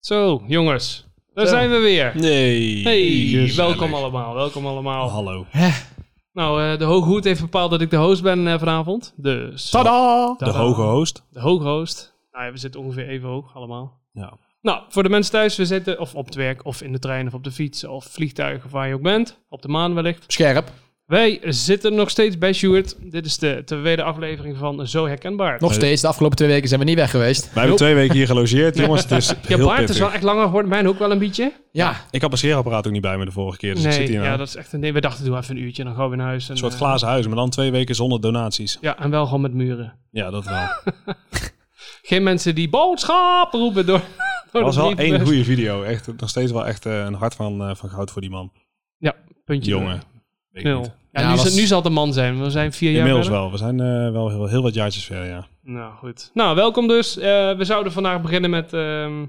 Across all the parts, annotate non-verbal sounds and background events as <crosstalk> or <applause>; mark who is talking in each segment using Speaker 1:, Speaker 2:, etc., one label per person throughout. Speaker 1: Zo, jongens. Daar zijn we weer.
Speaker 2: Nee.
Speaker 1: Hey,
Speaker 2: Gezellig. Oh.
Speaker 1: welkom allemaal. Welkom allemaal.
Speaker 2: Hallo.
Speaker 1: Nou, eh, de hoge hoed heeft bepaald dat ik de host ben eh, vanavond. Dus.
Speaker 2: Tada! De
Speaker 1: Tada.
Speaker 2: hoge host.
Speaker 1: De hoge host. Nou ja, we zitten ongeveer even hoog allemaal.
Speaker 2: Ja.
Speaker 1: Nou, voor de mensen thuis, we zitten of op het werk, of in de trein, of op de fiets, of vliegtuig, of waar je ook bent. Op de maan wellicht.
Speaker 3: Scherp.
Speaker 1: Wij zitten nog steeds bij Stuart. Dit is de tweede aflevering van Zo Herkenbaar.
Speaker 3: Nog steeds. De afgelopen twee weken zijn we niet weg geweest.
Speaker 2: Wij hebben twee weken hier gelogeerd,
Speaker 1: <laughs>
Speaker 2: jongens. Het is
Speaker 1: Je
Speaker 2: heel
Speaker 1: baard is
Speaker 2: pittig.
Speaker 1: wel echt langer geworden. Mijn ook wel een beetje.
Speaker 3: Ja.
Speaker 2: Ik had mijn scheerapparaat ook niet bij me de vorige keer, dus ik zit
Speaker 1: Nee,
Speaker 2: hier nou.
Speaker 1: ja, dat is echt een, nee, we dachten doe even een uurtje en dan gaan we naar huis. En,
Speaker 2: Een soort
Speaker 1: eh,
Speaker 2: glazen huis, maar dan twee weken zonder donaties.
Speaker 1: Ja, en wel gewoon met muren.
Speaker 2: Ja, dat
Speaker 1: Oh,
Speaker 2: wel.
Speaker 1: Geen mensen die boodschap roepen door. <laughs> door
Speaker 2: Dat was
Speaker 1: de
Speaker 2: wel
Speaker 1: brievenbus.
Speaker 2: één goede video. Echt, nog steeds wel echt eh, een hart van, eh, van goud voor die man.
Speaker 1: Ja, puntje.
Speaker 2: Jongen. Weet ik
Speaker 1: Nul.
Speaker 2: niet.
Speaker 1: Ja,
Speaker 3: Ja,
Speaker 1: nu,
Speaker 3: was-
Speaker 1: zal- nu zal het een man zijn. We zijn vier jaar
Speaker 2: Inmiddels
Speaker 1: verder.
Speaker 2: wel. We zijn eh, wel heel, heel wat jaartjes verder, ja.
Speaker 1: Nou, goed. Nou, welkom dus. Eh, we zouden vandaag beginnen met ehm,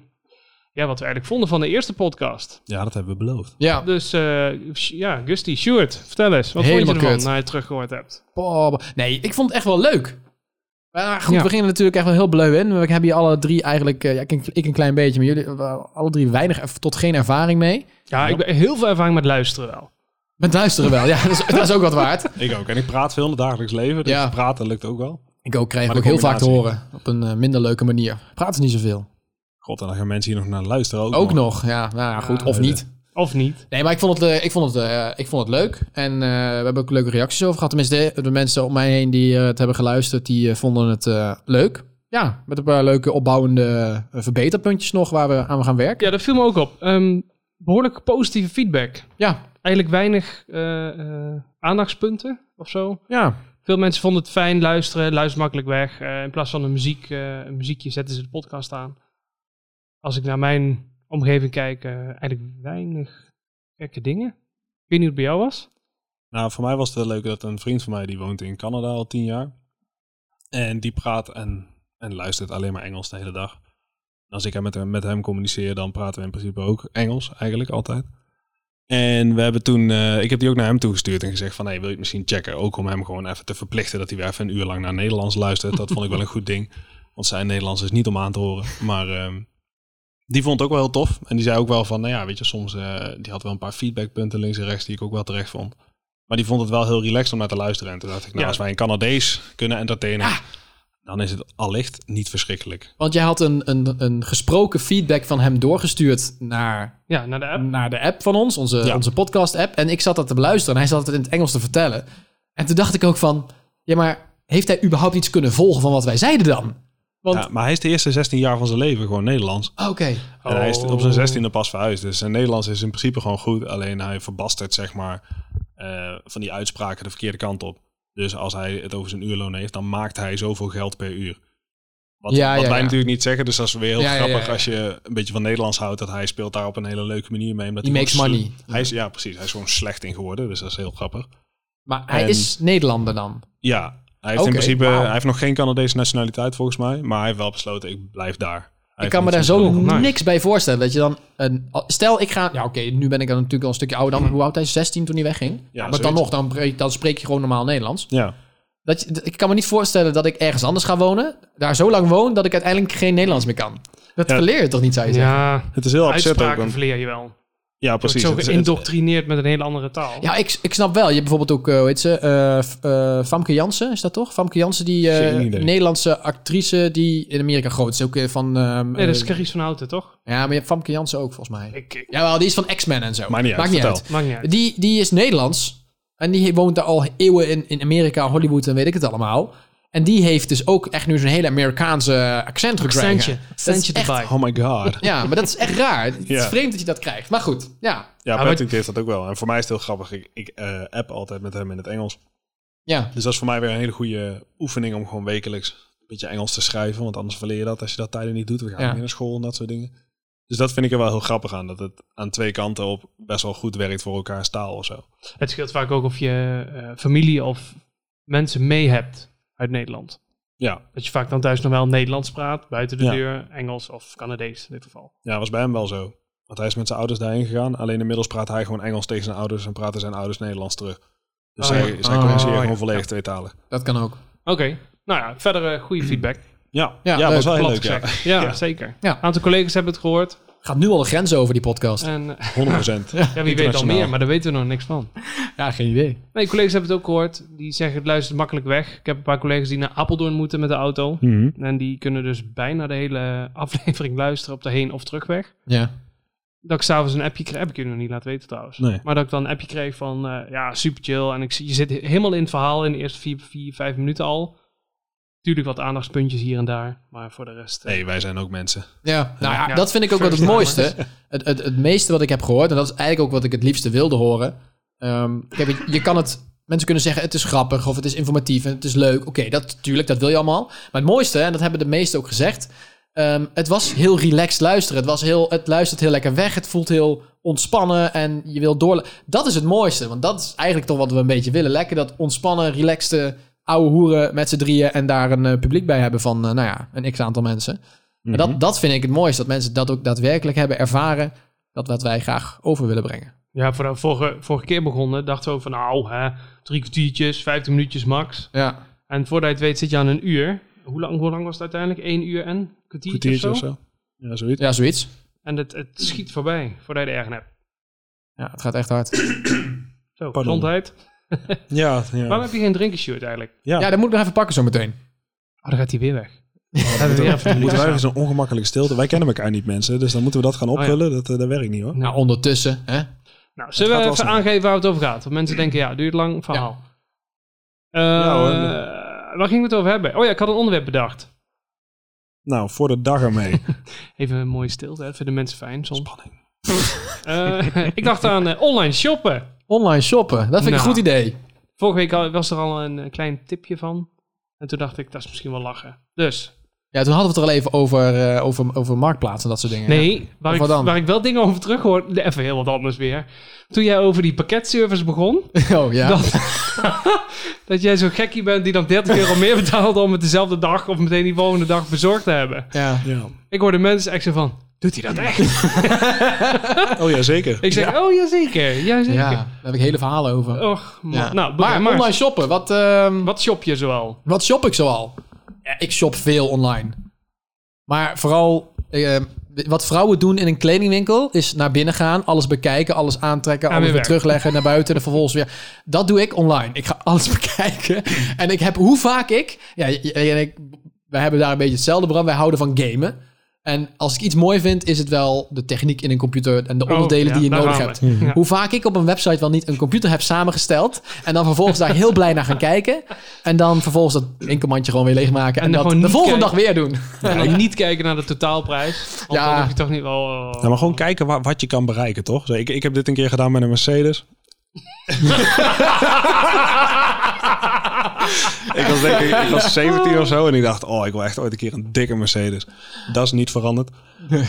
Speaker 1: ja, wat we eigenlijk vonden van de eerste podcast.
Speaker 2: Ja, dat hebben we beloofd.
Speaker 3: Ja.
Speaker 1: Dus eh, Sh- ja, Gusty, Stuart, vertel eens. Wat
Speaker 3: Helemaal
Speaker 1: vond je ervan
Speaker 3: kut.
Speaker 1: na je het teruggehoord hebt?
Speaker 3: Bob. Nee, ik vond het echt wel leuk. Maar goed,
Speaker 1: Ja.
Speaker 3: we gingen natuurlijk echt wel heel bleu in. We hebben hier alle drie eigenlijk, eh, ja, ik, ik een klein beetje, maar jullie eh, alle drie weinig erv- tot geen ervaring mee.
Speaker 1: Ja, ik ben heel veel ervaring met luisteren wel.
Speaker 3: Met luisteren wel, ja, <laughs> dat is, dat is ook wat waard.
Speaker 2: Ik ook. En ik praat veel in het dagelijks leven, dus
Speaker 3: Ja.
Speaker 2: praten lukt ook wel.
Speaker 3: Ik ook krijg
Speaker 2: Maar
Speaker 3: ook
Speaker 2: de
Speaker 3: heel vaak te
Speaker 2: combinatie.
Speaker 3: horen op een eh, minder leuke manier. Praat niet zoveel.
Speaker 2: God, en dan gaan mensen hier nog naar luisteren ook,
Speaker 3: Ook
Speaker 2: nog.
Speaker 3: nog, ja, nou ja, goed,
Speaker 1: Ja,
Speaker 3: of
Speaker 2: leuk.
Speaker 3: niet.
Speaker 1: Of niet.
Speaker 3: Nee, maar ik vond het, eh, ik vond het, eh, ik vond het leuk. En eh, we hebben ook leuke reacties over gehad. Tenminste, de, de mensen om mij heen die eh, het hebben geluisterd, die eh, vonden het eh, leuk. Ja, met een paar leuke opbouwende eh, verbeterpuntjes nog waar we aan gaan werken.
Speaker 1: Ja, dat viel me ook op. Ehm, behoorlijk positieve feedback.
Speaker 3: Ja,
Speaker 1: Eigenlijk weinig eh, eh, aandachtspunten of zo.
Speaker 3: ja.
Speaker 1: Veel mensen vonden het fijn luisteren, luister makkelijk weg. Eh, in plaats van een, muziek, eh, een muziekje zetten ze de podcast aan. Als ik naar mijn omgeving kijk, eh, eigenlijk weinig gekke dingen. Ik weet niet hoe het bij jou was.
Speaker 2: Nou, voor mij was het wel leuk dat een vriend van mij, die woont in Canada al tien jaar. En die praat en, en luistert alleen maar Engels de hele dag. En als ik hem met, hem met hem communiceer, dan praten we in principe ook Engels, eigenlijk altijd. En we hebben toen, eh, ik heb die ook naar hem toegestuurd en gezegd van, hey, wil je het misschien checken? Ook om hem gewoon even te verplichten dat hij weer even een uur lang naar Nederlands luistert. Dat vond ik wel een goed ding, want zijn Nederlands is niet om aan te horen. Maar ehm, die vond het ook wel heel tof. En die zei ook wel van, nou ja, weet je, soms, eh, die had wel een paar feedbackpunten links en rechts die ik ook wel terecht vond. Maar die vond het wel heel relaxed om naar te luisteren. En toen dacht ik, nou,
Speaker 1: Ja.
Speaker 2: als wij een Canadees kunnen entertainen, dan is het allicht niet verschrikkelijk.
Speaker 3: Want jij had een, een, een gesproken feedback van hem doorgestuurd naar,
Speaker 1: Ja, naar de app.
Speaker 3: naar de app van ons, onze,
Speaker 2: Ja.
Speaker 3: onze podcast-app. En ik zat dat te beluisteren en hij zat het in het Engels te vertellen. En toen dacht ik ook van, ja, maar heeft hij überhaupt iets kunnen volgen van wat wij zeiden dan? Want,
Speaker 2: Ja, maar hij is de eerste 16 jaar van zijn leven gewoon Nederlands.
Speaker 3: oké.
Speaker 2: En hij is
Speaker 1: Oh.
Speaker 2: op zijn 16e pas verhuisd. Dus zijn Nederlands is in principe gewoon goed. Alleen hij verbastert, zeg maar, eh, van die uitspraken de verkeerde kant op. Dus als hij het over zijn uurloon heeft, dan maakt hij zoveel geld per uur. Wat,
Speaker 3: Ja,
Speaker 2: wat
Speaker 3: ja,
Speaker 2: wij
Speaker 3: ja.
Speaker 2: natuurlijk niet zeggen. Dus dat is weer heel
Speaker 3: Ja, ja,
Speaker 2: grappig
Speaker 3: ja, ja.
Speaker 2: als je een beetje van Nederlands houdt. Dat hij speelt daar op een hele leuke manier mee. Omdat
Speaker 3: He
Speaker 2: hij
Speaker 3: makes
Speaker 2: gewoon
Speaker 3: money.
Speaker 2: sle- Hij is, ja, precies. Hij is gewoon slecht in geworden. Dus dat is heel grappig.
Speaker 3: Maar hij
Speaker 2: En-
Speaker 3: is Nederlander dan.
Speaker 2: Ja, hij heeft
Speaker 3: Oké,
Speaker 2: in principe
Speaker 3: wauw.
Speaker 2: hij heeft nog geen Canadese nationaliteit volgens mij. Maar hij heeft wel besloten, ik blijf daar. Hij
Speaker 3: Ik
Speaker 2: heeft
Speaker 3: kan me
Speaker 2: niet
Speaker 3: daar
Speaker 2: zo'n
Speaker 3: zo
Speaker 1: Oh, nice.
Speaker 3: niks bij voorstellen. Dat je dan een. Stel, ik ga. Ja, oké, nu ben ik dan natuurlijk al een stukje ouder dan. Hoe oud hij? 16 toen hij wegging. maar dan
Speaker 2: Hmm. zoiets.
Speaker 3: nog, dan, breek- dan spreek je gewoon normaal Nederlands.
Speaker 2: Ja.
Speaker 3: Dat je, d- ik kan me niet voorstellen dat ik ergens anders ga wonen. Daar zo lang woon dat ik uiteindelijk geen Nederlands meer kan. Dat
Speaker 2: Ja.
Speaker 3: verleer je toch niet, zou je zeggen?
Speaker 1: Ja,
Speaker 2: Het is heel absurd ook.
Speaker 1: uitspraken
Speaker 2: want-
Speaker 1: verleer je wel.
Speaker 2: Ja,
Speaker 1: Je wordt
Speaker 2: precies.
Speaker 1: zo
Speaker 2: Het is- het-
Speaker 1: geïndoctrineerd met een hele andere taal.
Speaker 3: Ja, ik, ik snap wel. Je hebt bijvoorbeeld ook, eh, hoe heet ze? eh, F- eh, Famke Jansen, is dat toch? Famke Jansen, die eh,
Speaker 2: Geen idee.
Speaker 3: Nederlandse actrice die in Amerika groot is. Ook eh, van... ehm,
Speaker 1: Nee, dat is
Speaker 3: eh,
Speaker 1: Caries van Houten, toch?
Speaker 3: ja, maar je hebt Famke Jansen ook, volgens mij.
Speaker 1: Ik, ik-
Speaker 3: Jawel, die is van X-Men en zo.
Speaker 2: Maakt niet uit,
Speaker 3: Maakt niet
Speaker 2: vertel.
Speaker 3: uit.
Speaker 1: maakt niet uit.
Speaker 3: Die, die is Nederlands. En die woont daar al eeuwen in, in Amerika, Hollywood en weet ik het allemaal. En die heeft dus ook echt nu zo'n hele Amerikaanse accent gekregen.
Speaker 1: Accentje.
Speaker 3: Dat is
Speaker 1: Accentje
Speaker 3: echt-
Speaker 1: erbij.
Speaker 2: Oh my
Speaker 1: <laughs>
Speaker 2: god.
Speaker 3: Ja, maar dat is echt raar. Het
Speaker 2: Ja.
Speaker 3: is vreemd dat je dat krijgt. Maar goed, ja.
Speaker 2: Ja,
Speaker 1: maar-
Speaker 2: Patrick heeft dat ook wel. En voor mij is het heel grappig. Ik, ik eh, app altijd met hem in het Engels.
Speaker 3: ja.
Speaker 2: Dus dat is voor mij weer een hele goede oefening om gewoon wekelijks een beetje Engels te schrijven. Want anders verleer je dat als je dat tijden niet doet. We gaan
Speaker 3: Ja.
Speaker 2: niet naar school en dat soort dingen. Dus dat vind ik er wel heel grappig aan. Dat het aan twee kanten op best wel goed werkt voor elkaars taal of zo.
Speaker 1: Het scheelt vaak ook of je eh, familie of mensen mee hebt uit Nederland.
Speaker 2: Ja,
Speaker 1: Dat je vaak dan thuis nog wel Nederlands praat, buiten de
Speaker 2: Ja.
Speaker 1: deur Engels of Canadees in dit geval.
Speaker 2: ja, was bij hem wel zo. Want hij is met zijn ouders daarheen gegaan. Alleen inmiddels praat hij gewoon Engels tegen zijn ouders en praten zijn ouders Nederlands terug. Dus
Speaker 1: Oh,
Speaker 2: zij,
Speaker 1: ja.
Speaker 2: zij
Speaker 3: Oh,
Speaker 2: communiceren
Speaker 3: ja.
Speaker 2: gewoon volledig tweetalig.
Speaker 3: Dat kan ook.
Speaker 1: Oké, nou ja, verder eh, goede feedback.
Speaker 2: Ja, ja,
Speaker 3: Ja,
Speaker 2: was
Speaker 3: leuk.
Speaker 2: wel Oh, heel
Speaker 1: Plat
Speaker 2: leuk. Ja. <laughs>
Speaker 1: gezegd. Ja, zeker.
Speaker 3: Ja.
Speaker 1: Een aantal collega's hebben het gehoord.
Speaker 3: Gaat nu al de grens over, die podcast.
Speaker 1: En <laughs> eh,
Speaker 2: 100%.
Speaker 1: ja, wie weet al
Speaker 2: Internationaal.
Speaker 1: meer, maar daar weten we nog niks van.
Speaker 3: Ja, geen idee.
Speaker 1: Nee, collega's hebben het ook gehoord. Die zeggen het luistert makkelijk weg. Ik heb een paar collega's die naar Apeldoorn moeten met de auto.
Speaker 2: Mhm.
Speaker 1: En die kunnen dus bijna de hele <laughs> aflevering luisteren op de heen- of terugweg.
Speaker 3: Ja.
Speaker 1: Dat ik s'avonds een appje kreeg, heb ik je nog niet laten weten trouwens.
Speaker 2: Nee.
Speaker 1: Maar dat ik dan een appje kreeg van, eh, ja, super chill. En ik, zie- je zit he- helemaal in het verhaal in de eerste vier, vier vijf minuten al. Tuurlijk wat aandachtspuntjes hier en daar. Maar voor de rest... eh,
Speaker 2: Nee, wij zijn ook mensen.
Speaker 3: Ja, nou ja,
Speaker 1: Ja,
Speaker 3: dat vind ik ook wel het
Speaker 1: first
Speaker 3: mooiste. Het, het, het meeste wat ik heb gehoord, en dat is eigenlijk ook wat ik het liefste wilde horen. Ehm, kijk, je- je kan het, mensen kunnen zeggen het is grappig of het is informatief en het is leuk. Oké, dat tuurlijk, dat wil je allemaal. Maar het mooiste, en dat hebben de meesten ook gezegd, ehm, het was heel relaxed luisteren. Het, was heel, het luistert heel lekker weg, het voelt heel ontspannen en je wil door. Dat is het mooiste, want dat is eigenlijk toch wat we een beetje willen. Lekker dat ontspannen, relaxte ouwe hoeren met z'n drieën en daar een eh, publiek bij hebben van, eh, nou ja, een x-aantal mensen. En
Speaker 2: Mhm.
Speaker 3: dat, dat vind ik het mooiste, dat mensen dat ook daadwerkelijk hebben ervaren. Dat wat wij graag over willen brengen.
Speaker 1: Ja, voor de vorige, vorige keer begonnen dachten we ook van, nou, hè, drie kwartiertjes, vijftien minuutjes max.
Speaker 3: Ja.
Speaker 1: En voordat je het weet zit je aan een uur. Hoe lang, hoe lang was het uiteindelijk? Eén uur en een kwartiertje,
Speaker 2: Kwartiertje
Speaker 1: of
Speaker 2: of
Speaker 1: zo?
Speaker 2: zo. Ja, zoiets.
Speaker 3: ja, zoiets.
Speaker 1: En het, het schiet voorbij, voordat je de ergen hebt.
Speaker 3: Ja, het gaat echt hard.
Speaker 1: Zo,
Speaker 2: Pardon.
Speaker 1: gezondheid.
Speaker 2: Ja,
Speaker 1: Waarom
Speaker 2: ja.
Speaker 1: heb je geen drinkenshirt eigenlijk?
Speaker 3: Ja, dat moet ik nog even pakken zo meteen.
Speaker 1: Oh, dan gaat hij weer weg. Dan hebben we weer even
Speaker 2: Moeten wij
Speaker 1: moeten
Speaker 2: even zo'n ongemakkelijke stilte. Wij kennen elkaar niet, mensen. Dus dan moeten we dat gaan
Speaker 1: Oh ja.
Speaker 2: opvullen. Dat, eh, dat werkt niet, hoor.
Speaker 3: Nou, ondertussen. Hè?
Speaker 1: Nou, zullen
Speaker 2: gaat
Speaker 1: we
Speaker 2: wel
Speaker 1: even
Speaker 2: snel.
Speaker 1: aangeven waar het over gaat? Want mensen denken, ja, duurt lang, verhaal. Eh,
Speaker 2: Ja, hoor.
Speaker 1: waar gingen we het over hebben? Oh ja, ik had een onderwerp bedacht.
Speaker 2: Nou, voor de dag ermee.
Speaker 1: Even een mooie stilte, hè. dat vinden mensen fijn soms.
Speaker 2: <laughs> Spanning.
Speaker 1: Eh, ik dacht aan eh, online shoppen.
Speaker 3: Online shoppen, dat vind ik
Speaker 1: Nou.
Speaker 3: een goed idee.
Speaker 1: Vorige week al- was er al een eh, klein tipje van. En toen dacht ik, dat is misschien wel lachen. Dus,
Speaker 3: Ja, toen hadden we het er al even over, eh, over, over marktplaatsen en dat soort dingen.
Speaker 1: nee, waar
Speaker 3: Of
Speaker 1: ik,
Speaker 3: wat dan?
Speaker 1: waar ik wel dingen over terug hoor. nee, Even heel wat anders weer. Toen jij over die pakketservice begon.
Speaker 3: <laughs> <laughs> Oh ja.
Speaker 1: Dat, dat jij zo'n gekkie bent die dan 30 euro meer betaalt om het dezelfde dag of meteen die volgende dag bezorgd te hebben.
Speaker 3: Ja.
Speaker 2: Ja.
Speaker 1: Ik hoorde mensen echt zo van, doet hij dat echt?
Speaker 2: Oh ja, zeker.
Speaker 1: Ik zeg, oh jazeker, jazeker.
Speaker 3: ja, Oh, daar heb ik hele verhalen over.
Speaker 1: Och, man.
Speaker 3: Ja.
Speaker 1: Nou,
Speaker 3: maar,
Speaker 1: maar, maar
Speaker 3: online shoppen, wat, ehm,
Speaker 1: wat shop je zoal?
Speaker 3: Wat shop ik zoal? Ja, ik shop veel online. Maar vooral eh, wat vrouwen doen in een kledingwinkel is naar binnen gaan, alles bekijken, alles aantrekken,
Speaker 1: En
Speaker 3: alles weer
Speaker 1: weer weg.
Speaker 3: terugleggen naar buiten en vervolgens weer. Dat doe ik online. Ik ga alles <laughs> bekijken. En ik heb hoe vaak ik. Ja, j- j- en ik, wij hebben daar een beetje hetzelfde brand. Wij houden van gamen. En als ik iets mooi vind, is het wel de techniek in een computer en de onderdelen
Speaker 1: Oh, ja,
Speaker 3: die je
Speaker 1: daar
Speaker 3: nodig
Speaker 1: gaan
Speaker 3: hebt.
Speaker 1: we. Ja.
Speaker 3: Hoe vaak ik op een website wel niet een computer heb samengesteld. En dan vervolgens daar heel blij naar gaan kijken. En dan vervolgens dat winkelmandje gewoon weer leegmaken. En,
Speaker 1: En dan
Speaker 3: dat de
Speaker 1: gewoon niet
Speaker 3: volgende dag
Speaker 1: kijken.
Speaker 3: weer doen.
Speaker 1: En dan niet kijken naar de totaalprijs. Want
Speaker 3: Ja.
Speaker 1: dan heb je toch niet oh. wel...
Speaker 2: Nou, maar gewoon kijken wa- wat je kan bereiken, toch? Zo, Ik, ik heb dit een keer gedaan met een Mercedes. <laughs> ik, was denk ik, ik was 17 of zo en ik dacht, oh, ik wil echt ooit een keer een dikke Mercedes. Dat is niet veranderd.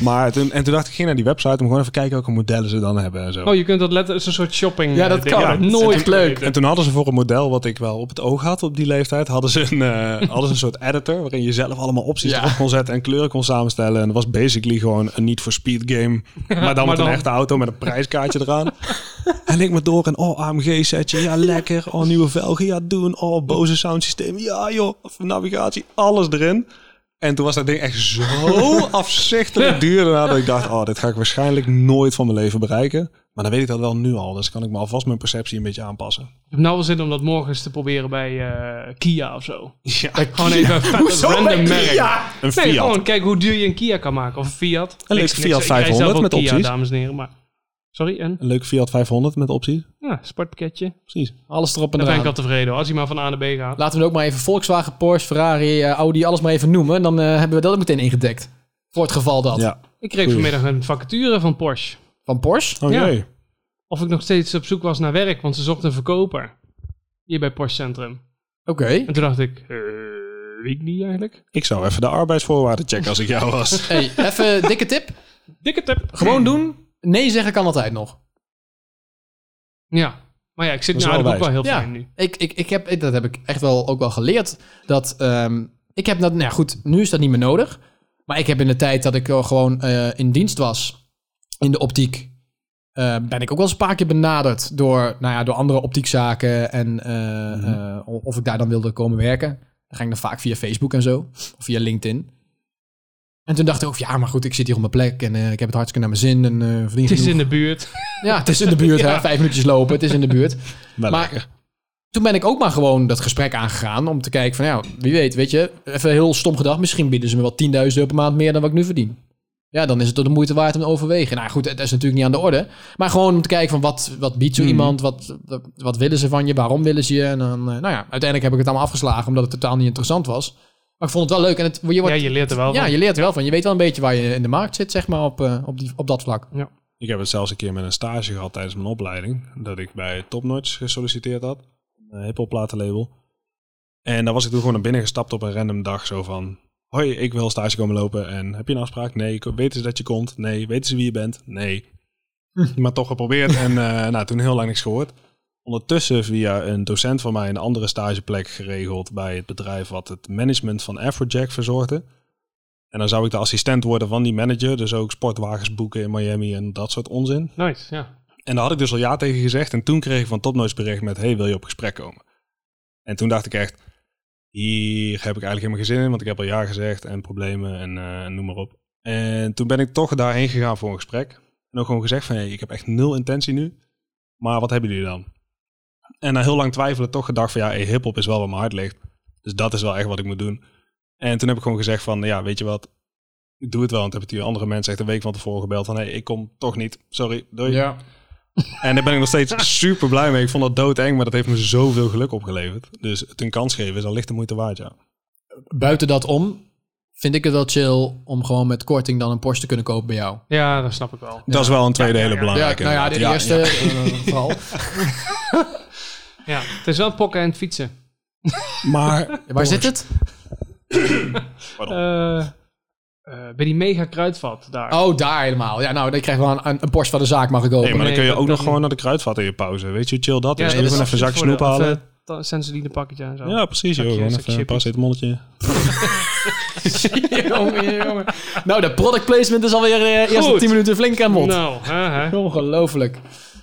Speaker 2: Maar toen, en toen dacht ik, ik ging naar die website om gewoon even kijken welke modellen ze dan hebben en zo.
Speaker 1: <laughs> Oh, je kunt dat letterlijk... zo'n soort shopping...
Speaker 3: Ja,
Speaker 1: eh,
Speaker 3: dat
Speaker 1: ding.
Speaker 3: kan.
Speaker 1: Ja,
Speaker 3: Dat is
Speaker 1: nooit
Speaker 3: echt leuk.
Speaker 1: leuk.
Speaker 2: En toen hadden ze voor een model wat ik wel op het oog had op die leeftijd, hadden ze een, eh, hadden ze een soort editor waarin je zelf allemaal opties
Speaker 3: Ja.
Speaker 2: erop kon zetten en kleuren kon samenstellen. En dat was basically gewoon een Need for Speed game, maar dan
Speaker 1: maar
Speaker 2: met
Speaker 1: dan-
Speaker 2: een echte auto met een prijskaartje eraan. En ik me door en oh AMG setje, ja lekker, oh nieuwe velgen, ja doen, oh Bose soundsysteem, ja joh, navigatie, alles erin. En toen was dat ding echt zo afzichtelijk duur daarna dat ik dacht, oh, dit ga ik waarschijnlijk nooit van mijn leven bereiken. Maar dan weet ik dat wel nu al, dus kan ik me alvast mijn perceptie een beetje aanpassen.
Speaker 1: Ik heb nou wel zin om dat morgens te proberen bij eh, Kia of zo.
Speaker 2: Ja,
Speaker 1: Gewoon even een vet random merk.
Speaker 2: een
Speaker 1: Nee,
Speaker 2: Fiat.
Speaker 1: gewoon kijk hoe duur je een Kia kan maken. Of een Fiat.
Speaker 2: Een
Speaker 1: Niks,
Speaker 2: leuke
Speaker 1: niks.
Speaker 2: Fiat
Speaker 1: Ik rij zelf
Speaker 2: 500
Speaker 1: ook
Speaker 2: met
Speaker 1: Kia,
Speaker 2: opties.
Speaker 1: dames en heren. Maar, sorry, en?
Speaker 2: Een leuk Fiat 500 met opties.
Speaker 1: Ja, sportpakketje.
Speaker 2: Precies.
Speaker 3: Alles erop en
Speaker 1: Daar ben ik
Speaker 3: eraan.
Speaker 1: al tevreden hoor. Als hij maar van A naar B gaat.
Speaker 3: Laten we ook maar even Volkswagen, Porsche, Ferrari, eh, Audi, alles maar even noemen. En dan eh, hebben we dat ook meteen ingedekt. Voor het geval dat.
Speaker 2: Ja.
Speaker 1: Ik kreeg
Speaker 2: Goeie.
Speaker 1: vanmiddag een vacature van Porsche.
Speaker 3: Van Porsche?
Speaker 2: Oh
Speaker 1: Ja.
Speaker 2: jee.
Speaker 1: Of ik nog steeds op zoek was naar werk, want ze zochten een verkoper. Hier bij Porsche Centrum.
Speaker 3: Oké.
Speaker 1: <laughs> En toen dacht ik, eh, weet ik niet eigenlijk.
Speaker 2: Ik zou even de arbeidsvoorwaarden checken als ik jou was.
Speaker 3: Hey, even dikke tip.
Speaker 1: Dikke tip.
Speaker 3: Gewoon doen. Nee zeggen kan altijd nog.
Speaker 1: Ja. Maar ja, ik zit
Speaker 2: Dat
Speaker 1: nu
Speaker 2: is wel
Speaker 1: eigenlijk ook wel heel
Speaker 2: wijs.
Speaker 3: Ja.
Speaker 1: fijn nu.
Speaker 3: Ik, ik, ik heb, dat heb ik echt wel ook wel geleerd. Dat ehm, ik heb dat, nou ja, goed, nu is dat niet meer nodig. Maar ik heb in de tijd dat ik wel gewoon eh, in dienst was, in de optiek, eh, ben ik ook wel eens een paar keer benaderd door, nou ja, door andere optiekzaken. En eh, eh, o- of ik daar dan wilde komen werken. Dan ging ik dan vaak via Facebook en zo, of via LinkedIn. En toen dacht ik, ook, ja, maar goed, ik zit hier op mijn plek en eh, ik heb het hartstikke naar mijn zin en eh verdien
Speaker 1: Het <laughs> is
Speaker 3: genoeg.
Speaker 1: in de buurt.
Speaker 3: Ja, het is in de buurt, hè.
Speaker 1: Ja.
Speaker 3: Vijf minuutjes lopen, het is in de buurt.
Speaker 2: <laughs> Wel
Speaker 3: Maar-
Speaker 2: lekker.
Speaker 3: Toen ben ik ook maar gewoon dat gesprek aangegaan om te kijken van, ja, wie weet, weet je, even heel stom gedacht, misschien bieden ze me wel 10.000 euro per maand meer dan wat ik nu verdien. Ja, dan is het toch de moeite waard om te overwegen. Nou goed, dat is natuurlijk niet aan de orde. Maar gewoon om te kijken van wat, wat biedt zo
Speaker 2: Mhm.
Speaker 3: iemand, wat, wat, wat willen ze van je, waarom willen ze je. En dan, eh, nou ja, uiteindelijk heb ik het allemaal afgeslagen omdat het totaal niet interessant was. Maar ik vond het wel leuk en het, je
Speaker 1: Ja,
Speaker 3: wordt
Speaker 1: je leert er wel
Speaker 3: ja,
Speaker 1: van.
Speaker 3: je leert er wel van. Je weet wel een beetje waar je in de markt zit, zeg maar, op, eh, op, die, op dat vlak.
Speaker 2: Ik heb het zelfs een keer met een stage gehad tijdens mijn opleiding. Dat ik bij Topnotch gesolliciteerd had. Een eh, hiphop platenlabel. En daar was ik toen gewoon naar binnen gestapt op een random dag. Zo van, hoi, ik wil stage komen lopen. En heb je een afspraak? Nee. Ko- Weten ze dat je komt? Nee. Weten ze wie je bent? Nee. maar toch geprobeerd. En eh, <laughs> nou, toen heel lang niks gehoord. Ondertussen via een docent van mij een andere stageplek geregeld bij het bedrijf wat het management van Afrojack verzorgde. En dan zou ik de assistent worden van die manager. Dus ook sportwagens boeken in Miami en dat soort onzin.
Speaker 1: Nice, ja.
Speaker 2: En daar had ik dus al ja tegen gezegd. En toen kreeg ik van Topnotes bericht met... Hey, wil je op gesprek komen? En toen dacht ik echt... Hier heb ik eigenlijk helemaal geen zin in. Want ik heb al ja gezegd. En problemen en eh, noem maar op. En toen ben ik toch daarheen gegaan voor een gesprek. En ook gewoon gezegd van... Hey, ik heb echt nul intentie nu. Maar wat hebben jullie dan? En na heel lang twijfelen toch gedacht van... Ja, hey, hiphop is wel waar mijn hart ligt. Dus dat is wel echt wat ik moet doen. En toen heb ik gewoon gezegd van... Ja, weet je wat? Ik doe het wel. En toen heb ik die andere mensen echt een week van tevoren gebeld. Van, hey, ik kom toch niet. Sorry, doei. En daar ben ik nog steeds super blij mee. Ik vond dat doodeng, maar dat heeft me zoveel geluk opgeleverd. Dus het een kans geven is al licht de moeite waard, ja.
Speaker 3: Buiten dat om, vind ik het wel chill om gewoon met korting dan een Porsche te kunnen kopen bij jou.
Speaker 1: Ja, dat snap ik wel.
Speaker 2: Dat is wel een tweede hele belangrijke.
Speaker 3: ja, nou ja, de
Speaker 2: inderdaad.
Speaker 3: eerste eh, <laughs> vooral.
Speaker 1: Ja, het is wel pokken en fietsen.
Speaker 2: ja. Maar
Speaker 3: Ja, waar zit het?
Speaker 2: Pardon.
Speaker 1: Eh, eh, bij die mega kruidvat daar.
Speaker 3: Oh, daar helemaal. Ja, nou, dan krijg ik wel een, een, een Porsche van de zaak mag ik kopen.
Speaker 2: hey, maar dan
Speaker 1: Nee,
Speaker 2: kun je
Speaker 1: dat-
Speaker 2: ook
Speaker 1: dat
Speaker 2: nog
Speaker 1: niet.
Speaker 2: gewoon naar de kruidvat in je pauze. Weet je hoe chill dat
Speaker 1: Ja,
Speaker 2: is?
Speaker 1: dat
Speaker 2: Doe
Speaker 1: is
Speaker 2: Gewoon dus even een zak
Speaker 1: voor de-
Speaker 2: snoep
Speaker 1: of, eh,
Speaker 2: halen.
Speaker 1: ta- Sensodyne pakketje en zo.
Speaker 2: Ja, precies. Joh.
Speaker 1: zakje-
Speaker 2: Gewoon
Speaker 1: zakje
Speaker 2: even een
Speaker 1: chips.
Speaker 2: pas molletje.
Speaker 3: <laughs> jongen, jongen. Nou, de product placement is alweer eh, eerst
Speaker 1: Goed.
Speaker 3: op 10 minuten flink aan bod.
Speaker 1: Nou, hè, hè.
Speaker 3: Ongelooflijk.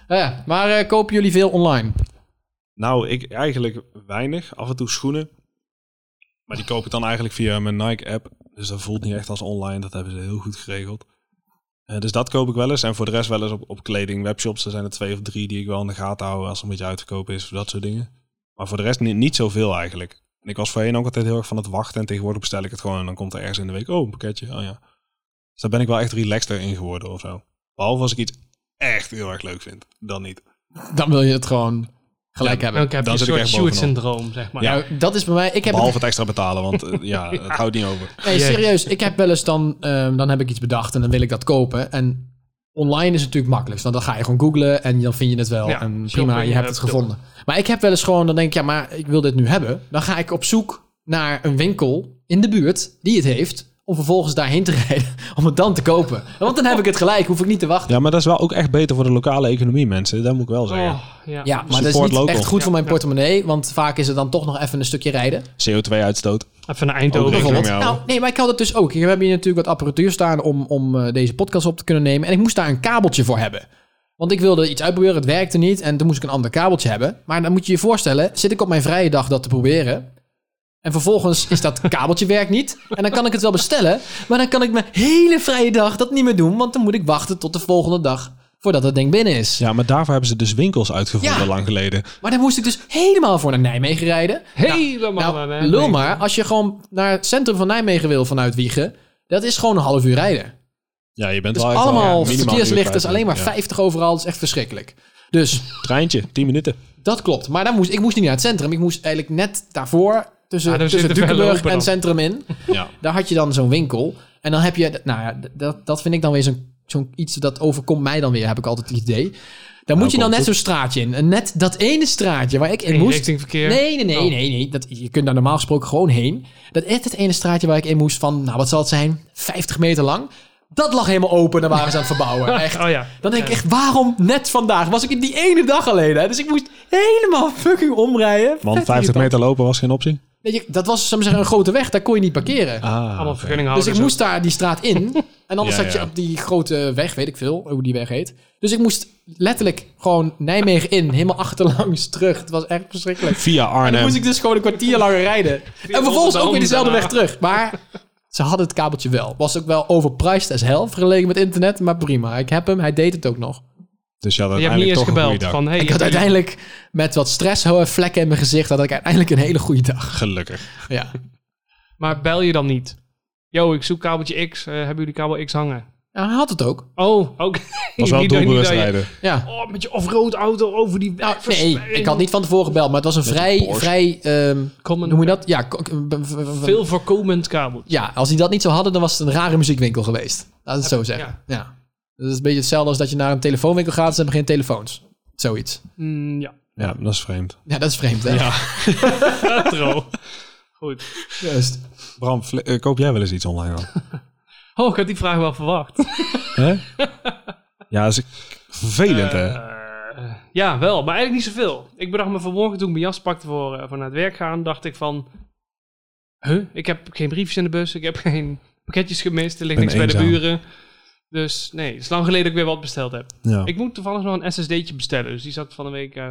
Speaker 3: Ja, maar eh, kopen jullie veel online?
Speaker 2: Nou, ik eigenlijk weinig. Af en toe schoenen. Maar die koop ik dan eigenlijk via mijn Nike-app. Dus dat voelt niet echt als online. Dat hebben ze heel goed geregeld. Eh, dus dat koop ik wel eens. En voor de rest wel eens op, op kleding. Webshops, er zijn er twee of drie die ik wel in de gaten hou als er een beetje uitverkoop is. Of dat soort dingen. Maar voor de rest niet, niet zoveel eigenlijk. En ik was voorheen ook altijd heel erg van het wachten. En tegenwoordig bestel ik het gewoon. En dan komt er ergens in de week, oh, een pakketje. Oh ja. Dus daar ben ik wel echt relaxter in geworden of zo. Behalve als ik iets echt heel erg leuk vind. Dan niet.
Speaker 3: Dan wil je het gewoon gelijk hebben.
Speaker 1: Dan heb je
Speaker 2: Dan
Speaker 1: een
Speaker 2: zit ik
Speaker 1: soort
Speaker 2: echt
Speaker 1: Sjoerd
Speaker 2: bovenop.
Speaker 1: syndroom, zeg maar.
Speaker 3: Nou, dat is bij mij... Ik heb het
Speaker 2: Behalve het extra betalen, want eh, ja, het houdt niet over.
Speaker 3: Nee,
Speaker 1: Jezus.
Speaker 3: serieus. Ik heb wel eens dan, ehm, dan heb ik iets bedacht en dan wil ik dat kopen. En online is het natuurlijk makkelijk. Want dan ga je gewoon googlen en dan vind je het wel.
Speaker 1: Ja,
Speaker 3: en prima,
Speaker 1: shopping,
Speaker 3: je hebt het
Speaker 1: eh,
Speaker 3: gevonden. Maar ik heb wel eens gewoon, dan denk ik, ja, maar ik wil dit nu hebben. Dan ga ik op zoek naar een winkel in de buurt die het heeft. Om vervolgens daarheen te <laughs> rijden om het dan te kopen. Want dan heb ik het gelijk, hoef ik niet te wachten.
Speaker 2: Ja, maar dat is wel ook echt beter voor de lokale economie, mensen. Dat moet ik wel zeggen.
Speaker 1: Oh, ja.
Speaker 3: Ja, maar dat is
Speaker 2: Support
Speaker 3: niet
Speaker 2: local.
Speaker 3: echt goed voor
Speaker 1: Ja,
Speaker 3: mijn
Speaker 1: ja.
Speaker 3: portemonnee. Want vaak is het dan toch nog even een stukje rijden.
Speaker 2: CO2-uitstoot.
Speaker 1: Even naar Eindhoven.
Speaker 2: Ook rekening
Speaker 1: bijvoorbeeld.
Speaker 2: mee houden.
Speaker 3: Nou, nee, maar ik had het dus ook. We hebben hier natuurlijk wat apparatuur staan om, om eh, deze podcast op te kunnen nemen. En ik moest daar een kabeltje voor hebben. Want ik wilde iets uitproberen, het werkte niet. En toen moest ik een ander kabeltje hebben. Maar dan moet je je voorstellen, zit ik op mijn vrije dag dat te proberen. En vervolgens is dat kabeltje werkt niet. En dan kan ik het wel bestellen. Maar dan kan ik mijn hele vrije dag dat niet meer doen. Want dan moet ik wachten tot de volgende dag voordat het ding binnen is.
Speaker 2: Ja, maar daarvoor hebben ze dus winkels uitgevonden
Speaker 3: Ja.
Speaker 2: lang geleden.
Speaker 3: Maar dan moest ik dus helemaal voor naar Nijmegen rijden.
Speaker 1: Helemaal
Speaker 3: Nou,
Speaker 1: naar
Speaker 3: lul
Speaker 1: Nijmegen.
Speaker 3: maar, als je gewoon naar het centrum van Nijmegen wil vanuit Wiegen, dat is gewoon een half uur rijden.
Speaker 2: Ja, je bent
Speaker 3: Dus
Speaker 2: wel echt wel, ja,
Speaker 3: allemaal
Speaker 2: minimaal
Speaker 3: verkeerslichters,
Speaker 2: uur
Speaker 3: alleen maar
Speaker 2: kwijt.
Speaker 3: 50 overal, dat is echt verschrikkelijk. Dus
Speaker 2: Ja. Treintje, 10 minuten.
Speaker 3: dat klopt. Maar dan moest, ik moest niet naar het centrum, ik moest eigenlijk net daarvoor, tussen,
Speaker 1: Ah, dan zit
Speaker 3: tussen
Speaker 1: er veel
Speaker 3: Dukenburg
Speaker 1: open
Speaker 3: en
Speaker 1: dan.
Speaker 3: centrum in,
Speaker 2: Ja.
Speaker 3: daar had je dan zo'n winkel. En dan heb je, nou ja, d- dat, dat vind ik dan weer zo'n zo'n iets, dat overkomt mij dan weer, heb ik altijd het idee. Daar moet je dan
Speaker 2: komt
Speaker 3: net
Speaker 2: het.
Speaker 3: zo'n straatje in. En net dat ene straatje waar ik in
Speaker 1: Geen
Speaker 3: moest,
Speaker 1: richtingverkeer.
Speaker 3: Nee, nee, nee,
Speaker 1: Oh.
Speaker 3: nee. nee. Dat, je kunt daar normaal gesproken gewoon heen. Dat echt het ene straatje waar ik in moest van, nou wat zal het zijn, 50 meter lang. Dat lag helemaal open, daar waren ze aan het verbouwen.
Speaker 1: <laughs>
Speaker 3: Echt.
Speaker 1: <laughs> Oh ja.
Speaker 3: Dan denk ik
Speaker 1: Ja.
Speaker 3: echt, waarom net vandaag? Was ik in die ene dag alleen, hè? Dus ik moest helemaal fucking omrijden.
Speaker 2: Want
Speaker 3: Vet
Speaker 2: 50
Speaker 3: irritant.
Speaker 2: meter lopen was geen optie.
Speaker 3: Weet je, dat was, zou ik maar zeggen, een grote weg. Daar kon je niet parkeren.
Speaker 2: Ah,
Speaker 1: Allemaal
Speaker 2: oké.
Speaker 1: vergunningen
Speaker 3: Dus
Speaker 1: houden.
Speaker 3: ik moest daar die straat in.
Speaker 2: <laughs>
Speaker 3: En anders
Speaker 2: Ja,
Speaker 3: zat je
Speaker 2: ja.
Speaker 3: op die grote weg, weet ik veel, hoe die weg heet. Dus ik moest letterlijk gewoon Nijmegen in, helemaal achterlangs terug. Het was echt verschrikkelijk.
Speaker 2: Via
Speaker 3: En dan
Speaker 2: Arnhem.
Speaker 3: moest ik dus gewoon een kwartier langer rijden. En vervolgens ook weer dezelfde weg terug. Maar ze hadden het kabeltje wel. Was ook wel overpriced as hell vergeleken met internet, maar prima. Ik heb hem, hij deed het ook nog.
Speaker 2: Dus je had
Speaker 1: je hebt niet
Speaker 2: uiteindelijk
Speaker 1: eens
Speaker 2: toch een goede
Speaker 1: gebeld
Speaker 2: dag.
Speaker 1: van... Hey, eh,
Speaker 3: ik had uiteindelijk met wat stress, ho- en vlekken in mijn gezicht, had ik uiteindelijk een hele goede dag.
Speaker 2: Gelukkig.
Speaker 3: Ja,
Speaker 1: Maar bel je dan niet? Yo, ik zoek kabeltje X. eh, hebben jullie kabel X hangen?
Speaker 3: ja hij had het ook.
Speaker 1: Oh, oké. <laughs>
Speaker 2: Was
Speaker 1: Niet dat-
Speaker 2: wel
Speaker 1: niet dat
Speaker 2: doelbewust
Speaker 1: je-
Speaker 2: rijden.
Speaker 3: Ja.
Speaker 1: Oh, met je off-road auto over die
Speaker 3: Nou,
Speaker 1: weg.
Speaker 3: nee, ik had niet van tevoren gebeld, maar het was een
Speaker 2: Met een
Speaker 3: vrij,
Speaker 2: Porsche.
Speaker 3: vrij ehm,
Speaker 1: Common-
Speaker 3: noem je dat? Ja, ko- b- b- b-
Speaker 1: Veel voorkomend kabel.
Speaker 3: ja, als die dat niet zo hadden, dan was het een rare muziekwinkel geweest. Laten we het zo zeggen. Ja. Dat is een beetje hetzelfde als dat je naar een telefoonwinkel gaat en ze hebben geen telefoons. Zoiets.
Speaker 1: Mm,
Speaker 3: <laughs>
Speaker 1: ja,
Speaker 2: Ja, dat is vreemd.
Speaker 3: Ja, dat is vreemd, hè?
Speaker 2: Ja.
Speaker 1: trouw. Goed.
Speaker 3: Juist.
Speaker 2: Bram, fle- eh, koop jij wel eens iets online dan?
Speaker 1: Oh, ik had die vraag wel verwacht.
Speaker 2: Hè? Ja, dat is vervelend, hè?
Speaker 1: Eh, ja, wel. Maar eigenlijk niet zoveel. Ik bedacht me vanmorgen toen ik mijn jas pakte voor, eh, voor naar het werk gaan. Dacht ik van... Huh? Ik heb geen briefjes in de bus. Ik heb <laughs> geen pakketjes gemist. Er ligt
Speaker 2: Ben
Speaker 1: niks bij
Speaker 2: eenzaam.
Speaker 1: de buren. Dus nee, het is lang geleden dat ik weer wat besteld heb.
Speaker 2: Ja.
Speaker 1: Ik moet toevallig nog een SSD'tje bestellen. Dus die zat van de week eh,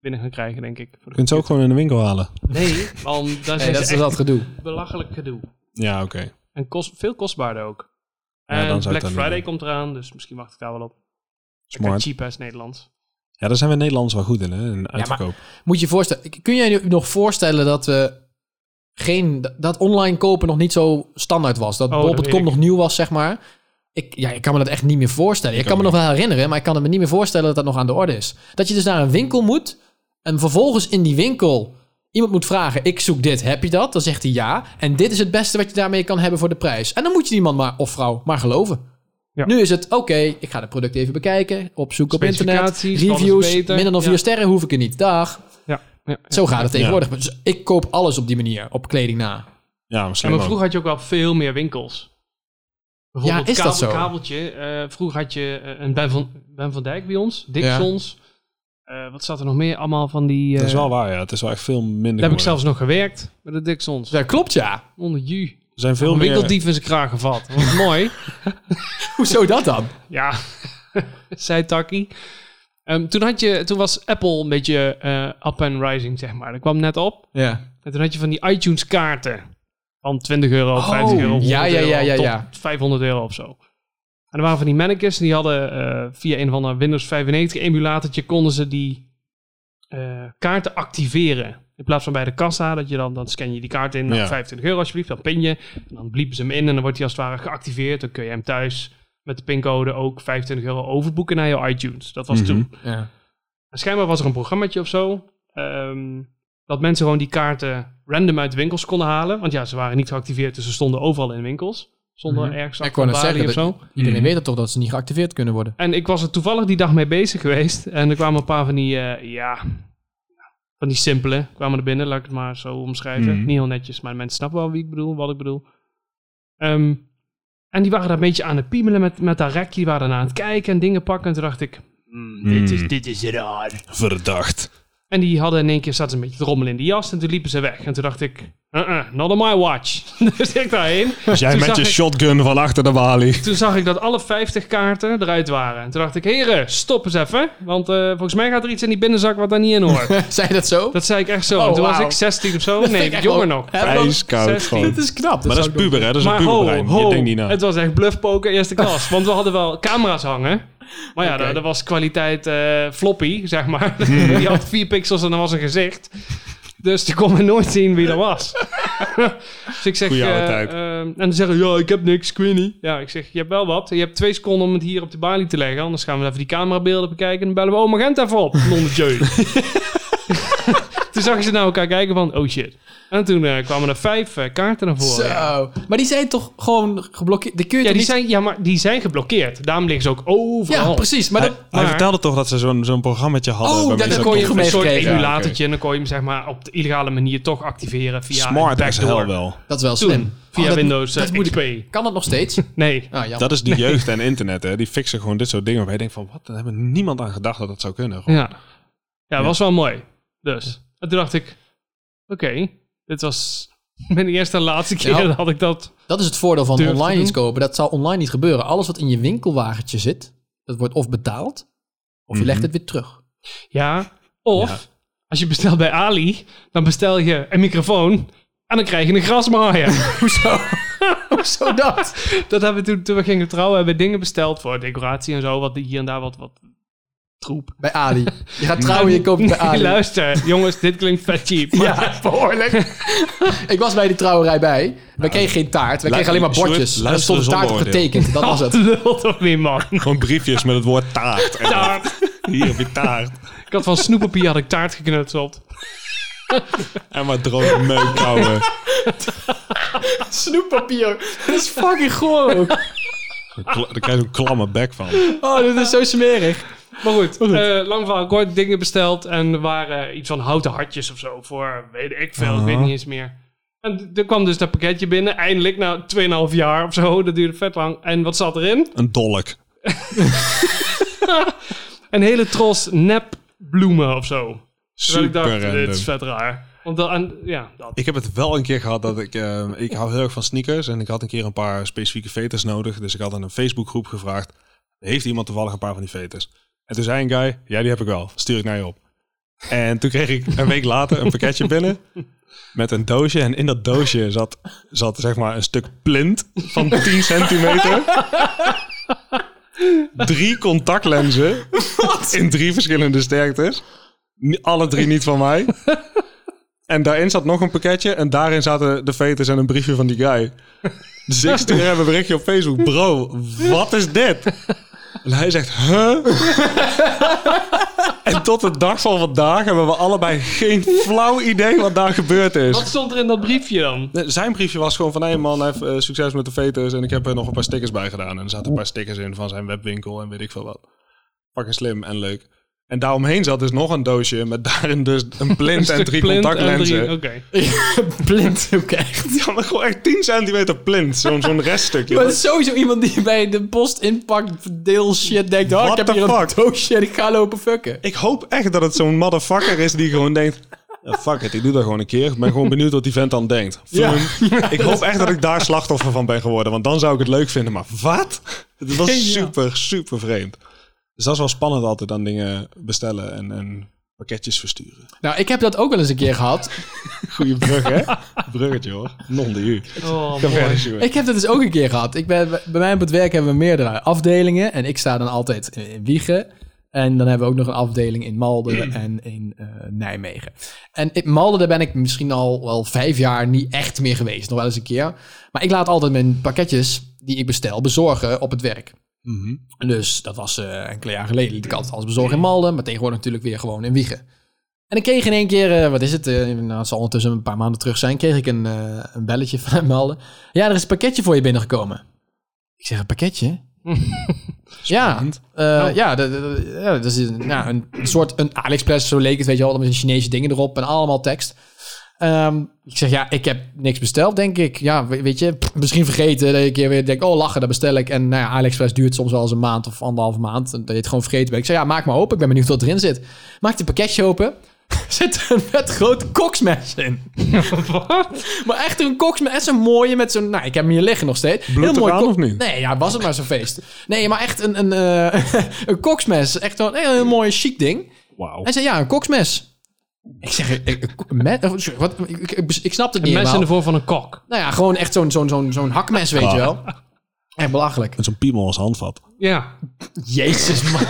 Speaker 1: binnen gaan krijgen, denk ik. Voor
Speaker 2: Je
Speaker 1: de
Speaker 2: kunt ze ook gewoon in de winkel halen.
Speaker 1: Nee,
Speaker 2: <laughs>
Speaker 1: want daar zijn
Speaker 3: Nee, dat
Speaker 1: ze
Speaker 3: is
Speaker 1: echt
Speaker 3: dat gedoe.
Speaker 1: belachelijk gedoe.
Speaker 2: Ja, oké.
Speaker 1: En kost, veel kostbaarder ook.
Speaker 2: Ja,
Speaker 1: en
Speaker 2: dan zou ik
Speaker 1: Black
Speaker 2: dat niet
Speaker 1: Friday
Speaker 2: doen.
Speaker 1: komt eraan, dus misschien wacht ik daar wel op. Lekker
Speaker 2: Smart.
Speaker 1: cheap as Nederlands.
Speaker 2: Ja, daar zijn we Nederlanders wel goed in, hè? In uitverkoop.
Speaker 3: Moet je je voorstellen, kun jij je nog voorstellen dat we geen, dat online kopen nog niet zo standaard was? Dat
Speaker 1: Oh, dat weet
Speaker 3: bol.com
Speaker 1: ik.
Speaker 3: nog nieuw was, zeg maar. Ik, ja, ik kan me dat echt niet meer voorstellen. Ik,
Speaker 2: Ik
Speaker 3: kan me
Speaker 2: ook
Speaker 3: nog wel herinneren, maar ik kan me niet meer voorstellen dat dat nog aan de orde is. Dat je dus naar een winkel moet en vervolgens in die winkel iemand moet vragen: Ik zoek dit, heb je dat? Dan zegt hij ja. En dit is het beste wat je daarmee kan hebben voor de prijs. En dan moet je die man maar, of vrouw maar geloven.
Speaker 1: Ja.
Speaker 3: Nu is het oké, ik ga de product even bekijken, opzoeken op internet.
Speaker 1: Specificaties, wat is
Speaker 3: Reviews,
Speaker 1: beter?
Speaker 3: minder dan
Speaker 1: Ja.
Speaker 3: vier sterren hoef ik er niet. Dag.
Speaker 1: Ja. ja.
Speaker 3: Zo gaat het tegenwoordig. Dus ik koop alles op die manier, op kleding na.
Speaker 2: Ja,
Speaker 1: Ja,
Speaker 2: misschien
Speaker 1: maar
Speaker 2: ook.
Speaker 1: vroeger had je ook wel veel meer winkels. Bijvoorbeeld
Speaker 3: is dat
Speaker 1: kabel-
Speaker 3: zo?
Speaker 1: kabeltje. eh, vroeger had je eh, een ben van, ben van Dijk bij ons, Dixons. Eh, wat staat er nog meer? Allemaal van die... eh,
Speaker 2: Dat is wel waar, ja. Het is wel echt veel minder
Speaker 1: daar heb ik
Speaker 2: geworden.
Speaker 1: zelfs nog gewerkt, bij de Dixons.
Speaker 3: Dat Dus, eh, klopt, ja. <laughs>
Speaker 1: Onder ju.
Speaker 2: Er zijn veel
Speaker 1: Een
Speaker 2: meer...
Speaker 1: winkeldief in zijn kraag gevat. Dat
Speaker 2: <laughs>
Speaker 1: was mooi.
Speaker 3: Hoezo dat dan?
Speaker 1: Ja, <laughs> zei Taki. Ehm, toen, had je, toen was Apple een beetje eh, up and rising, zeg maar. Dat kwam net op.
Speaker 3: Ja.
Speaker 1: En toen had je van die iTunes kaarten. Van 20 euro, 50 euro, 100
Speaker 3: Oh, ja, ja, ja, ja,
Speaker 1: euro,
Speaker 3: ja.
Speaker 1: tot 500 euro of zo. En er waren van die mannekes, die hadden eh, via een of ander Windows 95 emulatortje... konden ze die eh, kaarten activeren. In plaats van bij de kassa, dat je dan, dan scan je die kaart in...
Speaker 2: Ja.
Speaker 1: Nou, 25 euro alsjeblieft, dan pin je. En dan bliepen ze hem in en dan wordt hij als het ware geactiveerd. Dan kun je hem thuis met de pincode ook 25 euro overboeken naar jouw iTunes. Dat was
Speaker 2: Mhm.
Speaker 1: toen.
Speaker 3: ja.
Speaker 1: En schijnbaar was er een programmaatje of zo. ehm, dat mensen gewoon die kaarten random uit winkels konden halen. Want ja, ze waren niet geactiveerd, dus ze stonden overal in winkels. Zonder
Speaker 3: Mhm.
Speaker 1: ergens
Speaker 3: Ik
Speaker 1: achter
Speaker 3: wou
Speaker 1: een
Speaker 3: net
Speaker 1: balie of
Speaker 3: zeggen
Speaker 1: zo.
Speaker 3: Iedereen
Speaker 2: Mhm.
Speaker 3: weet het toch dat ze niet geactiveerd kunnen worden.
Speaker 1: En ik was er toevallig die dag mee bezig geweest. En er kwamen een paar van die, eh, ja, van die simpele kwamen er binnen. Laat ik het maar zo omschrijven.
Speaker 2: Mhm.
Speaker 1: Niet heel netjes, maar mensen snappen wel wie ik bedoel, wat ik bedoel. Ehm, en die waren daar een beetje aan het piemelen met, met dat rekje. Die waren aan het kijken en dingen pakken. En toen dacht ik, "Hmm, dit, is,
Speaker 2: Hmm.
Speaker 1: dit is raar. <laughs>
Speaker 2: mm, Verdacht.
Speaker 1: En die hadden in één keer zaten ze een beetje te rommelen in de jas. En toen liepen ze weg. En toen dacht ik, uh-uh, not on my watch. <laughs> dus ik daarheen.
Speaker 2: Dus jij
Speaker 1: Toen
Speaker 2: met
Speaker 1: zag
Speaker 2: je
Speaker 1: ik-
Speaker 2: shotgun van achter de balie.
Speaker 1: Toen zag ik dat alle 50 kaarten eruit waren. En toen dacht ik, heren, stop eens even. Want eh, volgens mij gaat er iets in die binnenzak wat daar niet in
Speaker 3: <laughs>
Speaker 1: hoort.
Speaker 3: Zei je dat zo?
Speaker 1: dat <laughs> zei ik echt zo.
Speaker 3: Oh,
Speaker 1: en toen was
Speaker 3: wauw.
Speaker 1: ik 16 of zo.
Speaker 3: vind
Speaker 1: Nee,
Speaker 3: ik echt
Speaker 1: jonger
Speaker 3: wel-
Speaker 1: nog.
Speaker 3: hè, want- <laughs>
Speaker 2: Ijskoud
Speaker 1: 16.
Speaker 2: gewoon.
Speaker 3: Dit is knap.
Speaker 2: Maar dat is
Speaker 3: zou ik
Speaker 2: puber, hè? Dat is een
Speaker 1: Maar ho,
Speaker 2: puberbrein. Je
Speaker 1: ho,
Speaker 2: denkt niet na.
Speaker 1: het was echt bluffpoker eerste klas. want we hadden wel camera's hangen. Maar ja,
Speaker 3: Oké.
Speaker 1: dat, dat was kwaliteit eh, floppy, zeg
Speaker 2: <laughs>
Speaker 1: maar. Die had vier pixels en dan was een gezicht. Dus die kon me nooit zien wie dat was. <laughs> dus ik zeg...
Speaker 2: Goeie oude
Speaker 1: eh,
Speaker 2: tijd.
Speaker 1: ehm, en dan zeggen ze, ja, ik heb niks, ik weet niet. Ja, ik zeg, je hebt wel wat. Je hebt twee seconden om het hier op de balie te leggen. Anders gaan we even die camerabeelden bekijken. En dan bellen we oma Gent even op. Nonnetje.
Speaker 2: <laughs>
Speaker 1: toen zag je ze naar elkaar kijken van, oh shit. En toen eh, kwamen er vijf eh, kaarten naar voren. ja.
Speaker 3: Zo. Maar die zijn toch gewoon geblokkeerd? Die kun je
Speaker 1: Ja,
Speaker 3: toch
Speaker 1: die
Speaker 3: niet...
Speaker 1: zijn, ja, maar die zijn geblokkeerd. Daarom liggen ze ook overal.
Speaker 3: Ja, precies. Maar
Speaker 2: Hij,
Speaker 3: dat...
Speaker 2: hij
Speaker 1: maar-
Speaker 2: vertelde toch dat ze zo'n zo'n programmaatje hadden.
Speaker 3: Oh,
Speaker 2: waarmee
Speaker 3: dat-
Speaker 2: ze
Speaker 3: dat
Speaker 1: kon je
Speaker 3: toch
Speaker 1: hem een soort
Speaker 3: gekregen.
Speaker 1: emulatortje
Speaker 2: Ja, oké.
Speaker 1: en dan kon je hem zeg maar op de illegale manier toch activeren via
Speaker 2: Smart
Speaker 1: een
Speaker 2: as hell
Speaker 1: backdoor.
Speaker 2: wel.
Speaker 3: dat is wel
Speaker 1: Toen,
Speaker 3: slim.
Speaker 1: via
Speaker 3: Oh, dat-
Speaker 1: Windows
Speaker 3: dat
Speaker 1: eh,
Speaker 3: moet ik-
Speaker 1: XP.
Speaker 3: Kan dat nog steeds?
Speaker 1: Nee,
Speaker 3: Ah, ja.
Speaker 2: Dat is
Speaker 1: <laughs>
Speaker 2: die jeugd en internet, hè. Die fixen gewoon dit soort dingen. Waar je denkt van, wat? Daar hebben niemand aan gedacht dat dat zou kunnen. Gewoon.
Speaker 1: ja. Ja, was wel mooi. Dus, en toen dacht ik, oké, dit was mijn eerste en laatste keer <laughs>
Speaker 3: Ja.
Speaker 1: dat ik dat...
Speaker 3: Dat is het voordeel van
Speaker 1: Durf te
Speaker 3: online
Speaker 1: doen.
Speaker 3: iets kopen. Dat zal online niet gebeuren. Alles wat in je winkelwagentje zit, dat wordt of betaald, of je
Speaker 2: Mhm.
Speaker 3: legt het weer terug.
Speaker 1: Ja, of als je bestelt bij
Speaker 3: <laughs>
Speaker 1: Ali, dan bestel je een microfoon en dan krijg je een grasmaaier.
Speaker 3: Hoezo? Hoezo dat?
Speaker 1: Dat hebben we toen, toen we gingen trouwen, hebben we dingen besteld voor decoratie en zo. Wat hier en daar wat, wat troep.
Speaker 3: Bij Ali. Je gaat trouwen, je koopt bij
Speaker 1: Nee, <laughs>
Speaker 3: Ali.
Speaker 1: Luister, jongens, dit klinkt vet cheap. Maar
Speaker 3: Ja, behoorlijk. <laughs> ik was bij die trouwerij bij. We kregen geen taart. We kregen alleen maar
Speaker 2: Sjoerd,
Speaker 3: bordjes. Er
Speaker 2: luister
Speaker 3: stond een
Speaker 2: zonder
Speaker 3: taart op
Speaker 2: oordeel.
Speaker 3: getekend.
Speaker 1: <laughs>
Speaker 3: Dat was het.
Speaker 1: lul toch niet, man.
Speaker 2: Gewoon briefjes met het woord
Speaker 1: <laughs>
Speaker 2: taart. En
Speaker 1: Taart.
Speaker 2: Hier heb je taart.
Speaker 1: Ik had van snoeppapier had ik taart geknutseld.
Speaker 2: En wat <laughs> droge meuk houden.
Speaker 3: Snoeppapier. <laughs> Dat is fucking goor ook.
Speaker 2: Daar krijg je een klamme bek van.
Speaker 3: Oh, dit is zo smerig. <laughs>
Speaker 1: Maar goed, eh, lang verhaal kort, dingen besteld. En er waren iets van houten hartjes of zo voor, weet ik veel, ik weet niet eens meer. En d- er kwam dus dat pakketje binnen, eindelijk, na 2,5 jaar of zo, <laughs> dat duurde vet lang. En wat zat erin?
Speaker 2: Een dolk.
Speaker 1: Een hele tros nep bloemen of zo. Terwijl ik
Speaker 2: Super
Speaker 1: dacht, dit
Speaker 2: random.
Speaker 1: is vet raar. Want dan, en- ja, dat.
Speaker 2: Ik heb het wel een keer gehad dat ik... eh, ik hou heel erg van sneakers. En ik had een keer een paar specifieke veters nodig. Dus ik had aan een Facebookgroep gevraagd. Heeft iemand toevallig een paar van die veters? En toen zei een guy... Ja, die heb ik wel. Stuur ik naar je op. En toen kreeg ik een week later een
Speaker 1: <laughs>
Speaker 2: pakketje binnen. Met een doosje. En in dat doosje zat, zat zeg maar een stuk plint van 10 centimeter. Drie contactlenzen. In drie verschillende sterktes. Ni- Alle drie niet van mij. En daarin zat nog een pakketje. En daarin zaten de veters en een briefje van die guy. Dus ik stuur hem een berichtje op Facebook. Bro, wat is dit? En hij zegt, huh? en tot de dag van vandaag hebben we allebei geen flauw idee wat daar gebeurd
Speaker 1: Wat
Speaker 2: is.
Speaker 1: stond er in dat briefje dan?
Speaker 2: Nee, Zijn briefje was gewoon van, hé man, heeft, eh, succes met de veters. En ik heb er nog een paar stickers bij gedaan. En er zaten een paar stickers in van zijn webwinkel en weet ik veel wat. Fucking slim en leuk. En daaromheen zat dus nog een doosje met daarin dus
Speaker 1: <laughs>
Speaker 2: een plint en
Speaker 1: Een
Speaker 2: drie
Speaker 1: stuk plint en
Speaker 2: contactlenzen.
Speaker 1: drie- Oké.
Speaker 3: Blind ook echt.
Speaker 2: Die hadden gewoon echt 10 centimeter plint.
Speaker 1: <laughs>
Speaker 2: Zo'n zo'n reststukje.
Speaker 3: Maar dat is sowieso iemand die bij de post inpakt, deel shit, denkt... Oh,
Speaker 2: What
Speaker 3: ik heb
Speaker 2: the
Speaker 3: hier
Speaker 2: fuck?
Speaker 3: een doosje en ik ga lopen fucken.
Speaker 2: Ik hoop echt dat het zo'n motherfucker is die gewoon denkt... "Ja, fuck it, ik doe dat gewoon een keer. Ik ben gewoon benieuwd wat die vent dan denkt.
Speaker 1: <laughs>
Speaker 3: Ja.
Speaker 2: Vroom. Ik hoop echt dat ik daar slachtoffer van ben geworden. Want dan zou ik het leuk vinden. Maar wat? Het
Speaker 3: Ja.
Speaker 2: was super, super vreemd. Dus dat is wel spannend altijd aan dingen bestellen en, en pakketjes versturen.
Speaker 3: Nou, ik heb dat ook wel eens een keer gehad.
Speaker 2: Goeie brug, hè?
Speaker 1: <laughs>
Speaker 2: Bruggetje, hoor. Non de u.
Speaker 1: Oh,
Speaker 2: Kan
Speaker 1: mooi.
Speaker 2: verder, Sjoerd.
Speaker 3: Ik heb dat dus ook een keer gehad. Ik ben, bij mij op het werk hebben we meerdere afdelingen. En ik sta dan altijd in, in Wiegen. En dan hebben we ook nog een afdeling in Malden en in eh, Nijmegen. En in Malden daar ben ik misschien al wel vijf jaar niet echt meer geweest. Nog wel eens een keer. Maar ik laat altijd mijn pakketjes die ik bestel bezorgen op het werk.
Speaker 2: Mhm.
Speaker 3: Dus dat was eh enkele jaar geleden. Liet ik altijd alles bezorgen in Malden. Maar tegenwoordig natuurlijk weer gewoon in Wiegen. En ik kreeg in één keer, eh, wat is het, eh, nou, het zal ondertussen een paar maanden terug zijn, kreeg ik een, eh, een belletje <laughs> van Malden. Ja, er is een pakketje voor je binnengekomen. Ik zeg, een pakketje? <laughs> ja, eh,
Speaker 1: Oh.
Speaker 3: ja, dat, dat- ja, dat is een, nou, een soort een AliExpress, zo leek het, weet je wel, met Chinese dingen erop en allemaal tekst. Ehm, ik zeg, ja, ik heb niks besteld, denk ik. Ja, we- weet je, pff, misschien vergeten dat je een keer weer denkt, oh, lachen, dat bestel ik. En nou ja, AliExpress duurt soms wel eens een maand of anderhalve maand. Dat je het gewoon vergeten bent. Ik zeg, ja, maak maar open. Ik ben benieuwd wat erin zit. Maak het pakketje open. <laughs> Zit er met grote koksmes in.
Speaker 2: <laughs>
Speaker 1: Wat?
Speaker 3: Maar echt een koksmes. Echt zo'n mooie met zo'n... Nou, ik heb hem hier liggen nog steeds.
Speaker 2: Bloedt
Speaker 3: mooi
Speaker 2: het aan
Speaker 3: kok-
Speaker 2: of niet?
Speaker 3: Nee, ja, was het maar zo'n feest. Nee, maar echt een, een, eh, <laughs> een koksmes. Echt zo'n heel mooi chic ding.
Speaker 2: Wauw.
Speaker 3: Hij zei, ja, een koksmes. Ik zeg, eh, ik, wat, ik, ik, ik- ik snap het niet
Speaker 1: Een mes in de
Speaker 3: helemaal.
Speaker 1: vorm van een kok.
Speaker 3: Nou ja, gewoon echt zo'n zo'n zo'n zo'n hakmes, weet
Speaker 2: Ah.
Speaker 3: je wel. Echt belachelijk.
Speaker 2: Met zo'n piemel als handvat.
Speaker 1: Ja.
Speaker 3: Jezus, man.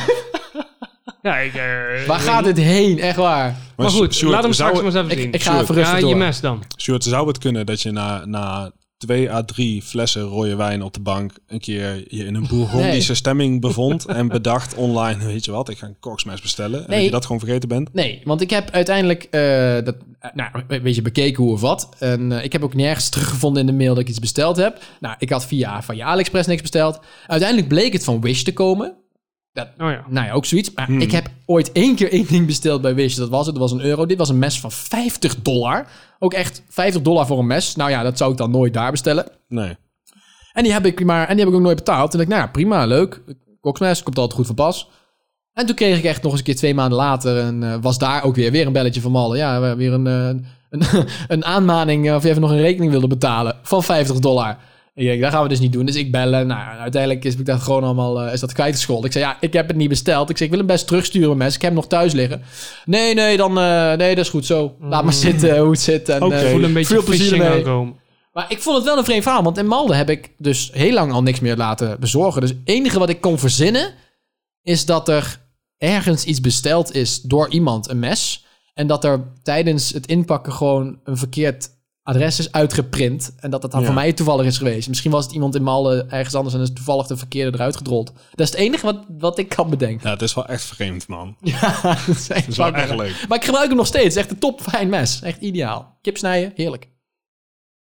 Speaker 1: ja ik, eh,
Speaker 3: Waar gaat dit heen? Echt waar.
Speaker 1: Maar goed,
Speaker 2: Sjoerd,
Speaker 1: laat hem
Speaker 2: zou-
Speaker 1: straks maar eens even
Speaker 3: Ik-
Speaker 1: zien.
Speaker 3: ik ga even rustig
Speaker 1: Ja, je
Speaker 3: door.
Speaker 1: mes dan.
Speaker 2: Sjoerd, zou het kunnen dat je na, na twee à drie flessen rode wijn op de bank een keer je in
Speaker 3: <laughs>
Speaker 2: een bourgondische
Speaker 3: Nee. <laughs>
Speaker 2: stemming bevond en bedacht online, weet je wat, ik ga een koksmes bestellen en
Speaker 3: Nee.
Speaker 2: dat je dat gewoon vergeten bent?
Speaker 3: Nee, want ik heb uiteindelijk eh, dat, eh, nou, een beetje bekeken hoe of wat. En eh, ik heb ook nergens teruggevonden in de mail dat ik iets besteld heb. Nou, ik had via, via AliExpress niks besteld. Uiteindelijk bleek het van Wish te komen.
Speaker 1: Oh ja.
Speaker 3: Nou ja, ook zoiets. Maar ik heb ooit één keer één ding besteld bij Wish. Dat was het, dat was een euro. Dit was een mes van 50 dollar. Ook echt 50 dollar voor een mes. Nou ja, dat zou ik dan nooit daar bestellen.
Speaker 2: Nee.
Speaker 3: En die heb ik, maar, en die heb ik ook nooit betaald. Toen dacht ik, nou ja, prima, leuk. Koksmes, komt altijd goed van pas. En toen kreeg ik echt nog eens een keer twee maanden later... en eh, was daar ook weer, weer een belletje van Malle. Ja, we- weer een, eh, een, <laughs> een aanmaning eh, of je even nog een rekening wilde betalen... van 50 dollar. Ik denk, dat gaan we dus niet doen. Dus ik bellen. Nou, ja, uiteindelijk is ik dat gewoon allemaal eh, is dat kwijtgescholden. Ik zei, ja, ik heb het niet besteld. Ik zei, ik wil hem best terugsturen, mijn mes. Ik heb hem nog thuis liggen. Nee, nee, dan, eh, nee, dat is goed zo. Laat maar zitten hoe het zit. En, eh,
Speaker 2: Oké.
Speaker 1: Ik Mm. voel een beetje
Speaker 3: veel plezier
Speaker 1: phishing
Speaker 3: ermee.
Speaker 1: aankomen.
Speaker 3: Maar ik vond het wel een vreemd verhaal, want in Malden heb ik dus heel lang al niks meer laten bezorgen. Dus het enige wat ik kon verzinnen is dat er ergens iets besteld is door iemand, een mes. En dat er tijdens het inpakken gewoon een verkeerd adres is uitgeprint. En dat dat dan
Speaker 2: Ja.
Speaker 3: voor mij toevallig is geweest. Misschien was het iemand in Malden ergens anders en is toevallig de verkeerde eruit gedrold. Dat is het enige wat, wat ik kan bedenken.
Speaker 2: Ja, het is wel echt vreemd, man. Het
Speaker 3: <laughs> Ja, dat is echt
Speaker 2: is wel
Speaker 3: waar. <laughs>
Speaker 2: echt leuk.
Speaker 3: Maar ik gebruik hem nog steeds. Het is Echt een top fijn mes. Echt ideaal. Kip snijden, heerlijk.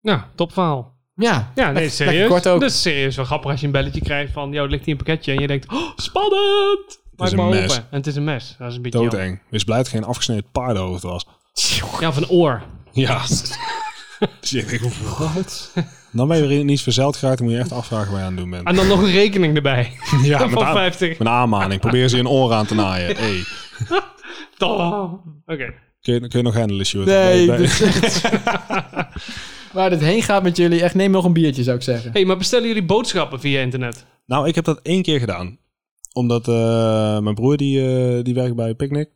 Speaker 1: Nou, top verhaal.
Speaker 3: Ja,
Speaker 1: Ja, nee,
Speaker 3: lekker-
Speaker 1: serieus.
Speaker 3: lekker kort ook.
Speaker 1: Dat is serieus wel grappig als je een belletje krijgt van... ...joh, er ligt hier een pakketje en je denkt... Oh, spannend! Maak
Speaker 2: een
Speaker 1: maar
Speaker 2: mes.
Speaker 1: open. En het is een mes. Dat is een beetje jammer.
Speaker 2: Doodeng. Wees blij dat het geen afgesneden paardenhoofd was.
Speaker 1: Ja, of een oor.
Speaker 2: <laughs>
Speaker 3: <laughs>
Speaker 2: Ja. Dus je denkt, hoeveel- <laughs> Dan ben je weer niet verzeild geraakt. Dan moet je echt afvragen waar je aan het doen
Speaker 3: <laughs>
Speaker 2: bent.
Speaker 1: En dan nog een rekening erbij.
Speaker 2: ja, met,
Speaker 1: van
Speaker 2: aan-
Speaker 1: 50.
Speaker 2: met een
Speaker 3: <laughs>
Speaker 2: aanmaning. Probeer ze je een oor aan te naaien. Hey.
Speaker 1: <laughs> Toch. Oké.
Speaker 2: Kun, je, kun je nog handelen, Sjoerd?
Speaker 3: Nee,
Speaker 2: Ben-
Speaker 3: dit is echt... <laughs> Waar dit heen gaat met jullie, echt neem nog een biertje, zou ik zeggen.
Speaker 1: hey, maar bestellen jullie boodschappen via internet?
Speaker 2: Nou, ik heb dat één keer gedaan. Omdat eh, mijn broer, die, eh, die werkt bij Picnic.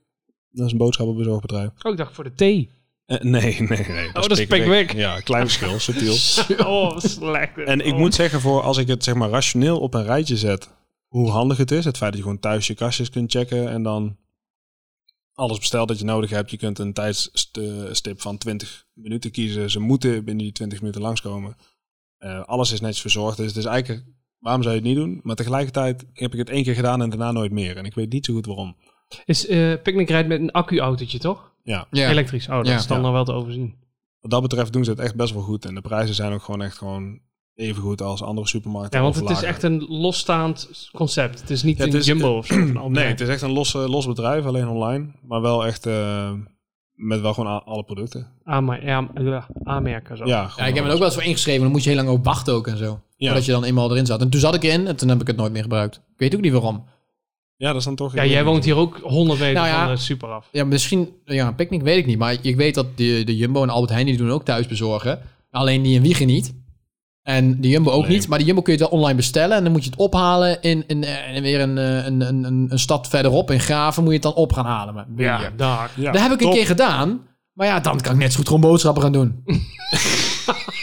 Speaker 2: Dat is een boodschappenbezorgbedrijf.
Speaker 1: Oh, ik dacht voor de thee.
Speaker 2: Eh, nee, <laughs> nee, nee.
Speaker 1: Oh, dat is Pickwick.
Speaker 2: Ja,
Speaker 1: <laughs>
Speaker 2: klein verschil, subtiel.
Speaker 1: <laughs> Oh, <laughs> wat slecht.
Speaker 2: En ik
Speaker 1: Oh.
Speaker 2: moet zeggen, voor als ik het zeg maar rationeel op een rijtje zet, hoe handig het is. Het feit dat je gewoon thuis je kastjes kunt checken en dan alles bestelt dat je nodig hebt. Je kunt een tijdstip van 20 minuten kiezen. Ze moeten binnen die 20 minuten langskomen. Eh, alles is netjes verzorgd. Dus het is eigenlijk, waarom zou je het niet doen? Maar tegelijkertijd heb ik het één keer gedaan en daarna nooit meer. En ik weet niet zo goed waarom.
Speaker 1: Is eh Picnic rijdt met een accu-autootje, toch?
Speaker 2: Ja,
Speaker 3: Ja.
Speaker 1: Elektrisch. Oh, dat
Speaker 3: Ja.
Speaker 1: is dan
Speaker 2: Ja.
Speaker 1: nog wel te overzien.
Speaker 2: wat dat betreft doen ze het echt best wel goed. En de prijzen zijn ook gewoon echt gewoon even goed als andere supermarkten.
Speaker 1: Ja, want
Speaker 2: of
Speaker 1: het is
Speaker 2: lager.
Speaker 1: echt een losstaand concept. Het is niet
Speaker 2: Ja, het
Speaker 1: een
Speaker 2: is-
Speaker 1: jumbo
Speaker 2: <clears throat>
Speaker 1: of zo. een
Speaker 2: Oh, Nee,
Speaker 1: Almere.
Speaker 2: het is echt een los, eh, los bedrijf, alleen online. Maar wel echt eh, met wel gewoon a- alle producten.
Speaker 1: Aanmer- ja, ja, aanmerken zo.
Speaker 2: Ja,
Speaker 3: Ja,
Speaker 2: gewoon
Speaker 3: ik heb
Speaker 2: alles.
Speaker 3: het ook wel eens voor ingeschreven, dan moet je heel lang op wachten ook en zo.
Speaker 2: Ja.
Speaker 3: Voordat je dan eenmaal erin zat. En toen zat ik in en toen heb ik het nooit meer gebruikt. Ik weet ook niet waarom.
Speaker 2: Ja, dat is dan toch...
Speaker 1: Ja, jij woont hier ook 100 meter
Speaker 3: Nou ja.
Speaker 1: van de super af.
Speaker 3: Ja, misschien, ja, picknick weet ik niet. Maar ik weet dat de, de Jumbo en Albert Heijn, die doen ook thuis bezorgen. Alleen die in Wiegen niet. En de Jumbo ook
Speaker 2: Nee.
Speaker 3: niet. Maar de Jumbo kun je wel online bestellen. En dan moet je het ophalen in, in, eh, in weer een, eh, een, een, een, een stad verderop. In Graven moet je het dan op gaan halen. Maar
Speaker 1: Ja, daar.
Speaker 2: Ja,
Speaker 3: dat heb ik
Speaker 2: top.
Speaker 3: een keer gedaan. Maar ja, dan kan ik net zo goed gewoon boodschappen gaan
Speaker 2: <laughs>
Speaker 3: doen.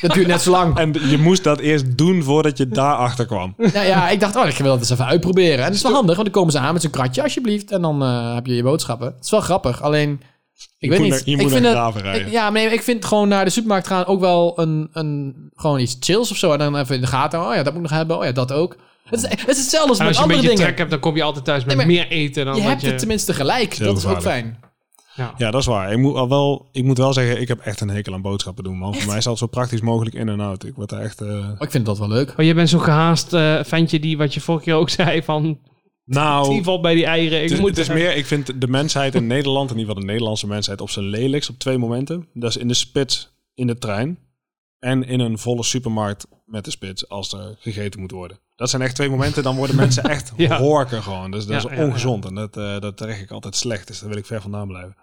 Speaker 3: dat duurt net zo lang.
Speaker 2: En je moest dat eerst doen voordat je daarachter kwam.
Speaker 3: Nou ja, ik dacht, oh, ik wil dat eens even uitproberen. En dat is wel handig, want dan komen ze aan met zo'n kratje, alsjeblieft. En dan eh, heb je je boodschappen. Het is wel grappig, alleen... Ik weet
Speaker 2: moet
Speaker 3: niet.
Speaker 2: naar- je
Speaker 3: ik
Speaker 2: moet
Speaker 3: vind
Speaker 2: naar
Speaker 3: het-
Speaker 2: Graven rijden.
Speaker 3: ik- ja, maar nee, ik vind gewoon naar de supermarkt gaan ook wel een, een... Gewoon iets chills of zo. En dan even in de gaten. Oh ja, dat moet ik nog hebben. Oh ja, dat ook. Het is, het is hetzelfde als
Speaker 1: En als je
Speaker 3: met
Speaker 1: een
Speaker 3: andere
Speaker 1: beetje
Speaker 3: dingen.
Speaker 1: trek hebt, dan kom je altijd thuis met
Speaker 3: Nee, maar
Speaker 1: meer eten dan
Speaker 3: je
Speaker 1: wat
Speaker 3: hebt
Speaker 1: je...
Speaker 3: het tenminste gelijk.
Speaker 2: Heel
Speaker 3: Dat is ook
Speaker 2: gevaarlijk.
Speaker 3: fijn.
Speaker 1: ja.
Speaker 2: Ja, dat is waar. Ik moet, al wel, ik moet wel zeggen, ik heb echt een hekel aan boodschappen doen, man. Voor mij is dat zo praktisch mogelijk in en out. Ik word daar echt... eh,
Speaker 3: Maar ik vind dat wel leuk.
Speaker 1: Oh, jij bent zo'n gehaast eh ventje die, wat je vorige keer ook <laughs> zei, van... Die
Speaker 2: Nou...
Speaker 1: valt bij die eieren. Ik
Speaker 2: Het is,
Speaker 1: moet
Speaker 2: het is meer, ik vind de mensheid in Nederland, in ieder geval de Nederlandse mensheid, op zijn lelijkst op twee momenten. Dat is in de spits in de trein en in een volle supermarkt met de spits als er gegeten moet worden. Dat zijn echt twee momenten, dan worden
Speaker 1: <laughs>
Speaker 2: mensen echt
Speaker 1: Ja.
Speaker 2: horken gewoon. Dus dat
Speaker 1: Ja, ja,
Speaker 2: is
Speaker 1: ja.
Speaker 2: ongezond en dat, eh dat trek ik altijd slecht, dus daar wil ik ver vandaan blijven.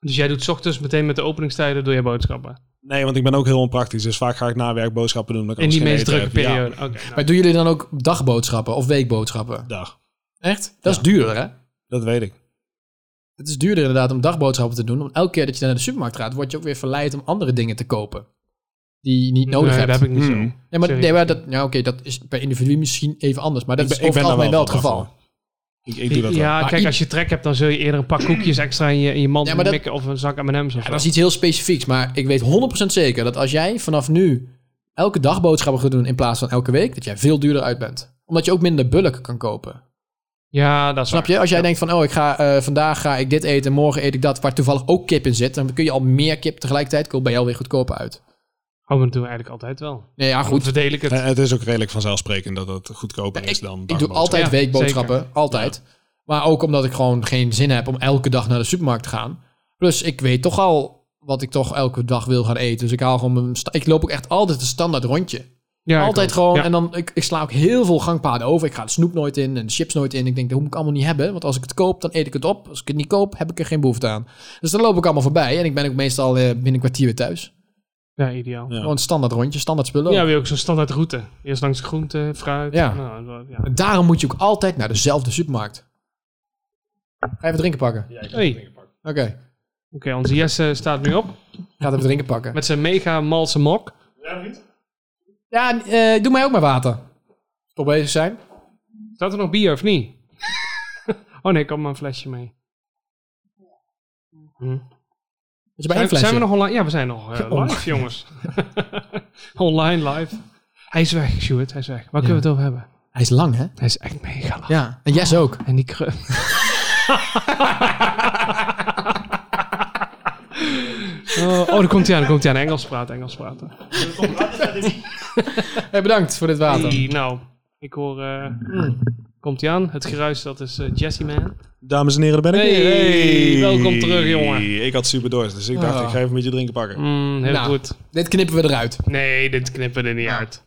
Speaker 1: Dus jij doet 's ochtends meteen met de openingstijden door je boodschappen.
Speaker 2: Nee, want ik ben ook heel onpraktisch, dus vaak ga ik na werk boodschappen doen. omdat ik
Speaker 1: In die
Speaker 2: anders
Speaker 1: meest
Speaker 2: geen
Speaker 1: drukke
Speaker 2: eten heb. Ja,
Speaker 1: periode. Oké, nou.
Speaker 3: Maar doen jullie dan ook dagboodschappen of weekboodschappen?
Speaker 2: dag.
Speaker 3: Echt? Dat
Speaker 2: Ja.
Speaker 3: is duurder, hè?
Speaker 2: Dat weet ik.
Speaker 1: Hmm.
Speaker 3: Het is duurder inderdaad om dagboodschappen te doen. Want elke keer dat je naar de supermarkt gaat, word je ook weer verleid om andere dingen te kopen. Die je niet nodig
Speaker 1: Nee,
Speaker 3: hebt.
Speaker 1: dat heb ik niet zo.
Speaker 2: Hmm.
Speaker 3: nee, maar,
Speaker 1: sorry.
Speaker 3: nee, maar dat, ja, oké, dat is per individu misschien even anders. Maar dat
Speaker 2: Ik ben-
Speaker 3: is
Speaker 2: ik ben
Speaker 3: over het
Speaker 2: daar
Speaker 3: algemeen wel het
Speaker 2: wel van
Speaker 3: geval.
Speaker 2: Ik, ik doe dat wel.
Speaker 1: ja,
Speaker 3: Maar
Speaker 1: kijk,
Speaker 3: i-
Speaker 1: als je trek hebt, dan zul je eerder een paar koekjes extra in je, in je mand
Speaker 3: Ja, maar dat-
Speaker 1: mikken of een zak M&M's of
Speaker 3: Ja,
Speaker 1: zo.
Speaker 3: dat is iets heel specifieks. Maar ik weet 100% zeker dat als jij vanaf nu elke dag boodschappen gaat doen in plaats van elke week, dat jij veel duurder uit bent. Omdat je ook minder bulk kan kopen.
Speaker 1: Ja, dat is
Speaker 3: Snap je? Als jij denkt van, oh, ik ga, eh, vandaag ga ik dit eten, morgen eet ik dat, waar toevallig ook kip in zit, dan kun je al meer kip tegelijkertijd kopen, ben je alweer goedkoper uit.
Speaker 1: Oh, maar dat doen we eigenlijk altijd wel.
Speaker 3: Nee, ja,
Speaker 1: Goed
Speaker 3: goed.
Speaker 1: verdeel ik het.
Speaker 2: Eh, het is ook redelijk vanzelfsprekend dat het goedkoper
Speaker 3: Ja,
Speaker 2: is dan
Speaker 3: Ik doe
Speaker 2: dagboodschappen.
Speaker 3: altijd
Speaker 1: Ja,
Speaker 3: weekboodschappen. Altijd. Maar ook omdat ik gewoon geen zin heb om elke dag naar de supermarkt te gaan. Plus, ik weet toch al wat ik toch elke dag wil gaan eten. Dus ik haal gewoon mijn... sta- Ik loop ook echt altijd een standaard rondje.
Speaker 1: Ja, ik
Speaker 3: altijd
Speaker 1: ook.
Speaker 3: gewoon.
Speaker 1: Ja.
Speaker 3: En dan, ik, ik sla ook heel veel gangpaden over. Ik ga de snoep nooit in en de chips nooit in. Ik denk, dat moet ik allemaal niet hebben. Want als ik het koop, dan eet ik het op. Als ik het niet koop, heb ik er geen behoefte aan. Dus dan loop ik allemaal voorbij. En ik ben ook meestal eh, binnen een kwartier weer thuis.
Speaker 1: Ja, ideaal.
Speaker 2: Ja.
Speaker 3: Gewoon standaard rondje, standaard spullen.
Speaker 1: Ja, weer ook zo'n standaard route. Eerst langs groente, fruit.
Speaker 3: Ja.
Speaker 1: Nou, dat- ja.
Speaker 3: En daarom moet je ook altijd naar dezelfde supermarkt. Ga even drinken pakken.
Speaker 1: Hey.
Speaker 3: Oké,
Speaker 1: Oké, onze Jesse staat nu op
Speaker 3: gaat even drinken pakken.
Speaker 1: met zijn mega malse mok.
Speaker 3: Ja, eh, doe mij ook maar water. Toch bezig zijn?
Speaker 1: Staat er nog bier of niet? <laughs> oh nee, ik had maar een flesje mee. Hm.
Speaker 3: Dat je bij
Speaker 1: Zijn,
Speaker 3: één flesje.
Speaker 1: zijn we nog online? Ja, we zijn nog eh,
Speaker 3: Online.
Speaker 1: live, jongens. <laughs> online live. Hij is weg, Stuart. Hij is weg. Waar kunnen we het over hebben?
Speaker 3: Hij is lang, hè?
Speaker 1: Hij is echt mega lang.
Speaker 3: Ja. En Jess ook.
Speaker 1: En die kruim. <laughs> oh, oh, daar komt hij aan. Daar komt hij aan. Engels praten, Engels praten.
Speaker 3: Hey, bedankt voor dit water.
Speaker 1: Hey, nou, ik hoor... eh,
Speaker 3: Mm.
Speaker 1: Komt hij aan. Het geruis, dat is eh, Jesse Man.
Speaker 2: Dames en heren, daar ben ik
Speaker 1: Hey,
Speaker 2: weer.
Speaker 1: welkom terug, jongen.
Speaker 2: Ik had super dorst, dus ik dacht,
Speaker 3: Ah.
Speaker 2: ik ga even met je drinken pakken.
Speaker 1: Mm, heel
Speaker 3: Nou.
Speaker 1: goed.
Speaker 3: Dit knippen we eruit.
Speaker 1: Nee, dit knippen we er niet uit.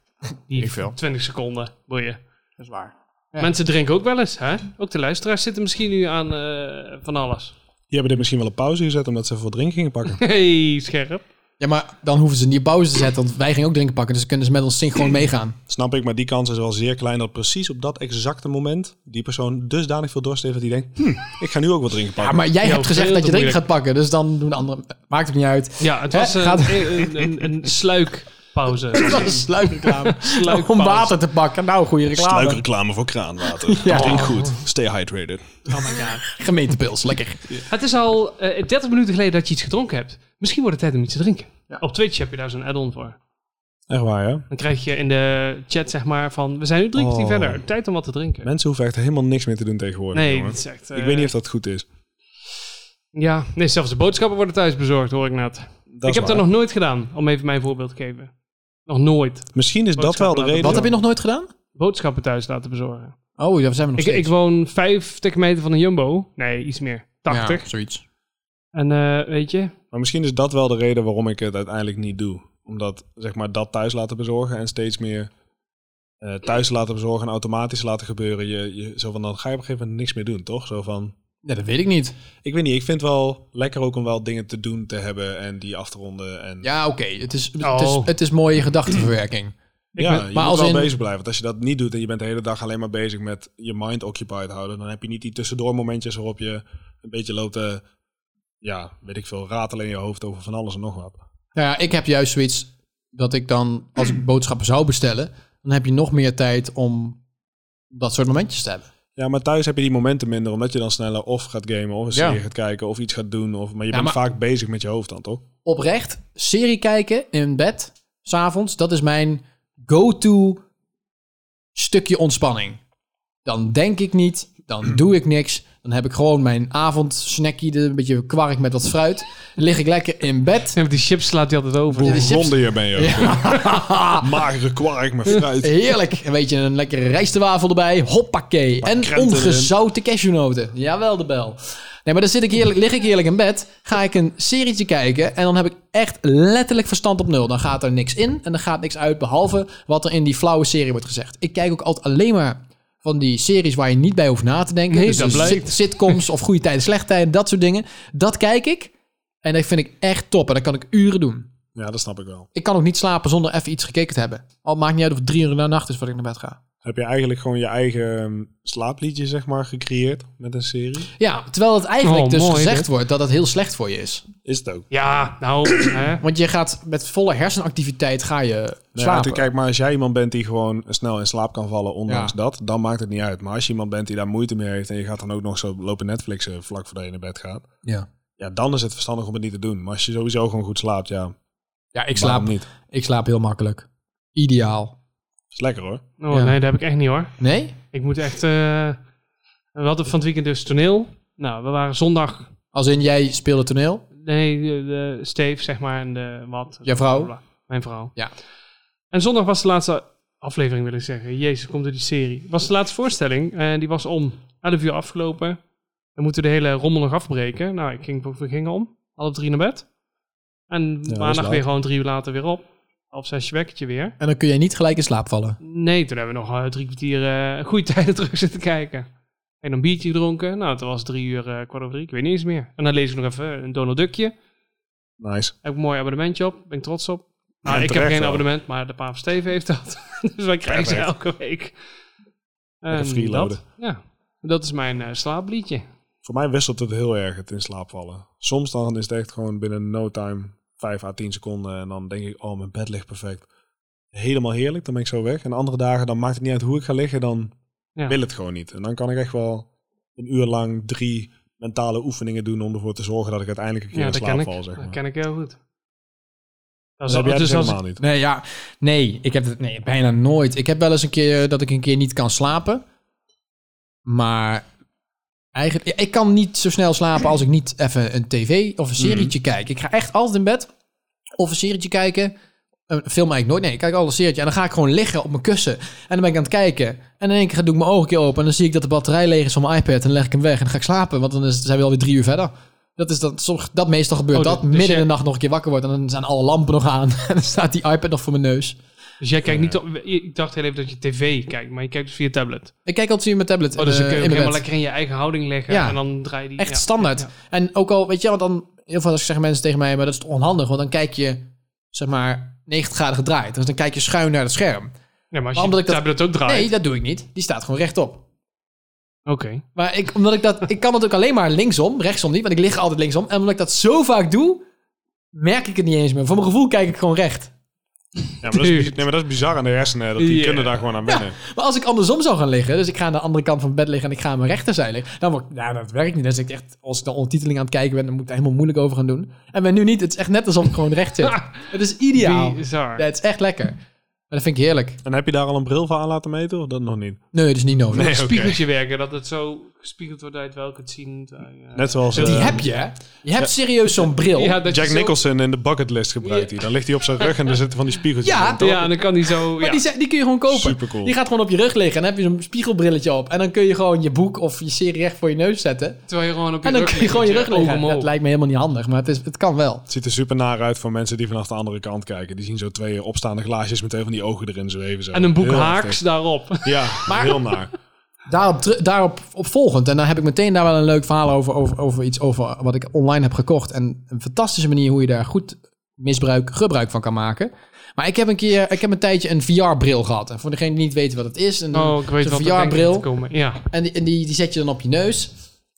Speaker 1: Die
Speaker 3: Ik veel.
Speaker 1: 20 seconden, boeien.
Speaker 3: Dat is waar.
Speaker 1: Ja. Mensen drinken ook wel eens, hè? Ook de luisteraars zitten misschien nu aan eh, van alles. <laughs>
Speaker 2: Die hebben dit misschien wel op pauze gezet, omdat ze voor drinken gingen pakken.
Speaker 1: Hey, scherp.
Speaker 3: Ja, maar dan hoeven ze niet op pauze te zetten, want wij gingen ook drinken pakken. Dus dan kunnen ze met ons synchroon meegaan.
Speaker 2: Snap ik, maar die kans is wel zeer klein dat precies op dat exacte moment die persoon dusdanig veel dorst heeft dat hij denkt, hm, ik ga nu ook wat drinken
Speaker 3: Ja,
Speaker 2: pakken.
Speaker 3: maar jij
Speaker 1: Ja,
Speaker 3: hebt gezegd
Speaker 1: veel
Speaker 3: dat je
Speaker 1: te
Speaker 3: drinken
Speaker 1: moeilijk.
Speaker 3: gaat pakken. Dus dan doen de anderen... Maakt het niet uit.
Speaker 1: Ja, het
Speaker 3: Hè?
Speaker 1: was een,
Speaker 3: Gaat-
Speaker 1: een, een, een sluikpauze.
Speaker 3: <laughs> Dat is een sluikreclame.
Speaker 1: Sluikpauze.
Speaker 3: Om water te pakken. Nou, goede reclame.
Speaker 2: Sluikreclame voor kraanwater.
Speaker 3: Ja.
Speaker 2: Drink goed. Stay hydrated.
Speaker 3: Gemeentepils, lekker.
Speaker 1: Het is al eh 30 minuten geleden dat je iets gedronken hebt. Misschien wordt het tijd om iets te drinken.
Speaker 3: Ja.
Speaker 1: Op Twitch heb je daar zo'n add-on voor.
Speaker 2: Echt waar, hè?
Speaker 1: Dan krijg je in de chat zeg maar van... We zijn nu drie kwartier
Speaker 2: Oh.
Speaker 1: verder. Tijd om wat te drinken.
Speaker 2: Mensen hoeven echt helemaal niks meer te doen tegenwoordig,
Speaker 1: nee,
Speaker 2: jongen.
Speaker 1: dat is echt... eh,
Speaker 2: Ik weet niet of dat goed is.
Speaker 1: Ja, nee, zelfs de boodschappen worden thuis bezorgd, hoor ik net.
Speaker 2: Dat
Speaker 1: ik
Speaker 2: is
Speaker 1: heb dat
Speaker 2: waar.
Speaker 1: nog nooit gedaan, om even mijn voorbeeld te geven. Nog nooit.
Speaker 2: Misschien is dat wel de
Speaker 1: Boodschappen laten-
Speaker 2: reden.
Speaker 3: Wat heb je nog nooit gedaan?
Speaker 1: Boodschappen thuis laten bezorgen.
Speaker 3: Oh, daar zijn we nog
Speaker 1: Ik,
Speaker 3: steeds.
Speaker 1: ik woon 50 meter van een Jumbo. Nee, iets meer. 80.
Speaker 3: Ja, zoiets.
Speaker 1: En eh, weet je,
Speaker 2: Maar misschien is dat wel de reden waarom ik het uiteindelijk niet doe. Omdat, zeg maar, dat thuis laten bezorgen en steeds meer eh, thuis laten bezorgen en automatisch laten gebeuren. Je, je, zo van, dan ga je op een gegeven moment niks meer doen, toch? Zo van,
Speaker 3: Ja, dat weet ik niet.
Speaker 2: ik weet niet, ik vind wel lekker ook om wel dingen te doen te hebben en die af te ronden. En,
Speaker 3: Ja, oké. Het, is, het,
Speaker 1: Oh.
Speaker 3: is, het is mooie gedachtenverwerking.
Speaker 2: Ja,
Speaker 1: ben-
Speaker 2: je
Speaker 3: maar
Speaker 2: moet
Speaker 3: als
Speaker 2: wel
Speaker 3: in-
Speaker 2: bezig blijven. Want als je dat niet doet en je bent de hele dag alleen maar bezig met je mind occupied houden, dan heb je niet die tussendoor momentjes waarop je een beetje loopt te, ja, weet ik veel, ratelen in je hoofd over van alles en nog wat.
Speaker 3: Nou ja, ik heb juist zoiets dat ik dan, als ik boodschappen zou bestellen, dan heb je nog meer tijd om dat soort momentjes te hebben.
Speaker 2: Ja, maar thuis heb je die momenten minder, omdat je dan sneller of gaat gamen, of een
Speaker 3: Ja.
Speaker 2: serie gaat kijken, of iets gaat doen. Of, maar je
Speaker 3: Ja,
Speaker 2: bent
Speaker 3: maar-
Speaker 2: vaak bezig met je hoofd dan, toch?
Speaker 3: Oprecht, serie kijken in bed, s'avonds, dat is mijn go-to stukje ontspanning. Dan denk ik niet, dan doe ik niks. Dan heb ik gewoon mijn avondsnackie, een beetje kwark met wat fruit. Dan lig ik lekker
Speaker 1: <laughs>
Speaker 3: in bed. <laughs>
Speaker 1: die chips slaat hij altijd over.
Speaker 3: Ja,
Speaker 2: Hoe
Speaker 3: de chips-
Speaker 2: blonder je ben je ook.
Speaker 3: <laughs>
Speaker 2: Magere kwark met fruit.
Speaker 3: Heerlijk. Een beetje een lekkere rijstwafel erbij. Hoppakee. En
Speaker 2: krenten
Speaker 3: ongezouten cashewnoten. Jawel, de bel. Nee, maar dan zit ik heerlijk, lig ik heerlijk in bed. Ga ik een serietje kijken. En dan heb ik echt letterlijk verstand op nul. Dan gaat er niks in en dan gaat niks uit. Behalve wat er in die flauwe serie wordt gezegd. Ik kijk ook altijd alleen maar van die series waar je niet bij hoeft na te denken.
Speaker 1: Nee,
Speaker 3: dus
Speaker 1: dat
Speaker 3: de
Speaker 1: blijkt.
Speaker 3: sit- sitcoms of goede tijden, slechte tijden. Dat soort dingen. Dat kijk ik. En dat vind ik echt top. En dat kan ik uren doen.
Speaker 2: Ja, dat snap ik wel.
Speaker 3: Ik kan ook niet slapen zonder even iets gekeken te hebben. Al maakt niet uit of het drie uur na nacht is voordat ik naar bed ga.
Speaker 2: Heb je eigenlijk gewoon je eigen ehm, slaapliedje, zeg maar, gecreëerd met een serie?
Speaker 3: Ja, terwijl het eigenlijk
Speaker 1: Oh,
Speaker 3: dus
Speaker 1: mooi,
Speaker 3: gezegd
Speaker 1: dit.
Speaker 3: wordt dat het heel slecht voor je is.
Speaker 2: Is het ook.
Speaker 1: Ja, nou, <clears throat> hè.
Speaker 3: Want je gaat met volle hersenactiviteit ga je
Speaker 2: Nee,
Speaker 3: slapen.
Speaker 2: want Nou kijk, maar als jij iemand bent die gewoon snel in slaap kan vallen, ondanks
Speaker 3: Ja.
Speaker 2: dat, dan maakt het niet uit. Maar als je iemand bent die daar moeite mee heeft en je gaat dan ook nog zo lopen Netflixen vlak voordat je naar bed gaat,
Speaker 3: ja.
Speaker 2: ja, dan is het verstandig om het niet te doen. Maar als je sowieso gewoon goed slaapt, ja,
Speaker 3: ja, ik
Speaker 2: waarom
Speaker 3: slaap,
Speaker 2: niet.
Speaker 3: ik slaap heel makkelijk. Ideaal.
Speaker 2: Is lekker hoor.
Speaker 1: oh,
Speaker 3: Ja.
Speaker 1: nee, dat heb ik echt niet hoor.
Speaker 3: Nee?
Speaker 1: Ik moet echt... eh, we hadden van het weekend dus toneel. Nou, we waren zondag...
Speaker 3: Als in jij speelde toneel?
Speaker 1: Nee, de, de Steve, zeg maar, en de wat.
Speaker 3: Jouw vrouw?
Speaker 1: Bla, bla. Mijn vrouw.
Speaker 3: Ja.
Speaker 1: En zondag was de laatste aflevering, wil ik zeggen. Jezus, komt er die serie. Was de laatste voorstelling. En die was om 11 uur afgelopen. Dan moeten we de hele rommel nog afbreken. Nou, ik ging, we gingen om. Half drie naar bed. En
Speaker 2: is
Speaker 1: maandag
Speaker 2: laat.
Speaker 1: weer gewoon drie uur later weer op. Half zes je wekkertje weer.
Speaker 3: En dan kun jij niet gelijk in slaap vallen.
Speaker 1: Nee, toen hebben we nog eh, drie kwartier eh goede <laughs> tijden terug zitten kijken. En een biertje gedronken. Nou, toen was het drie uur, eh, kwart over drie. Ik weet niet eens meer. En dan lees ik nog even een Donald Duckje.
Speaker 2: Nice.
Speaker 1: Heb ik een mooi abonnementje op. Ben ik trots op. Nou,
Speaker 2: En
Speaker 1: ik heb
Speaker 2: terecht
Speaker 1: geen
Speaker 2: wel.
Speaker 1: abonnement, maar de Paaf Steve heeft dat. <laughs> dus wij krijgen ze
Speaker 2: Perfect.
Speaker 1: elke week.
Speaker 2: Lekker
Speaker 1: En
Speaker 2: freeloaden.
Speaker 1: dat, ja, dat is mijn eh, slaapliedje.
Speaker 2: Voor mij wisselt het heel erg het in slaap vallen. Soms dan is het echt gewoon binnen no time 5 à 10 seconden en dan denk ik, oh mijn bed ligt perfect. helemaal heerlijk. Dan ben ik zo weg. En andere dagen, dan maakt het niet uit hoe ik ga liggen. Dan
Speaker 1: Ja.
Speaker 2: wil het gewoon niet. En dan kan ik echt wel een uur lang drie mentale oefeningen doen om ervoor te zorgen dat ik uiteindelijk een keer
Speaker 1: Ja,
Speaker 2: in
Speaker 1: dat
Speaker 2: slaap
Speaker 1: ken ik.
Speaker 2: val. Zeg maar.
Speaker 1: Dat ken ik heel goed. Dat
Speaker 2: Dat
Speaker 1: is
Speaker 2: heb
Speaker 1: al-
Speaker 2: jij dus
Speaker 1: dus als
Speaker 2: helemaal niet.
Speaker 3: Nee, ja. Nee, ik heb het nee, bijna nooit. Ik heb wel eens een keer eh, dat ik een keer niet kan slapen. Maar eigenlijk... ja, Ik kan niet zo snel slapen als ik niet even een tv of een serietje kijk. Ik ga echt altijd in bed of een serietje kijken. Een film eigenlijk nooit. Nee, ik kijk altijd een serietje. En dan ga ik gewoon liggen op mijn kussen. En dan ben ik aan het kijken. En in één keer doe ik mijn ogen een keer open. En dan zie ik dat de batterij leeg is van mijn iPad. En dan leg ik hem weg. En dan ga ik slapen. Want dan is- zijn we alweer drie uur verder. Dat is dat, soms, dat meestal gebeurt.
Speaker 1: Oh,
Speaker 3: dat
Speaker 1: dus
Speaker 3: midden
Speaker 1: jij-
Speaker 3: in de nacht nog een keer wakker wordt. En dan zijn alle lampen nog aan. <laughs> En dan staat die iPad nog voor mijn neus.
Speaker 1: Dus jij kijkt niet op... Ik dacht heel even dat je tv kijkt, maar je kijkt dus via tablet.
Speaker 3: Ik kijk altijd via mijn tablet.
Speaker 1: Oh, dus dan
Speaker 3: eh,
Speaker 1: kun je hem
Speaker 3: in mijn
Speaker 1: helemaal
Speaker 3: bed.
Speaker 1: lekker in je eigen houding leggen.
Speaker 3: Ja.
Speaker 1: En dan draai je die...
Speaker 3: Echt
Speaker 1: ja.
Speaker 3: standaard.
Speaker 1: Ja.
Speaker 3: En ook al, weet je wel, dan... Heel vaak zeggen mensen tegen mij, maar dat is toch onhandig. Want dan kijk je, zeg maar, 90 graden gedraaid. Dus dan kijk je schuin naar het
Speaker 1: Ja,
Speaker 3: scherm.
Speaker 1: maar als
Speaker 3: Maar
Speaker 1: je
Speaker 3: omdat
Speaker 1: de
Speaker 3: ik dat-
Speaker 1: tablet ook draait...
Speaker 3: Nee, dat doe ik niet. Die staat gewoon rechtop.
Speaker 1: Oké.
Speaker 3: Maar ik, omdat ik dat, ik kan het ook alleen maar linksom, rechtsom niet, want ik lig altijd linksom. En omdat ik dat zo vaak doe, merk ik het niet eens meer. Van mijn gevoel kijk ik gewoon recht.
Speaker 2: Ja, maar dat, is,
Speaker 1: Duur.
Speaker 2: nee, maar dat is bizar aan de hersenen. Dat die
Speaker 1: Ja.
Speaker 2: kunnen daar gewoon aan wennen.
Speaker 3: Maar als ik andersom zou gaan liggen, dus ik ga aan de andere kant van het bed liggen en ik ga aan mijn rechterzij liggen, dan word ik, nou, dat werkt niet. Dan zit ik echt, als ik dan ondertiteling aan het kijken ben, dan moet ik daar helemaal moeilijk over gaan doen. En ben nu niet, het is echt net alsof ik gewoon <laughs> recht zit. Het is ideaal.
Speaker 1: Bizar.
Speaker 3: Ja, het is echt lekker. Maar dat vind ik heerlijk.
Speaker 2: En heb je daar al een bril voor aan laten meten? Of dat nog niet?
Speaker 3: Nee, dat is niet nodig.
Speaker 2: Nee,
Speaker 1: Een
Speaker 2: oké.
Speaker 1: spiegeltje werken, dat het zo gespiegeld wordt uit welk het zien.
Speaker 2: Net zoals
Speaker 1: Die
Speaker 3: Die
Speaker 2: eh,
Speaker 3: heb je, hè? Je hebt serieus zo'n bril. Ja,
Speaker 2: Jack Nicholson in de bucketlist gebruikt hij. Dan ligt hij op zijn rug en er zitten van die spiegeltjes
Speaker 3: Ja,
Speaker 2: in, toch?
Speaker 1: Ja, en dan kan die zo...
Speaker 3: <laughs> maar
Speaker 1: ja.
Speaker 3: die, zijn- die kun je gewoon kopen.
Speaker 2: Supercool.
Speaker 3: Die gaat gewoon op je rug liggen en dan heb je zo'n spiegelbrilletje op. En dan kun je gewoon je boek of je serie recht voor je neus zetten.
Speaker 1: Terwijl je gewoon op je
Speaker 3: En dan
Speaker 1: rug
Speaker 3: kun je gewoon je
Speaker 1: ligt,
Speaker 3: rug
Speaker 1: eh,
Speaker 3: liggen.
Speaker 1: ogen
Speaker 3: Dat
Speaker 1: omhoog.
Speaker 3: lijkt me helemaal niet handig, maar het, is, het kan wel.
Speaker 2: Het ziet er super naar uit voor mensen die vanaf de andere kant kijken. Die zien zo twee opstaande glaasjes met twee van die ogen erin zweven. Zo.
Speaker 1: En een boek
Speaker 2: Heel
Speaker 1: haaks
Speaker 2: heftig.
Speaker 3: Mm.
Speaker 1: daarop. <laughs>
Speaker 2: Ja, heel naar.
Speaker 3: Daarop, teru- daarop op volgend. En dan heb ik meteen daar wel een leuk verhaal over, over, over iets over wat ik online heb gekocht. En een fantastische manier hoe je daar goed misbruik, gebruik van kan maken. Maar ik heb een keer, ik heb een tijdje een VR-bril gehad. En voor degene die niet weten wat het is. En
Speaker 1: Oh, ik weet
Speaker 3: zo'n
Speaker 1: wat er denkt
Speaker 3: VR-bril.
Speaker 1: te komen. Ja.
Speaker 3: En, die, en die, die zet je dan op je neus.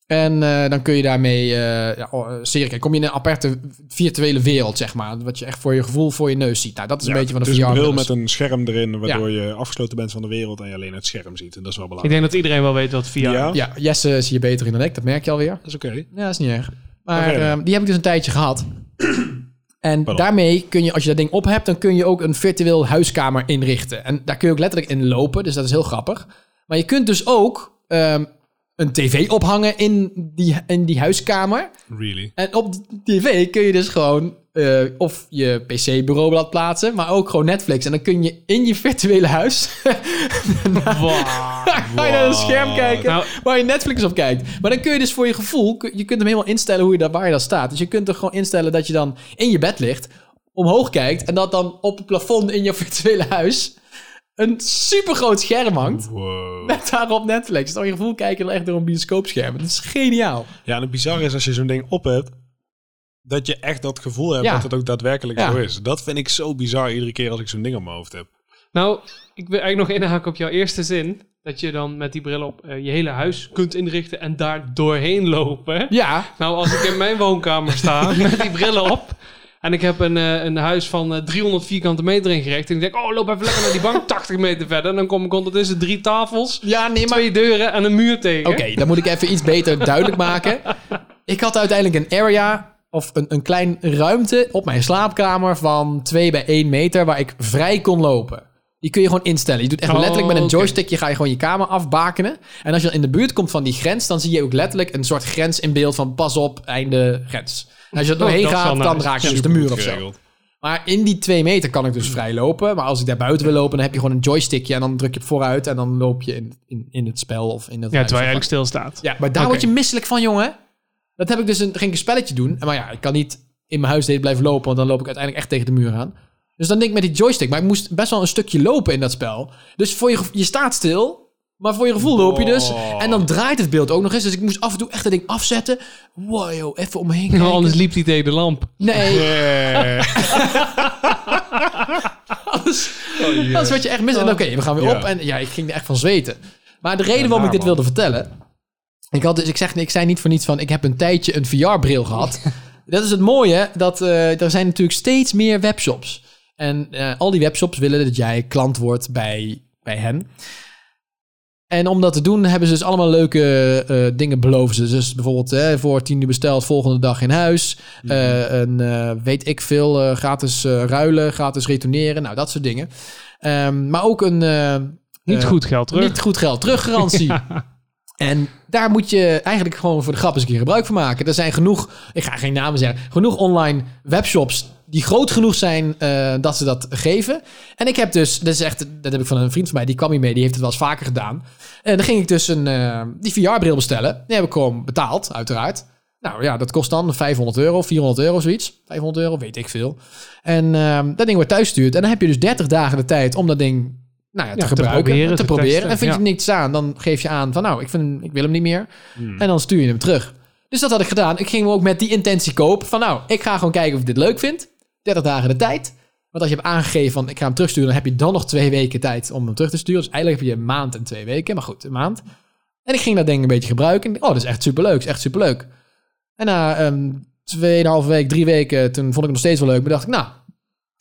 Speaker 3: En eh, dan kun je daarmee eh ja, oh, eh, serie kijken. Kom je in een aparte virtuele wereld, zeg maar. Wat je echt voor je gevoel voor je neus ziet. Nou, dat is
Speaker 2: Ja,
Speaker 3: een beetje wat
Speaker 2: het is
Speaker 3: een
Speaker 2: een bril
Speaker 3: VR-bril
Speaker 2: met
Speaker 3: is.
Speaker 2: een scherm erin, waardoor je afgesloten bent van de wereld en je alleen het scherm ziet. En dat is wel
Speaker 1: Ik
Speaker 2: belangrijk.
Speaker 1: denk dat iedereen wel weet wat VR
Speaker 2: Ja,
Speaker 1: is.
Speaker 3: Ja, Jesse is hier beter in dan ik. Dat merk je alweer.
Speaker 2: dat is oké.
Speaker 3: Ja, dat is niet erg. Maar
Speaker 2: Oké.
Speaker 3: ehm, die heb ik dus een tijdje
Speaker 2: <clears throat>
Speaker 3: gehad. En
Speaker 2: Pardon.
Speaker 3: daarmee kun je, als je dat ding op hebt, dan kun je ook een virtueel huiskamer inrichten. En daar kun je ook letterlijk in lopen, dus dat is heel grappig. Maar je kunt dus ook ehm, een tv ophangen in die, in die huiskamer.
Speaker 2: Really.
Speaker 3: En op die tv kun je dus gewoon eh, of je pc-bureaublad plaatsen, maar ook gewoon Netflix. En dan kun je in je virtuele huis <laughs>
Speaker 1: Wow.
Speaker 3: ga je <laughs> naar een scherm kijken
Speaker 1: Nou-
Speaker 3: waar je Netflix op kijkt. Maar dan kun je dus voor je gevoel, kun- je kunt hem helemaal instellen hoe je daar, waar je dan staat. Dus je kunt er gewoon instellen dat je dan in je bed ligt, omhoog kijkt en dat dan op het plafond in je <laughs> virtuele huis een supergroot scherm hangt.
Speaker 2: Wow.
Speaker 3: Met daarop Netflix. Dus Dan je gevoel kijken dan echt door een bioscoopscherm. Dat is geniaal.
Speaker 2: Ja, en het bizar is als je zo'n ding op hebt, dat je echt dat gevoel hebt
Speaker 3: Ja.
Speaker 2: dat het ook daadwerkelijk
Speaker 3: Ja.
Speaker 2: zo is. Dat vind ik zo bizar iedere keer als ik zo'n ding op mijn hoofd heb.
Speaker 1: Nou, ik wil eigenlijk nog inhaken op jouw eerste zin. Dat je dan met die bril op eh, je hele huis kunt inrichten en daar doorheen lopen.
Speaker 3: Ja,
Speaker 1: Nou, als ik in mijn woonkamer
Speaker 3: <laughs>
Speaker 1: sta met die brillen op. En ik heb een, eh, een huis van eh, 300 vierkante meter ingericht. En ik denk, oh, loop even lekker naar die bank 80 meter verder. En dan kom ik ondertussen drie tafels,
Speaker 3: ja nee, maar
Speaker 1: twee deuren en een muur tegen.
Speaker 3: Oké, dan moet ik even iets beter duidelijk maken. Ik had uiteindelijk een area of een, een klein ruimte op mijn slaapkamer van 2 bij 1 meter waar ik vrij kon lopen. Die kun je gewoon instellen. Je doet echt
Speaker 1: Oh,
Speaker 3: letterlijk met een
Speaker 1: oké.
Speaker 3: joystickje ga je gewoon je kamer afbakenen. En als je dan in de buurt komt van die grens, dan zie je ook letterlijk een soort grens in beeld van pas op, einde grens. En als je er
Speaker 1: Oh,
Speaker 3: doorheen
Speaker 1: dat is
Speaker 3: gaat,
Speaker 1: wel
Speaker 3: dan
Speaker 1: nice.
Speaker 3: raak je dus de
Speaker 2: Supergoed
Speaker 3: muur of zo.
Speaker 2: geregeld.
Speaker 3: Maar in die twee meter kan ik dus vrij lopen. Maar als ik daar buiten wil lopen, dan heb je gewoon een joystickje. En dan druk je op vooruit en dan loop je in, in, in het spel of in het
Speaker 1: Ja,
Speaker 3: huis
Speaker 1: terwijl je eigenlijk
Speaker 3: of
Speaker 1: stilstaat.
Speaker 3: ja, maar daar
Speaker 1: Oké.
Speaker 3: word je misselijk van, jongen. Dat heb ik dus een, ging ik een spelletje doen. Maar ja, ik kan niet in mijn huis de hele tijd blijven lopen, want dan loop ik uiteindelijk echt tegen de muur aan. Dus dan denk ik met die joystick, maar ik moest best wel een stukje lopen in dat spel. Dus voor je, gevo- je staat stil, maar voor je gevoel loop je dus.
Speaker 2: Wow.
Speaker 3: En dan draait het beeld ook nog eens. Dus ik moest af en toe echt dat ding afzetten. Wow, joh, even omheen
Speaker 1: Want
Speaker 3: kijken.
Speaker 1: <laughs> anders liep die tegen de lamp.
Speaker 3: Nee,
Speaker 2: Yeah.
Speaker 3: alles. <laughs> Dat is wat je echt mist. En oké, we gaan weer
Speaker 2: Ja.
Speaker 3: op. En ja, ik ging er echt van zweten. Maar de reden
Speaker 2: Ja,
Speaker 3: waarom ik
Speaker 2: naar,
Speaker 3: dit
Speaker 2: man.
Speaker 3: wilde vertellen. Ik, had dus, ik, zeg, ik zei niet voor niets van. Ik heb een tijdje
Speaker 2: <laughs>
Speaker 3: een VR-bril gehad. dat is het mooie. Dat, eh, er zijn natuurlijk steeds meer webshops. En eh, al die webshops willen dat jij klant wordt bij, bij hen. En om dat te doen hebben ze dus allemaal leuke eh, dingen beloven ze. Dus bijvoorbeeld hè, voor tien uur besteld, volgende dag in huis.
Speaker 2: Mhm.
Speaker 3: Eh, een, eh, weet ik veel, eh, gratis eh, ruilen, gratis retourneren. Nou, dat soort dingen. Ehm, maar ook een eh,
Speaker 1: Niet
Speaker 3: Eh,
Speaker 1: goed geld terug.
Speaker 3: niet goed geld teruggarantie. En daar moet je eigenlijk gewoon voor de grap eens een keer gebruik van maken. Er zijn genoeg, ik ga geen namen zeggen, genoeg online webshops die groot genoeg zijn eh, dat ze dat geven. En ik heb dus, dat is echt, dat heb ik van een vriend van mij, die kwam hier mee, die heeft het wel eens vaker gedaan. En dan ging ik dus een, eh, die VR-bril bestellen. Die heb ik gewoon betaald, uiteraard. Nou ja, dat kost dan 500 euro, 400 euro zoiets. 500 euro, weet ik veel. En ehm, dat ding wordt thuis gestuurd. En dan heb je dus 30 dagen de tijd om dat ding nou ja, te
Speaker 1: Ja, te
Speaker 3: gebruiken, te proberen.
Speaker 1: proberen, te testen,
Speaker 3: En vind je
Speaker 1: ja.
Speaker 3: niks aan, dan geef je aan van nou, ik, vind, hem- ik wil hem niet meer.
Speaker 2: Hmm.
Speaker 3: En dan stuur je hem terug. Dus dat had ik gedaan. Ik ging hem ook met die intentie kopen. Van nou, ik ga gewoon kijken of ik dit leuk vind. 30 dagen de tijd. Want als je hebt aangegeven van ik ga hem terugsturen, dan heb je dan nog twee weken tijd om hem terug te sturen. Dus eigenlijk heb je een maand en twee weken. Maar goed, een maand. En ik ging dat ding een beetje gebruiken. En ik dacht, oh, dat is echt superleuk. is echt superleuk. En na ehm tweeënhalve week, drie weken, toen vond ik het nog steeds wel leuk. Maar dacht ik, nou, ik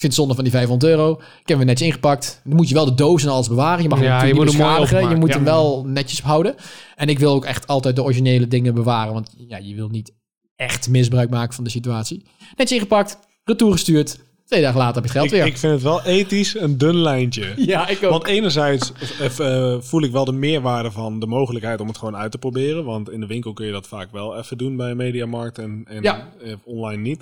Speaker 3: vind het zonde van die 500 euro. Ik heb hem weer netjes ingepakt. Dan moet je wel de doos en alles bewaren. Je mag hem
Speaker 1: Ja,
Speaker 3: natuurlijk
Speaker 1: je
Speaker 3: niet
Speaker 1: moet hem mooi
Speaker 3: beschadigen. Je
Speaker 1: openmaken,
Speaker 3: moet
Speaker 1: ja.
Speaker 3: hem wel netjes houden. En ik wil ook echt altijd de originele dingen bewaren. Want ja, je wil niet echt misbruik maken van de situatie. Netjes ingepakt, retour gestuurd. Twee dagen later heb je het
Speaker 2: Ik,
Speaker 3: geld weer.
Speaker 2: ik vind het wel ethisch een dun lijntje.
Speaker 3: ja, ik ook.
Speaker 2: Want enerzijds eh, eh, voel ik wel de meerwaarde van de mogelijkheid om het gewoon uit te proberen. Want in de winkel kun je dat vaak wel even doen bij een mediamarkt en, en
Speaker 3: Ja.
Speaker 2: eh, online niet.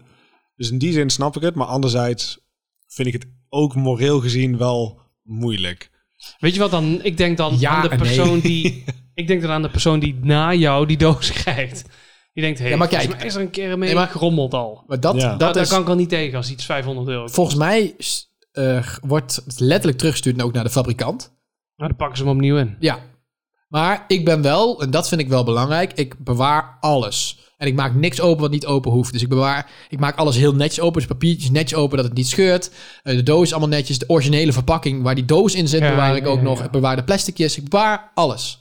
Speaker 2: Dus in die zin snap ik het. Maar anderzijds vind ik het ook moreel gezien wel moeilijk.
Speaker 1: Weet je wat dan? Ik denk dan
Speaker 3: Ja
Speaker 1: aan de
Speaker 3: en nee.
Speaker 1: persoon
Speaker 3: <laughs>
Speaker 1: die. Ik denk dan aan de persoon die na jou die doos <laughs> krijgt. Die denkt, hé, hey,
Speaker 3: Ja, maar
Speaker 1: volgens
Speaker 3: kijk.
Speaker 1: mij is er een keer mee
Speaker 3: Nee, maar-
Speaker 1: gerommeld al.
Speaker 3: maar dat,
Speaker 2: Ja.
Speaker 1: Dat
Speaker 3: dat is...
Speaker 1: Oh, daar kan ik al niet tegen als iets 500 euro. kost.
Speaker 3: Volgens mij s- eh, g- wordt het letterlijk teruggestuurd en ook naar de fabrikant.
Speaker 1: Maar dan pakken ze hem opnieuw in.
Speaker 3: Ja. Maar ik ben wel, en dat vind ik wel belangrijk, ik bewaar alles. En ik maak niks open wat niet open hoeft. Dus ik bewaar, ik maak alles heel netjes open. Dus papiertjes netjes open, dat het niet scheurt. Eh, de doos is allemaal netjes. De originele verpakking waar die doos in zit,
Speaker 1: Ja,
Speaker 3: bewaar ik
Speaker 1: ja,
Speaker 3: ook
Speaker 1: ja,
Speaker 3: nog.
Speaker 1: ja.
Speaker 3: Ik bewaar de plasticjes. Ik bewaar alles.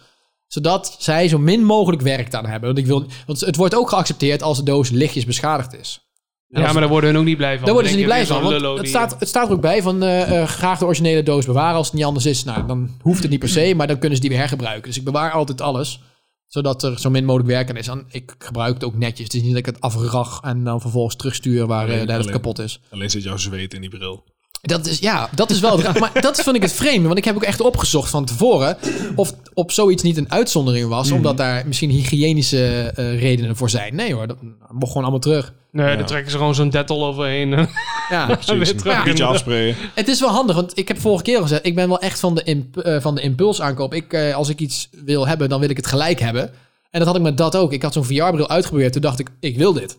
Speaker 3: Zodat zij zo min mogelijk werk aan hebben. Want, ik wil, want het wordt ook geaccepteerd als de doos lichtjes beschadigd is.
Speaker 1: Ja, maar daar worden hun ook niet blij van.
Speaker 3: Daar worden ze
Speaker 1: Dan
Speaker 3: niet
Speaker 1: denk
Speaker 3: blij
Speaker 1: je,
Speaker 3: van.
Speaker 1: weer zo'n
Speaker 3: Want
Speaker 1: lullo
Speaker 3: het,
Speaker 1: die-
Speaker 3: staat, het staat er ook bij van eh, eh, graag de originele doos bewaren als het niet anders is. Nou, dan hoeft het niet per se, maar dan kunnen ze die weer hergebruiken. Dus ik bewaar altijd alles, zodat er zo min mogelijk werk aan is. En ik gebruik het ook netjes. Het is niet dat ik het afrag en dan vervolgens terugstuur waar eh,
Speaker 2: Alleen-
Speaker 3: de helft
Speaker 2: alleen.
Speaker 3: kapot is.
Speaker 2: Alleen zit jouw zweet in die bril.
Speaker 3: Dat is, ja, dat is wel. het raar. maar dat vind ik het vreemde. Want ik heb ook echt opgezocht van tevoren. of op zoiets niet een uitzondering was.
Speaker 1: Mhm.
Speaker 3: Omdat daar misschien hygiënische eh, redenen voor zijn. Nee hoor, dat mocht gewoon allemaal terug.
Speaker 1: Nee,
Speaker 2: Ja.
Speaker 1: dan trekken ze gewoon zo'n dettel overheen. <laughs> en
Speaker 3: Ja.
Speaker 1: weer
Speaker 2: Precies.
Speaker 1: terug
Speaker 2: Een beetje
Speaker 1: in de-
Speaker 2: afsprayen.
Speaker 3: <laughs> Het is wel handig, want ik heb vorige keer al gezegd, ik ben wel echt van de, imp- eh, van de impuls aankoop. Ik, eh, als ik iets wil hebben, dan wil ik het gelijk hebben. En dat had ik met dat ook. Ik had zo'n VR-bril uitgeprobeerd, toen dacht ik, ik wil dit.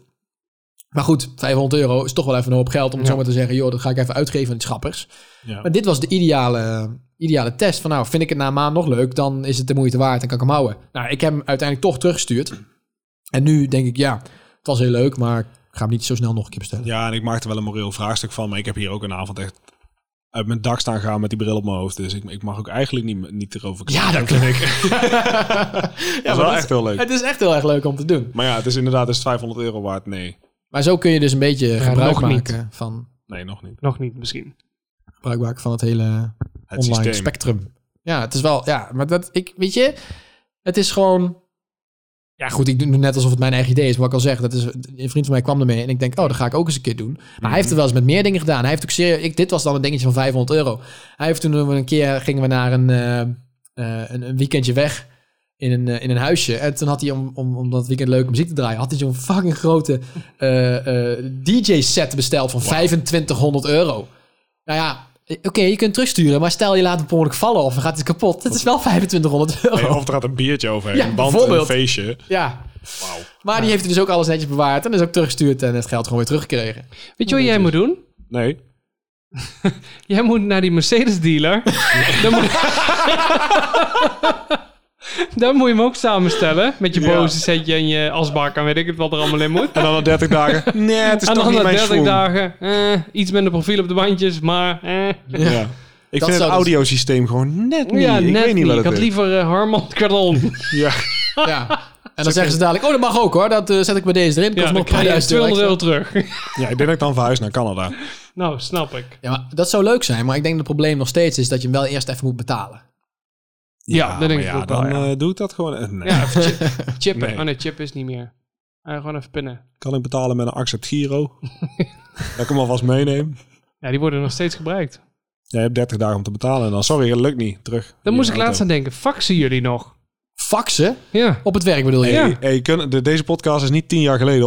Speaker 3: Maar goed, 500 euro is toch wel even een hoop geld om
Speaker 1: Ja.
Speaker 3: zomaar te zeggen, joh, dat ga ik even uitgeven aan de schappers.
Speaker 2: Ja.
Speaker 3: Maar dit was de ideale, ideale test. Van nou, vind ik het na een maand nog leuk, dan is het de moeite waard en kan ik hem houden. Nou, ik heb hem uiteindelijk toch teruggestuurd. En nu denk ik, ja, het was heel leuk, maar ik ga hem niet zo snel nog een keer <laughs> bestellen.
Speaker 2: Ja, en ik maak er wel een moreel vraagstuk van. Maar ik heb hier ook een avond echt uit mijn dak staan gaan met die bril op mijn hoofd. Dus ik, ik mag ook eigenlijk niet, niet erover
Speaker 3: Ja, dat
Speaker 2: klinkt. <laughs> Dat
Speaker 3: Ja,
Speaker 2: is
Speaker 3: maar
Speaker 2: wel
Speaker 3: dat
Speaker 2: echt heel leuk.
Speaker 3: Het is echt heel erg leuk om te doen.
Speaker 2: Maar ja, het is inderdaad is het 500 euro waard. Nee,
Speaker 3: Maar zo kun je dus een beetje gebruik,
Speaker 1: nog niet.
Speaker 3: maken van,
Speaker 2: nee, nog niet.
Speaker 1: Nog niet misschien.
Speaker 3: gebruik maken van het hele
Speaker 2: Het
Speaker 3: online
Speaker 2: systeem.
Speaker 3: spectrum. Ja, het is wel, ja, maar dat, ik, weet je, het is gewoon, ja goed, ik doe net alsof het mijn eigen idee is, wat ik al zeg, dat is, een vriend van mij kwam ermee en ik denk, oh, dat ga ik ook eens een keer doen. Maar
Speaker 2: Mhm.
Speaker 3: hij heeft het wel eens met meer dingen gedaan. Hij heeft ook serieus, ik, dit was dan een dingetje van 500 euro. Hij heeft toen een keer, gingen we naar een, eh, eh, een, een weekendje weg in een, eh, in een huisje. En toen had hij, om, om, om dat weekend leuke muziek te draaien, had hij zo'n fucking grote eh, eh, DJ-set besteld van 2500 euro. Nou ja, eh, oké, je kunt terugsturen, maar stel je laat hem per ongeluk vallen of dan gaat het kapot. Dat is wel 2500 euro.
Speaker 2: Nee,
Speaker 1: Oh.
Speaker 2: of er gaat een biertje overheen.
Speaker 3: Ja,
Speaker 2: een band en een
Speaker 3: bijvoorbeeld.
Speaker 2: feestje.
Speaker 3: Ja,
Speaker 2: Wauw.
Speaker 3: maar die heeft dus ook alles netjes bewaard en is ook teruggestuurd en het geld gewoon weer
Speaker 1: <laughs>
Speaker 3: teruggekregen.
Speaker 1: Weet je wat jij moet doen?
Speaker 2: Nee.
Speaker 1: Jij moet naar die
Speaker 2: <laughs>
Speaker 1: Mercedes-dealer. dan, moet... dan moet je hem ook samenstellen. Met je
Speaker 2: Ja.
Speaker 1: boze setje en je asbak en weet ik het wat er allemaal in moet.
Speaker 2: En dan na 30
Speaker 1: <laughs>
Speaker 2: dagen. Nee, het is
Speaker 1: En
Speaker 2: toch
Speaker 1: dan
Speaker 2: niet
Speaker 1: na
Speaker 2: mijn
Speaker 1: 30
Speaker 2: schoen.
Speaker 1: dagen eh, iets minder profiel op de bandjes, maar eh,
Speaker 2: Ja. Ik
Speaker 3: Dat
Speaker 2: vind het
Speaker 3: zou dus-
Speaker 2: audiosysteem gewoon net niet.
Speaker 1: ja,
Speaker 2: ik
Speaker 1: net
Speaker 2: weet niet
Speaker 1: niet.
Speaker 2: wat
Speaker 1: Ik
Speaker 2: het
Speaker 1: had
Speaker 2: is.
Speaker 1: liever eh, Harman Kardon.
Speaker 2: <laughs> Ja.
Speaker 3: Ja. En dan zeggen ze dadelijk, oh dat mag ook hoor, dat eh, zet ik bij deze erin, kost
Speaker 1: Ja,
Speaker 3: nog
Speaker 1: dan
Speaker 3: een paar
Speaker 1: krijg je
Speaker 3: duizend
Speaker 1: 200
Speaker 3: euro
Speaker 1: euro
Speaker 3: extra.
Speaker 1: terug. <laughs>
Speaker 2: ja, ik denk dat ik dan verhuis naar Canada.
Speaker 1: Nou, snap ik.
Speaker 3: Ja, maar dat zou leuk zijn, maar ik denk dat het probleem nog steeds is dat je hem wel eerst even moet betalen.
Speaker 1: Ja, dat denk
Speaker 2: maar
Speaker 1: ik ook wel,
Speaker 2: dan
Speaker 1: ja.
Speaker 2: eh, doe ik dat gewoon. eh, nee.
Speaker 1: Ja, even chip, chippen.
Speaker 2: Nee.
Speaker 1: Oh nee, chip is niet meer. Eh, gewoon even pinnen.
Speaker 2: Kan ik betalen met een accept Giro? dat ik hem alvast meeneem.
Speaker 1: Ja, die worden nog steeds gebruikt.
Speaker 2: Jij hebt 30 dagen om te betalen en dan, sorry, dat lukt niet. Terug.
Speaker 1: Daar moest ik
Speaker 2: laat
Speaker 1: laatst aan denken. Faxen jullie nog?
Speaker 3: Faxen?
Speaker 1: Ja.
Speaker 3: Op het werk bedoel je?
Speaker 2: Hey,
Speaker 1: Ja.
Speaker 2: hey, kun- de, deze podcast is niet tien jaar geleden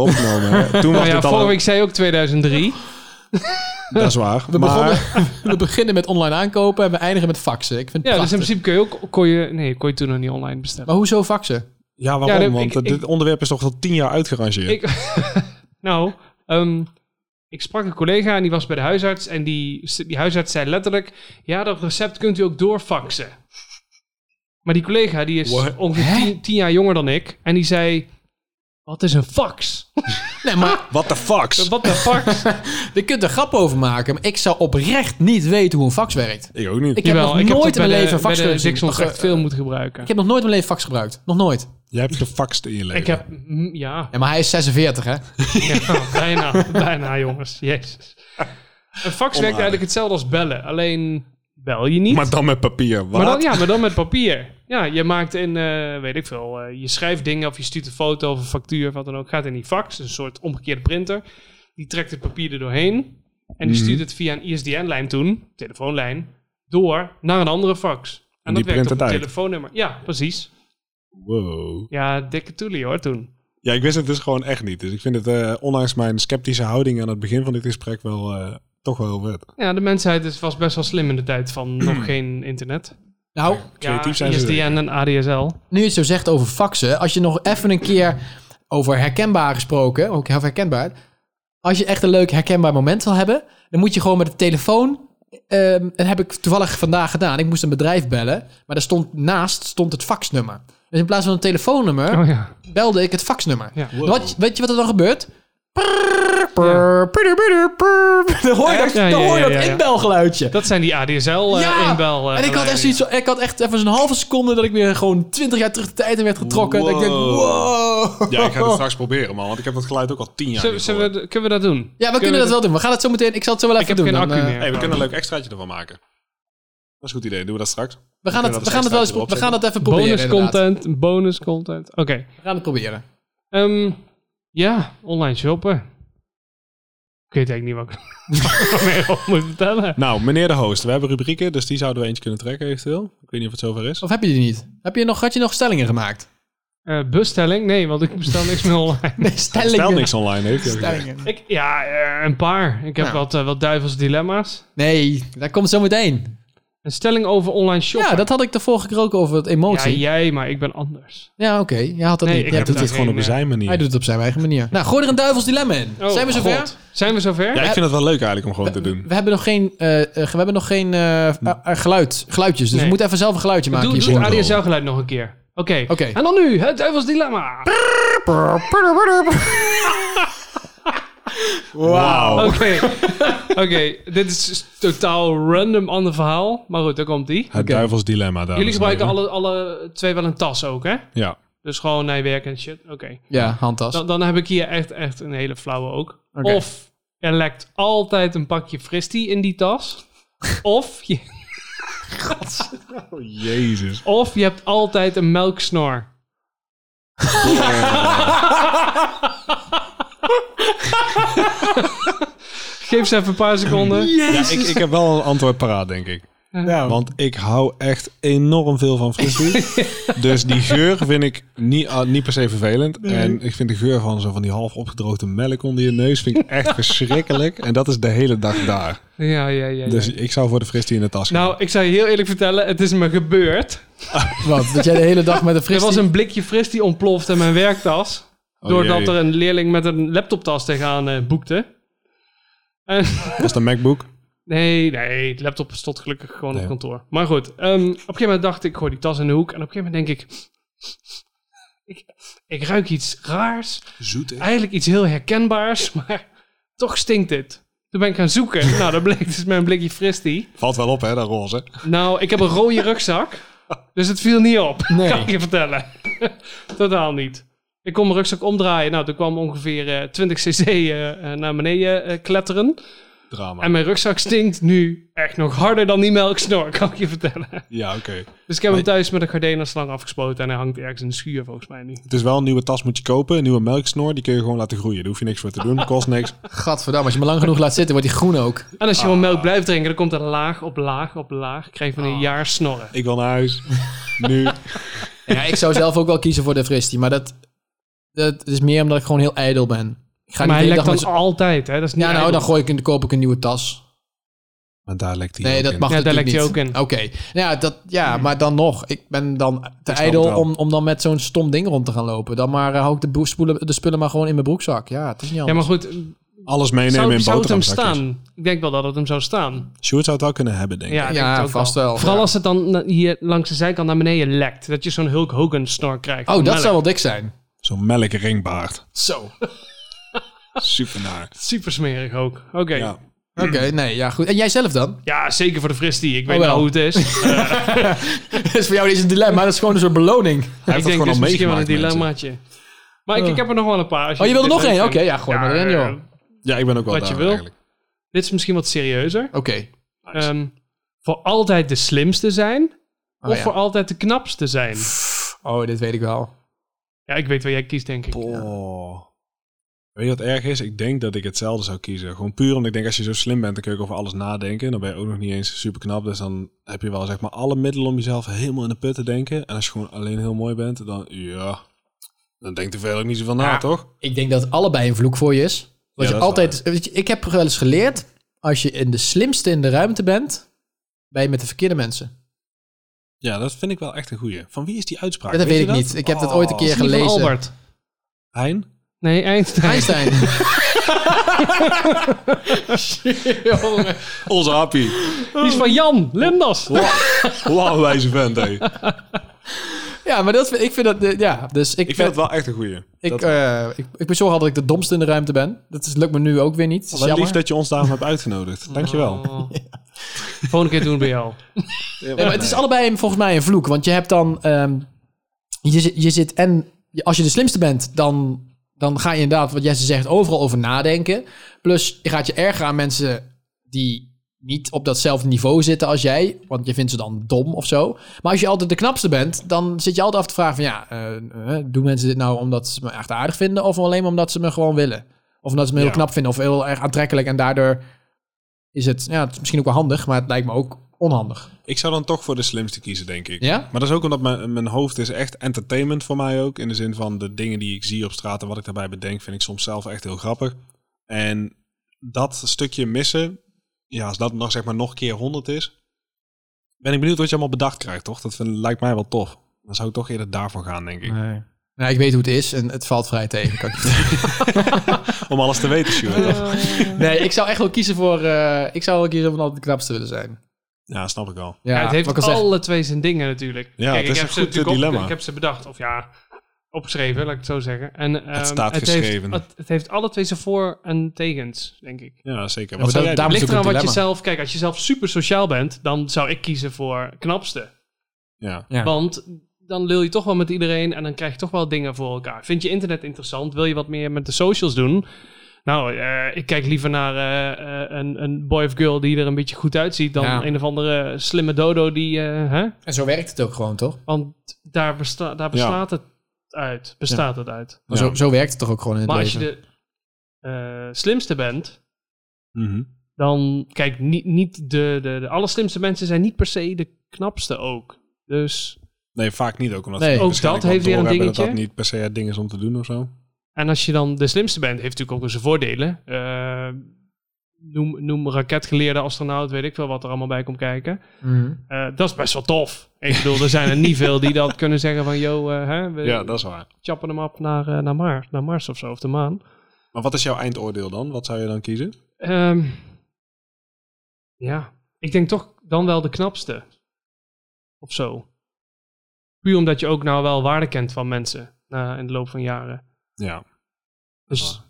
Speaker 1: <laughs>
Speaker 2: opgenomen. hè. Toen was
Speaker 1: Nou ja,
Speaker 2: dit al...
Speaker 1: vorige week zei je ook 2003.
Speaker 2: Dat is waar.
Speaker 3: We,
Speaker 2: maar
Speaker 3: begonnen, we beginnen met online aankopen en we eindigen met faxen. Ik vind het
Speaker 1: Ja, dus in principe
Speaker 3: prachtig.
Speaker 1: kun je ook... Kon je, nee, kon je toen nog niet online bestellen.
Speaker 3: Maar hoezo faxen?
Speaker 2: ja, waarom?
Speaker 1: Ja, dat-
Speaker 2: Want
Speaker 1: ik-
Speaker 2: eh, dit onderwerp is toch al tien jaar uitgerangeerd.
Speaker 1: Ik, nou, ehm, ik sprak een collega en die was bij de huisarts. En die, die huisarts zei letterlijk: Ja, dat recept kunt u ook doorfaxen. Maar die collega die is
Speaker 2: What?
Speaker 1: ongeveer tien, tien jaar jonger dan ik. En die zei: Wat is een fax?
Speaker 3: Nee, maar
Speaker 2: What the fucks?
Speaker 1: Wat een fax?
Speaker 3: <laughs> je kunt er grap over maken, maar ik zou oprecht niet weten hoe een fax werkt.
Speaker 2: Ik ook niet.
Speaker 3: Ik heb nog
Speaker 1: dat
Speaker 3: nooit in
Speaker 1: bij
Speaker 3: mijn
Speaker 1: de-
Speaker 3: leven een
Speaker 1: bij
Speaker 3: fax
Speaker 1: de
Speaker 3: kunnen zien.
Speaker 1: Dixon
Speaker 3: Ach,
Speaker 1: echt
Speaker 3: eh,
Speaker 1: veel moeten gebruiken.
Speaker 3: Ik heb nog nooit in mijn leven fax gebruikt. Nog nooid.
Speaker 2: Jij hebt gefaxt in je leven.
Speaker 1: Ik heb, mm, ja, <laughs>
Speaker 3: Ja, maar hij is 46, hè?
Speaker 1: ja, bijna, bijna jongens. Jezus. Een fax werkt eigenlijk hetzelfde als bellen. Alleen bel je niet.
Speaker 2: Maar dan met papier. Wat?
Speaker 1: Maar dan, ja, maar dan met papier. Ja, je maakt in, eh, weet ik veel, eh, je schrijft dingen of je stuurt een foto of een factuur of wat dan ook. Gaat in die fax, een soort omgekeerde printer. Die trekt het papier er doorheen. En die
Speaker 2: Mhm.
Speaker 1: stuurt het via een ISDN-lijn toen, telefoonlijn, door naar een andere fax. En,
Speaker 2: die
Speaker 1: dat werkt
Speaker 2: print
Speaker 1: op
Speaker 2: het
Speaker 1: een
Speaker 2: uit.
Speaker 1: telefoonnummer. Ja, precies.
Speaker 2: Wow.
Speaker 1: Ja, dikke toelie hoor toen.
Speaker 2: Ja, ik wist het dus gewoon echt niet. Dus ik vind het, eh, ondanks mijn sceptische houding aan het begin van dit gesprek, wel eh, toch wel
Speaker 1: <laughs>
Speaker 2: heel vet.
Speaker 1: Ja, de mensheid is, was best wel slim in de tijd
Speaker 2: <clears throat>
Speaker 1: van nog geen internet.
Speaker 3: Nou,
Speaker 1: Ja,
Speaker 2: Creatief zijn ze
Speaker 1: ISDN en ADSL.
Speaker 3: nu je het zo zegt over faxen, als je nog even een keer over herkenbaar gesproken, ook heel herkenbaar. Als je echt een leuk herkenbaar moment wil hebben, dan moet je gewoon met de telefoon. ehm dat heb ik toevallig vandaag gedaan. Ik moest een bedrijf bellen, maar daar stond naast stond het faxnummer. Dus in plaats van een telefoonnummer
Speaker 1: Oh ja.
Speaker 3: belde ik het faxnummer.
Speaker 1: Ja.
Speaker 2: Wow.
Speaker 3: Wat, weet je wat er dan gebeurt? Prrr, prrr, prrr, prrr, prrr. <laughs> Dan hoor je dat,
Speaker 1: Ja, ja,
Speaker 3: dan hoor je
Speaker 1: ja,
Speaker 3: dat
Speaker 1: ja, ja.
Speaker 3: inbelgeluidje.
Speaker 1: Dat zijn die ADSL-inbel.
Speaker 3: Ja, en ik had echt zoiets, van- ik had echt even zo'n halve seconde dat ik weer gewoon 20 jaar terug de tijd in werd getrokken. Dat ik denk,
Speaker 2: Wow.
Speaker 3: wow.
Speaker 2: Ja, ik ga het straks proberen, man. Want ik heb dat geluid ook al tien jaar
Speaker 1: Zullen-
Speaker 2: niet
Speaker 1: zullen we,
Speaker 2: gehoord.
Speaker 1: d- kunnen we dat doen?
Speaker 3: Ja, we kunnen dat wel doen. We gaan het zo meteen. Ik zal het zo wel
Speaker 1: Ik
Speaker 3: even
Speaker 1: heb
Speaker 3: doen.
Speaker 1: geen
Speaker 3: dan,
Speaker 1: accu
Speaker 3: eh,
Speaker 1: meer.
Speaker 2: hey, we kunnen een leuk extraatje ervan maken. Dat is een goed idee. Doen we dat straks?
Speaker 3: We gaan het,
Speaker 2: kunnen
Speaker 3: we
Speaker 2: dat
Speaker 3: gaan het wel eens pro-
Speaker 2: extraatje erop
Speaker 3: we gaan dat even proberen.
Speaker 1: bonus
Speaker 3: inderdaad.
Speaker 1: content, bonus content. Oké.
Speaker 3: We gaan het proberen.
Speaker 1: Ehm, ja, online shoppen. Ik weet eigenlijk niet wat ik <laughs> wat ik meer op moet vertellen.
Speaker 2: Nou, meneer de host, we hebben rubrieken, dus die zouden we eentje kunnen trekken eventueel. Ik weet niet of het zover is.
Speaker 3: Of heb je die niet? Heb je nog, had je nog stellingen
Speaker 1: <laughs>
Speaker 3: gemaakt?
Speaker 1: Eh bestelling? Nee, want ik bestel niks meer
Speaker 3: <laughs>
Speaker 1: online.
Speaker 3: Nee,
Speaker 2: Hij
Speaker 3: stellingen.
Speaker 2: Stel niks online, heeft hij ook gezegd.
Speaker 3: Stellingen.
Speaker 1: Ik, ja, eh, een paar. Ik heb
Speaker 3: Nou.
Speaker 1: wat, eh, wat duivels dilemma's.
Speaker 3: Nee, daar komt zo meteen.
Speaker 1: Een stelling over online shoppen.
Speaker 3: Ja, dat had ik de vorige keer ook over het
Speaker 1: Ja,
Speaker 3: emotie. Ja,
Speaker 1: jij, maar ik ben anders.
Speaker 3: oké. Je had dat
Speaker 1: Nee,
Speaker 3: niet.
Speaker 1: ik
Speaker 3: Jij
Speaker 1: heb
Speaker 3: doet
Speaker 1: daar
Speaker 3: het.
Speaker 2: Het gewoon op
Speaker 1: Geen, eh,
Speaker 2: zijn manier.
Speaker 3: Hij doet het op zijn eigen manier. Nou, gooi er een duivels dilemma in.
Speaker 1: Oh,
Speaker 3: Zijn we zover?
Speaker 1: God. Zijn we zover?
Speaker 2: Ja, ik vind het wel leuk eigenlijk om gewoon te doen.
Speaker 3: We hebben nog geen, eh, eh, we hebben nog geen eh, eh, eh, geluid, geluidjes. Dus
Speaker 1: Nee.
Speaker 3: we moeten even zelf een geluidje maken.
Speaker 1: doe doe
Speaker 3: hiervoor.
Speaker 1: het ADSL-geluid nog een keer. Oké.
Speaker 3: Oké.
Speaker 1: En dan nu, het duivels dilemma.
Speaker 2: Wauw.
Speaker 1: Oké. <laughs> Oké, dit is totaal random ander verhaal. Maar goed, daar komt die.
Speaker 2: Het duivels dilemma, dames
Speaker 1: Jullie
Speaker 2: en
Speaker 1: gebruiken
Speaker 2: heren.
Speaker 1: alle, alle twee wel een tas ook, hè?
Speaker 2: Ja.
Speaker 1: Dus gewoon naar je werk en shit. Oké.
Speaker 3: Ja, handtas.
Speaker 1: Dan, dan heb ik hier echt, echt een hele flauwe ook.
Speaker 3: Oké.
Speaker 1: Of er lekt altijd een pakje fristie in die tas. of, je,
Speaker 2: Jezus.
Speaker 1: of je hebt altijd een melksnor. Geef ze even een paar seconden.
Speaker 2: Ja, ik, ik heb wel een antwoord paraat, denk ik. Want ik hou echt enorm veel van frisbee.
Speaker 1: <laughs>
Speaker 2: dus die geur vind ik niet, ah, niet per se vervelend. En ik vind de geur van zo van die half opgedroogde melk onder je neus vind ik
Speaker 1: <laughs>
Speaker 2: echt verschrikkelijk. En dat is de hele dag daar.
Speaker 1: Ja, ja, ja. ja.
Speaker 2: Dus ik zou voor de frisbee in de tas gaan.
Speaker 1: Nou, ik zou je heel eerlijk vertellen, het is me gebeurd.
Speaker 3: Wat? Dat jij de hele dag met
Speaker 1: <laughs>
Speaker 3: een
Speaker 1: Er
Speaker 3: fris...
Speaker 1: was een blikje fris die ontplofte in mijn werktas.
Speaker 2: Oh,
Speaker 1: doordat
Speaker 2: jee.
Speaker 1: er een leerling met een laptoptas tegenaan eh, boekte. En-
Speaker 2: Dat is de MacBook.
Speaker 1: nee, nee, de laptop stond gelukkig gewoon
Speaker 2: Nee.
Speaker 1: op kantoor. Maar goed, ehm, op een gegeven moment dacht ik, ik gooi die tas in de hoek. En op een gegeven moment denk ik, ik, ik ruik iets raars.
Speaker 2: Zoet,
Speaker 1: Eigenlijk iets heel herkenbaars, <laughs> maar toch stinkt dit. Toen ben ik gaan zoeken. nou, dat bleek dus mijn blikje fris die.
Speaker 2: Valt wel op, hè, dat roze.
Speaker 1: Nou, ik heb een rode rugzak. Dus het viel niet op. <laughs>
Speaker 3: Nee.
Speaker 1: Kan ik je vertellen. <laughs> Totaal niet. Ik kon mijn rugzak omdraaien. Nou, toen kwam ongeveer eh, 20 cc eh, eh, naar beneden eh, kletteren.
Speaker 2: Drama.
Speaker 1: En mijn rugzak stinkt nu echt nog harder dan die melksnor, <laughs> kan ik je vertellen.
Speaker 2: Ja, oké.
Speaker 1: Dus ik heb hem
Speaker 2: Maar-
Speaker 1: thuis met een gardena-slang afgespoten en hij hangt ergens in de schuur volgens mij nu.
Speaker 2: Het is wel een nieuwe tas moet je kopen. Een nieuwe melksnor. Die kun je gewoon laten groeien. Daar hoef je niks voor te doen. Kost niks.
Speaker 3: Gadverdamme, als je me lang genoeg laat zitten, wordt hij groen ook.
Speaker 1: En als je gewoon melk blijft drinken, dan komt er laag op laag op laag. Krijg je
Speaker 3: Ah.
Speaker 1: van een jaar snorren.
Speaker 2: Ik wil naar
Speaker 1: <laughs>
Speaker 2: huis. nu.
Speaker 3: Ja, ik zou zelf ook wel kiezen voor de fristie, maar dat, dat is meer omdat ik gewoon heel ijdel ben. Ik ga
Speaker 1: maar hij
Speaker 3: niet de hele
Speaker 1: lekt
Speaker 3: dag
Speaker 1: dan
Speaker 3: met z'n-
Speaker 1: altijd, hè? Dat is niet
Speaker 3: Ja, nou,
Speaker 1: ijdel.
Speaker 3: dan gooi ik, een- koop ik een nieuwe tas.
Speaker 2: Maar daar lekt hij
Speaker 3: Nee,
Speaker 2: ook
Speaker 3: dat
Speaker 2: in.
Speaker 3: mag
Speaker 1: Ja, daar
Speaker 3: natuurlijk
Speaker 1: lekt hij
Speaker 3: niet.
Speaker 1: ook in.
Speaker 3: Oké. Nou Ja, dat, ja, maar dan nog. Ik ben dan te
Speaker 2: snap het
Speaker 3: ijdel
Speaker 2: wel.
Speaker 3: om, om dan met zo'n stom ding rond te gaan lopen. Dan maar eh, hou ik de, boe- spoelen, de spullen maar gewoon in mijn broekzak. Ja, het is niet
Speaker 1: Ja,
Speaker 3: anders.
Speaker 1: maar goed,
Speaker 2: Alles meenemen
Speaker 1: zou,
Speaker 2: in
Speaker 1: zou het hem
Speaker 2: boterhamzakjes.
Speaker 1: staan? Ik denk wel dat het hem zou staan.
Speaker 2: Sjoerd zou het wel kunnen hebben, denk ik.
Speaker 1: Ja, ik denk
Speaker 3: Ja,
Speaker 1: het ook
Speaker 3: vast wel.
Speaker 1: Vooral
Speaker 3: Ja.
Speaker 1: als het dan na- hier langs de zijkant naar beneden lekt. Dat je zo'n Hulk Hogan snor krijgt.
Speaker 3: oh,
Speaker 1: van
Speaker 3: dat
Speaker 1: melk.
Speaker 3: zou wel dik zijn.
Speaker 2: Zo'n melk
Speaker 1: <laughs>
Speaker 2: ringbaard.
Speaker 3: Zo. Oké,
Speaker 2: Super naar.
Speaker 1: Super smerig ook. Oké. Ja.
Speaker 2: Ja.
Speaker 3: nee, ja, goed. En jij zelf dan?
Speaker 1: zeker voor de fristie. Ik weet
Speaker 3: Oh, wel.
Speaker 1: wel hoe het
Speaker 3: <laughs>
Speaker 1: is.
Speaker 3: Dus voor jou is het een dilemma. <laughs> Dat is gewoon een soort beloning.
Speaker 2: Hij
Speaker 1: ik
Speaker 2: heeft dat
Speaker 1: denk
Speaker 2: gewoon
Speaker 1: dus
Speaker 2: al
Speaker 1: misschien wel een
Speaker 2: meegemaakt, mensen.
Speaker 1: dilemmaatje. Maar ik, ik heb er nog wel een paar. als
Speaker 3: Oh, je wilde
Speaker 1: dit
Speaker 3: nog
Speaker 1: leuk
Speaker 3: één? Oké,
Speaker 1: vindt.
Speaker 3: ja, gooi maar erin, joh.
Speaker 1: eh,
Speaker 2: Ja, ik ben ook wel
Speaker 1: Wat je
Speaker 2: daar
Speaker 1: wil.
Speaker 2: eigenlijk.
Speaker 1: Dit is misschien wat serieuzer.
Speaker 3: Oké.
Speaker 2: Nice.
Speaker 1: Ehm, voor altijd de slimste zijn.
Speaker 3: Oh,
Speaker 1: of
Speaker 3: ja.
Speaker 1: voor altijd de knapste zijn.
Speaker 3: Oh, dit weet ik wel.
Speaker 1: Ja, ik weet wat jij kiest, denk ik.
Speaker 2: Oh. Weet je wat erg is? Ik denk dat ik hetzelfde zou kiezen. Gewoon puur omdat ik denk, als je zo slim bent, dan kun je ook over alles nadenken. Dan ben je ook nog niet eens super knap. Dus dan heb je wel zeg maar alle middelen om jezelf helemaal in de put te denken. En als je gewoon alleen heel mooi bent, dan ja. Dan denkt er verder ook niet zoveel na,
Speaker 3: Ja.
Speaker 2: toch?
Speaker 3: Ik denk dat allebei een vloek voor je is. Want
Speaker 2: Ja,
Speaker 3: je
Speaker 2: dat is
Speaker 3: altijd, weet je, ik heb wel eens geleerd, als je in de slimste in de ruimte bent, ben je met de verkeerde mensen.
Speaker 2: Ja, dat vind ik wel echt een goeie. Van wie is die uitspraak?
Speaker 3: Ja, dat Oh, weet
Speaker 2: je
Speaker 3: ik niet. Ik heb dat ooit een keer-
Speaker 1: Is het niet van
Speaker 3: gelezen.
Speaker 1: Albert.
Speaker 2: Hein?
Speaker 1: Nee, Einstein.
Speaker 3: <laughs> Einstein. <laughs> Jongen.
Speaker 2: Onze happy.
Speaker 1: <laughs> Die is van Jan Linders.
Speaker 2: Wauw, wijze vent,
Speaker 3: <laughs>
Speaker 2: hé.
Speaker 3: ja, maar dat, vind- ik vind dat, eh, ja, dus ik,
Speaker 2: Ik
Speaker 3: ben-
Speaker 2: vind het wel echt een goeie.
Speaker 3: ik,
Speaker 2: dat,
Speaker 3: eh, ik, ik bezorg altijd dat ik de domste in de ruimte ben. Dat is, lukt me nu ook weer niet. Dat is
Speaker 2: wel lief
Speaker 3: jammer.
Speaker 2: dat je ons daarom hebt
Speaker 3: <laughs>
Speaker 2: uitgenodigd. Dankjewel.
Speaker 1: Oh. Volgende keer doen we bij jou.
Speaker 3: Ja, maar het is allebei een- volgens mij een vloek. Want je hebt dan. ehm, je, zi- je zit en. je- Als je de slimste bent, dan, dan ga je inderdaad, wat Jesse zegt, overal over nadenken. Plus, je gaat je erger aan mensen die niet op datzelfde niveau zitten als jij. Want je vindt ze dan dom of zo. Maar als je altijd de knapste bent, dan zit je altijd af te vragen van... ja, eh, eh, doen mensen dit nou omdat ze me echt aardig vinden... of alleen maar omdat ze me gewoon willen? Of omdat ze me heel
Speaker 2: Ja.
Speaker 3: knap vinden of heel erg aantrekkelijk... en daardoor is het, ja, het is misschien ook wel handig... maar het lijkt me ook onhandig.
Speaker 2: Ik zou dan toch voor de slimste kiezen, denk ik.
Speaker 3: Ja?
Speaker 2: Maar dat is ook omdat mijn, mijn hoofd is echt entertainment voor mij ook. In de zin van de dingen die ik zie op straat en wat ik daarbij bedenk, vind ik soms zelf echt heel grappig. En dat stukje missen, ja, als dat nog zeg maar nog keer 100 is, ben ik benieuwd wat je allemaal bedacht krijgt, toch? Dat vind- lijkt mij wel tof. Dan zou ik toch eerder daarvoor gaan, denk ik.
Speaker 3: Nee. Nou, ik weet hoe het is en het valt vrij tegen. Kan ik je vertellen.
Speaker 2: Om alles te
Speaker 1: <laughs>
Speaker 2: weten, Sjoerd.
Speaker 3: nee, ik zou echt wel kiezen voor. eh, ik zou wel kiezen om altijd de knapste willen zijn.
Speaker 2: Ja, snap ik al.
Speaker 1: Ja, het heeft
Speaker 3: wat
Speaker 1: alle
Speaker 3: ik al zeg.
Speaker 1: twee zijn dingen natuurlijk.
Speaker 2: Ja, het
Speaker 1: Kijk,
Speaker 2: is
Speaker 1: ik
Speaker 2: een
Speaker 1: heb ze
Speaker 2: goed,
Speaker 1: natuurlijk
Speaker 2: eh,
Speaker 1: op-
Speaker 2: dilemma.
Speaker 1: ik heb ze bedacht, of ja, opgeschreven, laat ik het zo zeggen. En, ehm,
Speaker 2: staat geschreven.
Speaker 1: Heeft, het, het heeft alle twee zijn voor- en tegens, denk ik.
Speaker 2: Ja, zeker.
Speaker 3: maar
Speaker 2: Wat zou
Speaker 3: dat- daar
Speaker 2: jij doen?
Speaker 3: moet-
Speaker 1: Ligt
Speaker 3: is ook
Speaker 1: eraan
Speaker 3: een
Speaker 1: wat je
Speaker 3: dilemma.
Speaker 1: zelf... Kijk, als je zelf super sociaal bent, dan zou ik kiezen voor knapste.
Speaker 2: Ja.
Speaker 3: Ja.
Speaker 1: Want dan lul je toch wel met iedereen en dan krijg je toch wel dingen voor elkaar. Vind je internet interessant? Wil je wat meer met de socials doen? Nou, eh, ik kijk liever naar eh, eh, een, een boy of girl die er een beetje goed uitziet... dan
Speaker 3: Ja.
Speaker 1: een of andere slimme dodo die... eh, hè?
Speaker 3: En zo werkt het ook gewoon, toch?
Speaker 1: Want daar, besta daar bestaat het uit. Bestaat het uit.
Speaker 3: Maar
Speaker 2: Ja.
Speaker 3: Zo, zo werkt het toch ook gewoon in het
Speaker 1: Maar als je
Speaker 3: leven.
Speaker 1: de eh, slimste bent,
Speaker 2: Mhm.
Speaker 1: dan kijk, niet, niet de, de, de allerslimste mensen zijn niet per se de knapste ook. Dus,
Speaker 2: Nee, vaak niet ook. Omdat
Speaker 3: Nee.
Speaker 2: ze
Speaker 1: Ook
Speaker 2: waarschijnlijk
Speaker 1: dat heeft
Speaker 2: wel
Speaker 1: weer een
Speaker 2: doorhebben Dat dat
Speaker 1: dingetje.
Speaker 2: niet per se het ding is om te doen of zo.
Speaker 1: en als je dan de slimste bent, heeft natuurlijk ook zijn voordelen. Eh, noem, noem raketgeleerde astronaut, weet ik veel wat er allemaal bij komt kijken.
Speaker 3: Mhm.
Speaker 1: Eh, dat is best wel tof. Ik bedoel, er zijn er niet veel die dat kunnen zeggen van, yo, eh, hè, we
Speaker 2: Ja, dat is waar.
Speaker 1: chappen hem op naar, eh, naar, Mars, naar Mars of zo, of de maan.
Speaker 2: Maar wat is jouw eindoordeel dan? Wat zou je dan kiezen?
Speaker 1: Ehm, ja, ik denk toch dan wel de knapste. Of zo. Puur omdat je ook nou wel waarde kent van mensen eh, in de loop van jaren.
Speaker 2: Ja.
Speaker 1: Dus als
Speaker 2: Ik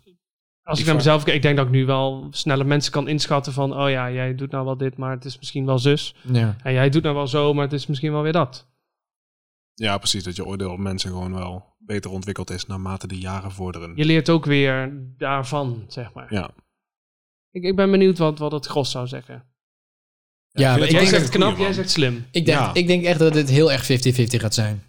Speaker 1: ik naar
Speaker 2: vraag-
Speaker 1: mezelf kijk, ik denk dat ik nu wel sneller mensen kan inschatten van... oh ja, jij doet nou wel dit, maar het is misschien wel zus.
Speaker 3: ja.
Speaker 1: En jij doet nou wel zo, maar het is misschien wel weer dat.
Speaker 2: ja, precies. Dat je oordeel op mensen gewoon wel beter ontwikkeld is naarmate de jaren vorderen.
Speaker 1: Je leert ook weer daarvan, zeg maar.
Speaker 2: Ja.
Speaker 1: Ik, ik ben benieuwd wat, wat het gros zou zeggen.
Speaker 3: Ja,
Speaker 2: vind
Speaker 3: maar
Speaker 2: het
Speaker 1: Jij
Speaker 3: ik
Speaker 2: wel
Speaker 3: denk
Speaker 2: echt
Speaker 1: zegt
Speaker 2: een
Speaker 1: knap,
Speaker 2: goeie,
Speaker 1: jij
Speaker 2: man.
Speaker 1: zegt slim.
Speaker 3: Ik denk,
Speaker 2: Ja.
Speaker 3: ik denk echt dat dit heel erg 50-50 gaat zijn.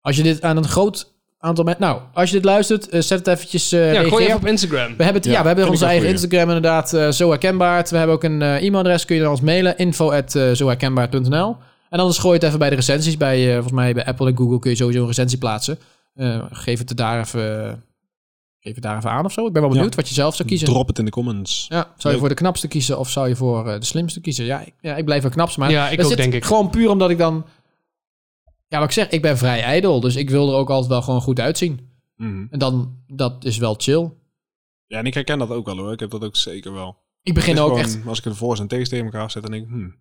Speaker 3: Als je dit aan een groot aantal mensen... Nou, als je dit luistert, eh, zet het eventjes... eh,
Speaker 1: Ja,
Speaker 3: reageer.
Speaker 1: gooi even op Instagram.
Speaker 3: we hebben, het- ja,
Speaker 2: Ja,
Speaker 3: we hebben
Speaker 2: vind
Speaker 3: onze
Speaker 2: ik een
Speaker 3: eigen
Speaker 2: goeie.
Speaker 3: Instagram inderdaad, eh, zo herkenbaar. We hebben ook een eh, e-mailadres, kun je dan ons mailen. Info at, eh, zoherkenbaar.nl En anders gooi het even bij de recensies. Bij, eh, volgens mij bij Apple en Google kun je sowieso een recensie plaatsen. Eh, geef, het er daar even, geef het daar even aan of zo. Ik ben wel
Speaker 2: Ja.
Speaker 3: benieuwd wat je zelf zou kiezen.
Speaker 2: Drop het in de comments.
Speaker 3: Ja, zou je
Speaker 2: Leuk.
Speaker 3: voor de knapste kiezen of zou je voor eh, de slimste kiezen? Ja, ik, ja, ik blijf voor knapste. Maar
Speaker 1: Ja, ik
Speaker 3: dat
Speaker 1: ook,
Speaker 3: zit
Speaker 1: denk ik.
Speaker 3: Gewoon puur omdat ik dan... Ja, wat ik zeg, ik ben vrij ijdel. Dus ik wil er ook altijd wel gewoon goed uitzien.
Speaker 2: Mhm.
Speaker 3: En dan, dat is wel chill.
Speaker 2: Ja, en ik herken dat ook wel hoor. Ik heb dat ook zeker wel.
Speaker 3: Ik begin
Speaker 2: Het is
Speaker 3: ook
Speaker 2: gewoon,
Speaker 3: echt...
Speaker 2: Als ik een voor- en tegen tegen elkaar zet, dan denk ik, hmm.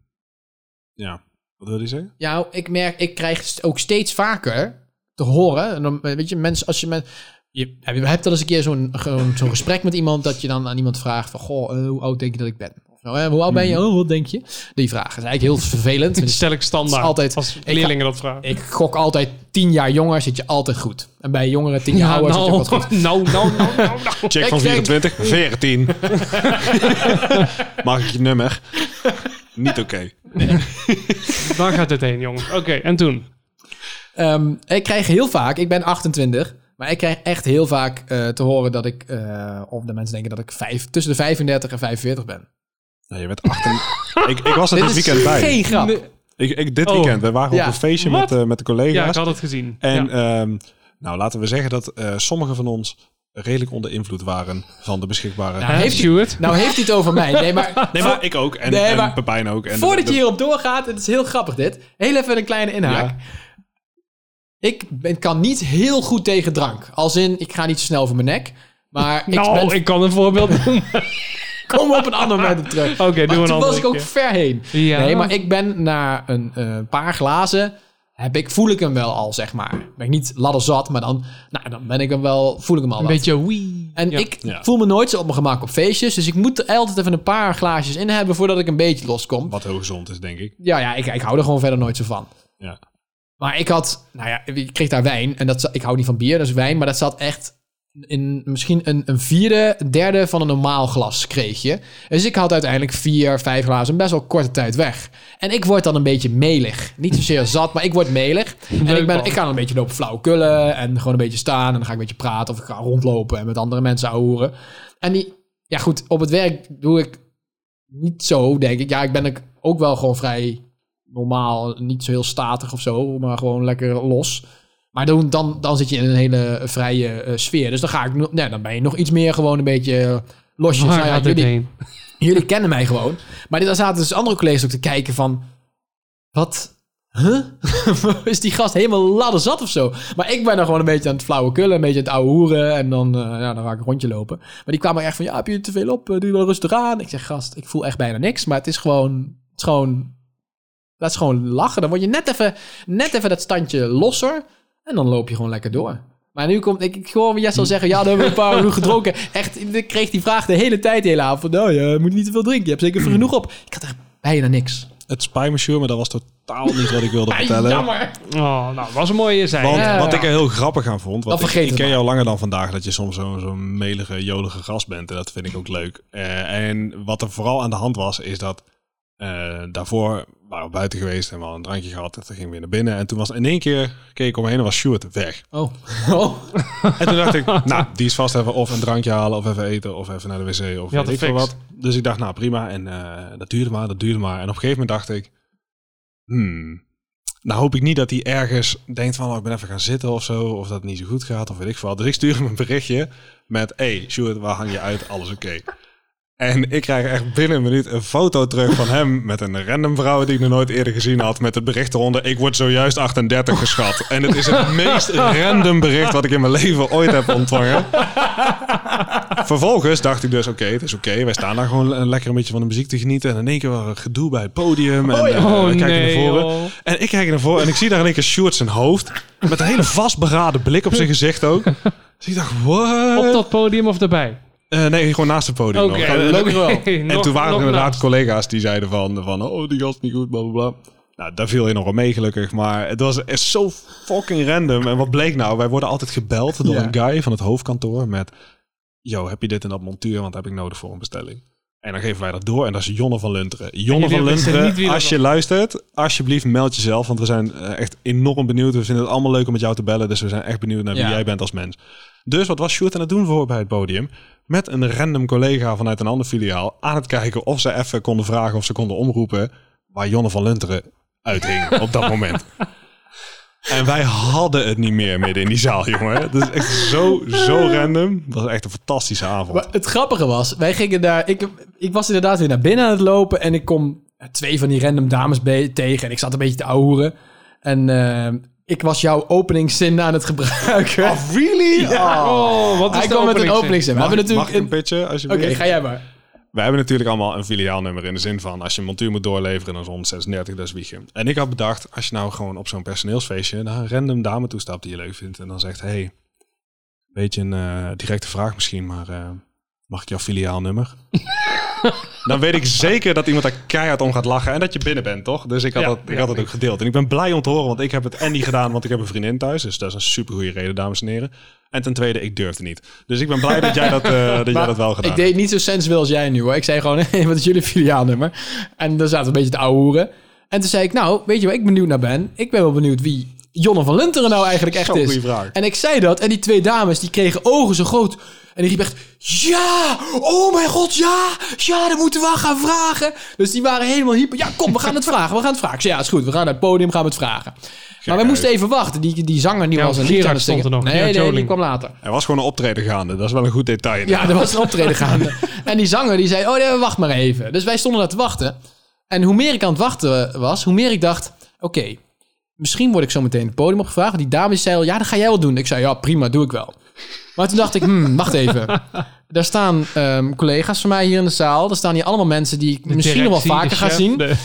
Speaker 2: Ja, wat wil je zeggen?
Speaker 3: Ja, ik merk, ik krijg st- ook steeds vaker te horen. En dan, eh, weet je, mensen, als je met... Je heb je hebt wel eens een keer zo'n gewoon zo'n gesprek met iemand... dat je dan aan iemand vraagt van... Goh, eh, hoe oud denk je dat ik ben? Of nou, eh, hoe oud ben
Speaker 1: Mm.
Speaker 3: je? Oh, wat denk je? Die vraag is eigenlijk heel vervelend.
Speaker 1: Dat <laughs>
Speaker 3: want
Speaker 1: stel ik standaard.
Speaker 3: Het is altijd-
Speaker 1: als
Speaker 3: ga-
Speaker 1: leerlingen dat vragen.
Speaker 3: Ik gok altijd tien jaar jonger zit je altijd goed. En bij jongeren tien jaar
Speaker 1: Ja,
Speaker 3: ouder zit je ook
Speaker 1: nou,
Speaker 3: wat
Speaker 1: <laughs>
Speaker 3: goed.
Speaker 1: nou, nou, nou, nou, nou.
Speaker 2: Check
Speaker 3: <laughs>
Speaker 2: van
Speaker 3: Ik denk-
Speaker 2: 24,
Speaker 3: <laughs>
Speaker 2: 14. Mag ik je nummer? Niet oké.
Speaker 1: Daar gaat het heen, jongens. Oké, en toen?
Speaker 3: Ehm, ik krijg heel vaak, ik ben 28, maar ik krijg echt heel vaak eh, te horen dat ik, eh, of de mensen denken dat ik vijf, tussen de 35 en 45 ben.
Speaker 2: Nee, je
Speaker 3: <laughs>
Speaker 2: bent 18. ik, ik was er dit
Speaker 3: Dit is
Speaker 2: weekend bij.
Speaker 3: geen grap.
Speaker 1: Nee.
Speaker 2: Ik, ik, dit
Speaker 1: Oh.
Speaker 2: weekend. We waren
Speaker 3: Ja.
Speaker 2: op een feestje met,
Speaker 1: Wat?
Speaker 2: eh, met de
Speaker 1: Ja,
Speaker 2: collega's.
Speaker 1: ik had het gezien.
Speaker 3: eh,
Speaker 2: En
Speaker 1: ja.
Speaker 2: ehm, nou, laten we zeggen dat eh, sommigen van ons redelijk onder invloed waren van de beschikbare.
Speaker 3: Nou,
Speaker 1: Hè,
Speaker 3: heeft-
Speaker 1: Stuart?
Speaker 3: Nou heeft hij het over mij.
Speaker 1: <laughs>
Speaker 3: Nee, maar,
Speaker 2: nee, maar ik ook. En,
Speaker 3: Nee,
Speaker 2: en
Speaker 3: maar-
Speaker 2: Pepijn ook. En
Speaker 3: voordat
Speaker 2: de-
Speaker 3: je hierop doorgaat, het is heel grappig dit. Heel even een kleine inhaak.
Speaker 2: Ja.
Speaker 3: Ik ben, kan niet heel goed tegen drank. Als in, ik ga niet zo snel voor mijn nek. Maar ik
Speaker 1: nou,
Speaker 3: ben,
Speaker 1: ik kan een voorbeeld noemen.
Speaker 3: <laughs> kom op een ander moment op
Speaker 1: <laughs>
Speaker 3: terug.
Speaker 1: Oké, doe
Speaker 3: Maar
Speaker 1: een
Speaker 3: toen
Speaker 1: andere
Speaker 3: was ik ook
Speaker 1: keer.
Speaker 3: ver heen.
Speaker 1: Ja.
Speaker 3: Nee, maar ik ben na een eh, paar glazen. Heb ik, voel ik hem wel al, zeg maar. Ben ik niet ladderzat, maar dan, nou, dan ben ik hem wel, voel ik hem al
Speaker 1: Een
Speaker 3: wat.
Speaker 1: beetje wee.
Speaker 3: En
Speaker 1: Ja.
Speaker 3: ik
Speaker 2: Ja.
Speaker 3: voel me nooit zo op mijn gemak op feestjes. Dus ik moet er altijd even een paar glaasjes in hebben voordat ik een beetje loskom.
Speaker 2: Wat heel gezond is, denk ik.
Speaker 3: Ja, ja ik, ik hou er gewoon verder nooit zo van.
Speaker 2: Ja.
Speaker 3: Maar ik had, nou ja, ik kreeg daar wijn. En dat, za- ik hou niet van bier, dat is wijn. Maar dat zat echt in misschien een, een vierde, derde van een normaal glas kreeg je. Dus ik had uiteindelijk vier, vijf glazen, best wel korte tijd weg. En ik word dan een beetje melig. Niet zozeer zat, maar ik word melig. En
Speaker 1: Leuk,
Speaker 3: ik, ben,
Speaker 1: man.
Speaker 3: ik ga dan een beetje lopen flauwkullen en gewoon een beetje staan. En dan ga ik een beetje praten of ik ga rondlopen en met andere mensen ouwen. En die, ja goed, op het werk doe ik niet zo, denk ik. Ja, ik ben ook- ook wel gewoon vrij normaal, niet zo heel statig of zo, maar gewoon lekker los. Maar dan, dan, dan zit je in een hele vrije eh, sfeer. Dus dan, ga ik, no- nee, dan ben je nog iets meer gewoon een beetje eh, losjes.
Speaker 1: Waar
Speaker 3: Nou ja,
Speaker 1: gaat dit
Speaker 3: jullie,
Speaker 1: heen?
Speaker 3: jullie kennen mij gewoon. Maar daar zaten dus andere collega's ook te kijken van... Wat? Huh? <laughs> is die gast helemaal ladder zat of zo? Maar ik ben dan gewoon een beetje aan het flauwekullen, een beetje aan het ouwe hoeren. En dan, eh, ja, dan ga ik een rondje lopen. Maar die kwamen echt van, ja, heb je te veel op? Eh, Doe je wel rustig aan? Ik zeg, gast, ik voel echt bijna niks. Maar het is gewoon... Het is gewoon laat het gewoon lachen. Dan word je net even, net even dat standje losser. En dan loop je gewoon lekker door. Maar nu komt... Ik, ik hoor Jess al zeggen, ja, dan hebben we een paar uur gedronken. Echt, ik kreeg die vraag de hele tijd, de hele avond. Nou, je moet niet te veel drinken. Je hebt zeker genoeg op. Ik had echt bijna niks.
Speaker 2: Het spijt me, Sjoerd, maar dat was totaal niet wat ik wilde vertellen.
Speaker 3: Jammer.
Speaker 1: Oh, nou, was een mooie zijn.
Speaker 2: Want
Speaker 3: Ja.
Speaker 2: wat ik er heel grappig aan vond.
Speaker 3: Dan
Speaker 2: Want ik,
Speaker 3: vergeet
Speaker 2: ik
Speaker 3: het
Speaker 2: ken
Speaker 3: maar.
Speaker 2: jou langer dan vandaag dat je soms zo'n zo melige, jolige gast bent. En dat vind ik ook leuk. Eh, en wat er vooral aan de hand was, is dat eh, daarvoor waren we buiten geweest en we hadden een drankje gehad. En toen gingen we weer naar binnen. En toen was in één keer, keek ik omheen en was Sjoerd weg.
Speaker 3: Oh. <laughs> oh.
Speaker 2: <laughs> En toen dacht ik, nou, die is vast even of een drankje halen, of even eten, of even naar de wc, of
Speaker 1: Je had
Speaker 2: weet
Speaker 1: het
Speaker 2: ik veel
Speaker 1: fixed.
Speaker 2: wat. Dus ik dacht, nou prima. En eh, dat duurde maar, dat duurde maar. En op een gegeven moment dacht ik, hmm, nou hoop ik niet dat hij ergens denkt van, oh, ik ben even gaan zitten of zo, of dat het niet zo goed gaat, of weet ik veel wat. Dus ik stuur hem een berichtje met, hey, Sjoerd, waar hang je uit? Alles oké. En ik krijg echt binnen een minuut een foto terug van hem met een random vrouw die ik nog nooit eerder gezien had. Met het bericht eronder, ik word zojuist 38 geschat. En het is het
Speaker 1: <laughs>
Speaker 2: meest random bericht wat ik in mijn leven ooit heb ontvangen. Vervolgens dacht ik dus, oké, het is oké. Wij staan daar gewoon een lekker een beetje van de muziek te genieten. En in één keer wel een gedoe bij het podium. En eh,
Speaker 1: Oh,
Speaker 2: we kijken
Speaker 1: nee,
Speaker 2: naar voren.
Speaker 1: joh.
Speaker 2: En ik kijk naar voren en ik zie daar in één keer Sjoerd zijn hoofd. Met een hele vastberaden blik op zijn gezicht ook. Dus ik dacht, what?
Speaker 3: Eh.
Speaker 1: Op dat podium of daarbij?
Speaker 2: Eh, nee, gewoon naast het podium
Speaker 1: Oké,
Speaker 2: nog. Eh,
Speaker 1: <laughs>
Speaker 3: Gelukkig wel.
Speaker 2: <laughs> En toen waren er inderdaad collega's die zeiden van, van, oh, die gast niet goed, bla bla bla. Nou, daar viel je nog wel mee, gelukkig. Maar het was echt zo fucking random. En wat bleek nou? Wij worden altijd gebeld door
Speaker 3: Ja.
Speaker 2: een guy van het hoofdkantoor met... yo, heb je dit en dat montuur, want dat heb ik nodig voor een bestelling. En dan geven wij dat door en dat is Jonne van Lunteren. Jonne
Speaker 1: jullie
Speaker 2: van
Speaker 1: weten niet wie
Speaker 2: Lunteren,
Speaker 1: dat
Speaker 2: als je luistert, alsjeblieft meld jezelf, want we zijn eh, echt enorm benieuwd. We vinden het allemaal leuk om met jou te bellen, dus we zijn echt benieuwd naar wie
Speaker 3: Ja.
Speaker 2: jij bent als mens. Dus wat was Sjoerd aan het doen voor bij het podium? Met een random collega vanuit een ander filiaal aan het kijken of ze even konden vragen of ze konden omroepen waar Jonne van Lunteren uithing
Speaker 3: <laughs>
Speaker 2: op dat moment. En wij hadden het niet meer midden in die zaal, jongen. Dat is echt zo, zo random. Dat was echt een fantastische avond.
Speaker 3: Maar het grappige was, wij gingen daar. Ik, ik was inderdaad weer naar binnen aan het lopen. En ik kom twee van die random dames be- tegen. En ik zat een beetje te ouwen. En eh, ik was jouw openingszin aan het gebruiken. <laughs>
Speaker 2: really?
Speaker 1: Oh, wat is
Speaker 3: Hij
Speaker 1: de
Speaker 3: kwam met
Speaker 1: openingszin?
Speaker 3: een openingszin. We
Speaker 2: Mag,
Speaker 3: hebben
Speaker 2: ik- mag
Speaker 3: natuurlijk.
Speaker 2: ik een
Speaker 3: een-
Speaker 2: pitje, alsjeblieft?
Speaker 3: Oké, ga jij maar.
Speaker 2: We hebben natuurlijk allemaal een filiaalnummer in de zin van als je een montuur moet doorleveren, dan is 136, dat is Wiegem. En ik had bedacht, als je nou gewoon op zo'n personeelsfeestje naar een random dame toestapt die je leuk vindt en dan zegt, hey, een beetje een eh, directe vraag misschien, maar eh, mag ik jouw filiaalnummer? dan weet ik zeker dat iemand daar keihard om gaat lachen en dat je binnen bent, toch? Dus ik had,
Speaker 1: Ja,
Speaker 2: dat, ik
Speaker 1: ja,
Speaker 2: had dat ook gedeeld. En ik ben blij om te horen, want ik heb het en niet gedaan, want ik heb een vriendin thuis. Dus dat is een supergoeie reden, dames en heren. En ten tweede, ik durfde niet. Dus ik ben blij dat jij dat, eh, dat, jij
Speaker 3: Maar
Speaker 2: dat wel gedaan
Speaker 3: Ik deed het niet zo sensueel als jij nu hoor. Ik zei gewoon, <laughs> hey, wat is jullie filiaalnummer? En dan zaten we een beetje te ouwehoeren. En toen zei ik, nou, weet je waar ik benieuwd naar ben? Ik ben wel benieuwd wie Jonne van Lunteren nou eigenlijk echt
Speaker 2: Zo'n
Speaker 3: is.
Speaker 2: goeie vraag.
Speaker 3: En ik zei dat en die twee dames, die kregen ogen zo groot. En die riep echt, ja, oh mijn god, ja, ja, dat moeten we wel gaan vragen. Dus die waren helemaal hyper, ja, kom, we gaan het <laughs> vragen, we gaan het vragen. Ik zei, ja, is goed, we gaan naar het podium, gaan we het vragen. maar we
Speaker 2: uit.
Speaker 3: moesten even wachten, die, die zanger die
Speaker 1: Ja,
Speaker 3: was een
Speaker 1: Gerard
Speaker 3: lied aan het
Speaker 1: stond
Speaker 3: zingen.
Speaker 1: er nog,
Speaker 3: nee,
Speaker 1: Gerard
Speaker 3: nee, die
Speaker 1: Joling.
Speaker 3: kwam later.
Speaker 2: Er was gewoon een optreden gaande. Dat is wel een goed detail.
Speaker 3: Ja, er was een optreden gaande. En die zanger die zei, oh nee, wacht maar even. Dus wij stonden daar te wachten. En hoe meer ik aan het wachten was, hoe meer ik dacht... Oké, misschien word ik zo meteen het podium opgevraagd. Want die dame die zei al, ja, dat ga jij wel doen. Ik zei, ja, prima, doe ik wel. Maar toen dacht ik, hmm, wacht even. Daar staan ehm, collega's van mij hier in de zaal. Daar staan hier allemaal mensen die ik
Speaker 1: De
Speaker 3: misschien nog
Speaker 1: directie,
Speaker 3: wel vaker
Speaker 1: de
Speaker 3: ga
Speaker 1: chef,
Speaker 3: zien.
Speaker 1: de-